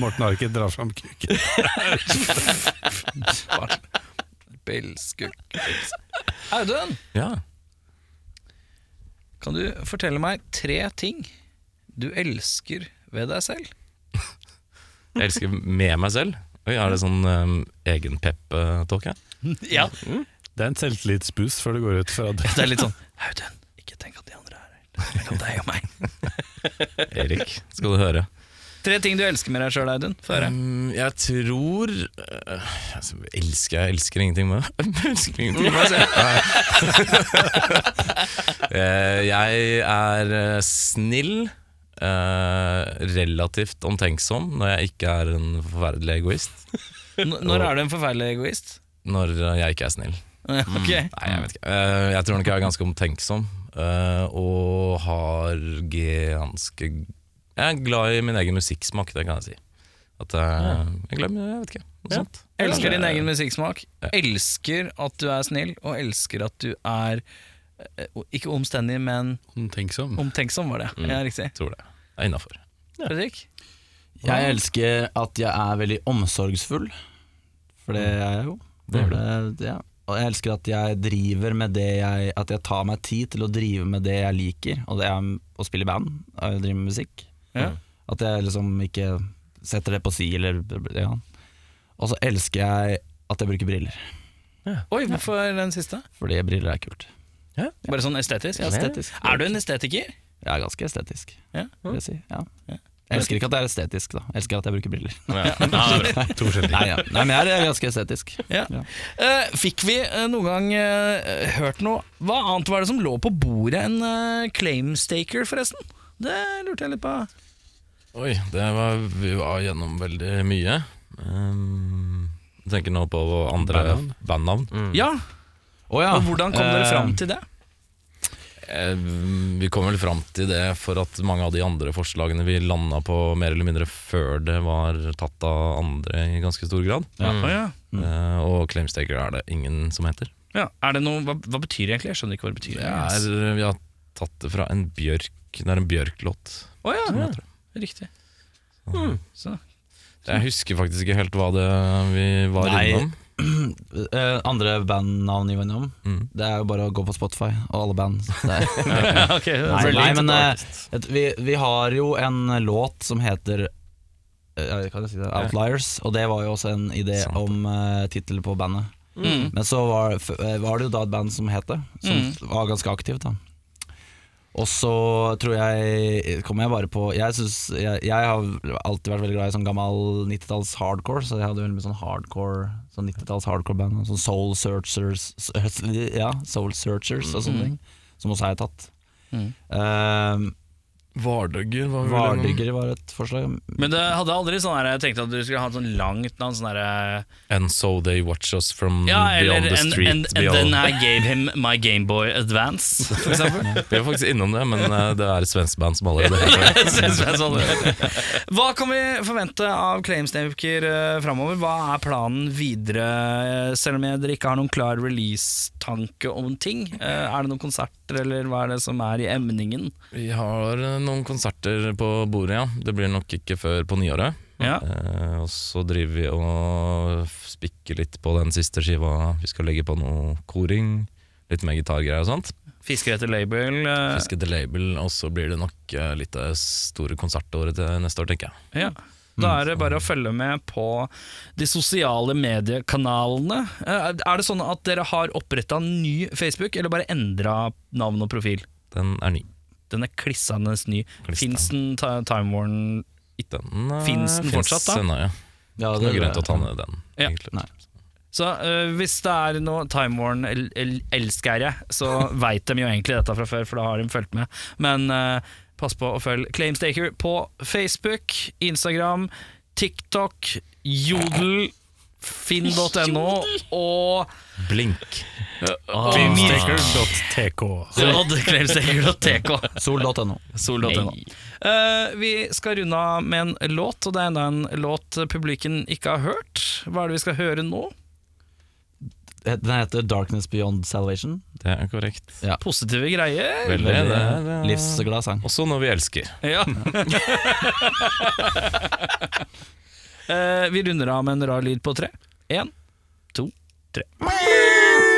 Speaker 3: Morten Harket drar fram kukken.
Speaker 2: Audun,
Speaker 8: Ja.
Speaker 2: kan du fortelle meg tre ting du elsker ved deg selv?
Speaker 8: Jeg elsker med meg selv. Oi, er det sånn um, egenpep-talk her?
Speaker 2: Ja,
Speaker 3: Det er en selvtillitsboost før du går ut fra det.
Speaker 2: <laughs> det er litt sånn Audun, ikke tenk at de andre er her. Tenk om deg og meg.
Speaker 8: Erik, skal du høre.
Speaker 2: <laughs> Tre ting du elsker med deg sjøl, Audun. Få høre.
Speaker 8: Um, jeg tror øh, altså, Elsker jeg elsker ingenting med <laughs> det. Jeg elsker ingenting med meg selv. Eh, jeg er eh, snill, eh, relativt omtenksom når jeg ikke er en forferdelig egoist.
Speaker 2: N- Når er du en forferdelig egoist? <laughs>
Speaker 8: Når jeg ikke er snill.
Speaker 2: Ok,
Speaker 8: Nei, jeg vet ikke. Eh, jeg tror nok jeg er ganske omtenksom, eh, og har ganske Jeg er glad i min egen musikksmak, det kan jeg si. At jeg, jeg glemmer, jeg vet ikke. Noe sånt.
Speaker 2: Elsker din
Speaker 8: Eh,
Speaker 2: egen musikksmak. Elsker at du er snill, og elsker at du er eh, ikke omstendig, men
Speaker 3: Omtenksom.
Speaker 2: omtenksom, var Mm. det. Ja, riktig.
Speaker 8: Tror det. Det er innafor.
Speaker 2: Fredrik?
Speaker 7: Jeg elsker at jeg er veldig omsorgsfull, for det er jeg jo. Det er det, ja. Og jeg elsker at jeg driver med det jeg At jeg tar meg tid til å drive med det jeg liker, og det er å spille i band og drive med musikk.
Speaker 2: Ja.
Speaker 7: At jeg liksom ikke setter det på si eller ja. Og så elsker jeg at jeg bruker briller,
Speaker 2: Oi, hvorfor den siste?
Speaker 7: fordi briller er kult.
Speaker 2: Bare sånn estetisk?
Speaker 7: Ja, estetisk.
Speaker 2: Er du en estetiker?
Speaker 7: Jeg er ganske estetisk,
Speaker 2: Ja.
Speaker 7: vil jeg si. Ja. Jeg elsker ikke at jeg er estetisk, da. Jeg elsker at jeg bruker briller.
Speaker 3: To skjellig.
Speaker 7: <laughs> Nei, ja. Nei men jeg er ganske estetisk.
Speaker 2: Ja.
Speaker 7: Ja.
Speaker 2: Eh, fikk vi eh, noen gang eh, hørt noe Hva annet var det som lå på bordet enn eh, Claimstaker, forresten? Det lurte jeg litt på.
Speaker 8: Oi, det var, vi var gjennom veldig mye. Um, jeg tenker nå på andre
Speaker 3: Bandnavn.
Speaker 8: bandnavn. Mm.
Speaker 2: Ja,
Speaker 7: Å ja.
Speaker 2: og Hvordan kom dere
Speaker 7: eh,
Speaker 2: fram til det?
Speaker 8: Eh, vi kom vel fram til det for at mange av de andre forslagene vi landa på mer eller mindre før det var tatt av andre i ganske stor grad.
Speaker 2: Å ja.
Speaker 8: Eh, og Claimstaker er det ingen som heter.
Speaker 2: Ja, er det noe, hva, hva betyr det egentlig? Jeg skjønner ikke hva det betyr.
Speaker 8: Det er, eh, vi har tatt det fra en bjørk. Det er en bjørklåt.
Speaker 2: Å ja,
Speaker 8: som heter det.
Speaker 2: riktig. Så.
Speaker 8: Jeg husker faktisk ikke helt hva det vi var
Speaker 7: Nei.
Speaker 8: innom.
Speaker 7: Eh, andre bandnavn jeg var innom,
Speaker 8: Mm.
Speaker 7: det er jo bare å gå på Spotify og alle band. så Det er,
Speaker 8: <laughs>
Speaker 2: Okay,
Speaker 7: nei,
Speaker 2: veldig
Speaker 7: nei, men eh,
Speaker 8: artist.
Speaker 7: et, vi, vi har jo en låt som heter eh, kan jeg si det? Outliers, og det var jo også en idé
Speaker 8: Sant.
Speaker 7: om uh, tittel på bandet.
Speaker 2: Mm.
Speaker 7: Men så var, f eh, var det jo da et band som het det, som var ganske aktivt. da og så tror jeg Kommer jeg bare på Jeg, synes, jeg, jeg har alltid vært veldig glad i sånn gammel 90-talls hardcore, så jeg hadde veldig mye sånn hardcore Sånn 90-talls hardcore-band. Sånn Soul Searchers Ja, Soul Searchers og sånne ting. Som også er tatt.
Speaker 2: Mm.
Speaker 7: Eh,
Speaker 8: Vardøgger var vel innom.
Speaker 7: Vardøgger var et forslag.
Speaker 2: Men det hadde aldri sånn her, jeg tenkte at du skulle ha et sånn langt navn. Sånn her,
Speaker 8: And so they watch us from
Speaker 2: ja, eller
Speaker 8: Mm, beyond the
Speaker 2: and,
Speaker 8: street.
Speaker 2: and, and
Speaker 8: beyond.
Speaker 2: then I gave him my Gameboy Advance.
Speaker 8: for eksempel. Vi er faktisk innom det, men eh, det er et svensk band som allerede heter det.
Speaker 2: Synes <laughs> jeg sånn. Hva kan vi forvente av Claimstaker uh, framover? Hva er planen videre? eh, Selv om jeg- dere ikke har noen klar release-tanke om ting. Eh, er det noen konserter, eller hva er det som er i emningen?
Speaker 8: Vi har eh, noen konserter på bordet, ja. Det blir nok ikke før på nyåret.
Speaker 2: Ja.
Speaker 8: Eh, og så driver vi og spikker litt på den siste skiva. Vi skal legge på noe koring, litt mer gitargreier og sånt.
Speaker 2: Fisker etter label. eh,
Speaker 8: Fiske the label, og så blir det nok eh, litt det store konsertåret til neste år, tenker jeg.
Speaker 2: Ja. Da er det bare å følge med på de sosiale mediekanalene. Eh, Er det sånn at dere har oppretta ny Facebook, eller bare endra navn og profil?
Speaker 8: Den er ny.
Speaker 2: Den er klissende ny.
Speaker 8: Klissende.
Speaker 2: Fins den ta- Time Warn
Speaker 8: Den, eh,
Speaker 2: Finnes den
Speaker 8: finnes
Speaker 2: fortsatt, da?
Speaker 8: ennå, ja.
Speaker 7: Ja,
Speaker 8: Det er noe grunn til å ta ned den,
Speaker 2: Ja.
Speaker 8: egentlig.
Speaker 7: Nei.
Speaker 2: Så eh, hvis det er noe Time Warn-elskere, så veit de jo egentlig dette fra før, for da har de fulgt med. Men eh, pass på å følge Claimstaker på Facebook, Instagram, TikTok, Jodel, finn.no og
Speaker 8: Blink.
Speaker 3: Filmstaker.tk.
Speaker 2: Claimstaker.tk.
Speaker 7: Sol.no.
Speaker 2: Sol.no. Eh, vi skal runde av med en låt, og det er enda en låt publikum ikke har hørt. Hva er det vi skal høre nå?
Speaker 7: Den heter Darkness Beyond Salvation.
Speaker 8: Det er korrekt.
Speaker 2: Positive greier.
Speaker 8: Veldig, det er, det er-
Speaker 7: livsglad sang.
Speaker 8: Også når vi elsker.
Speaker 2: Ja. <laughs> Eh, vi runder av med en rar lyd på tre. Én, to, tre.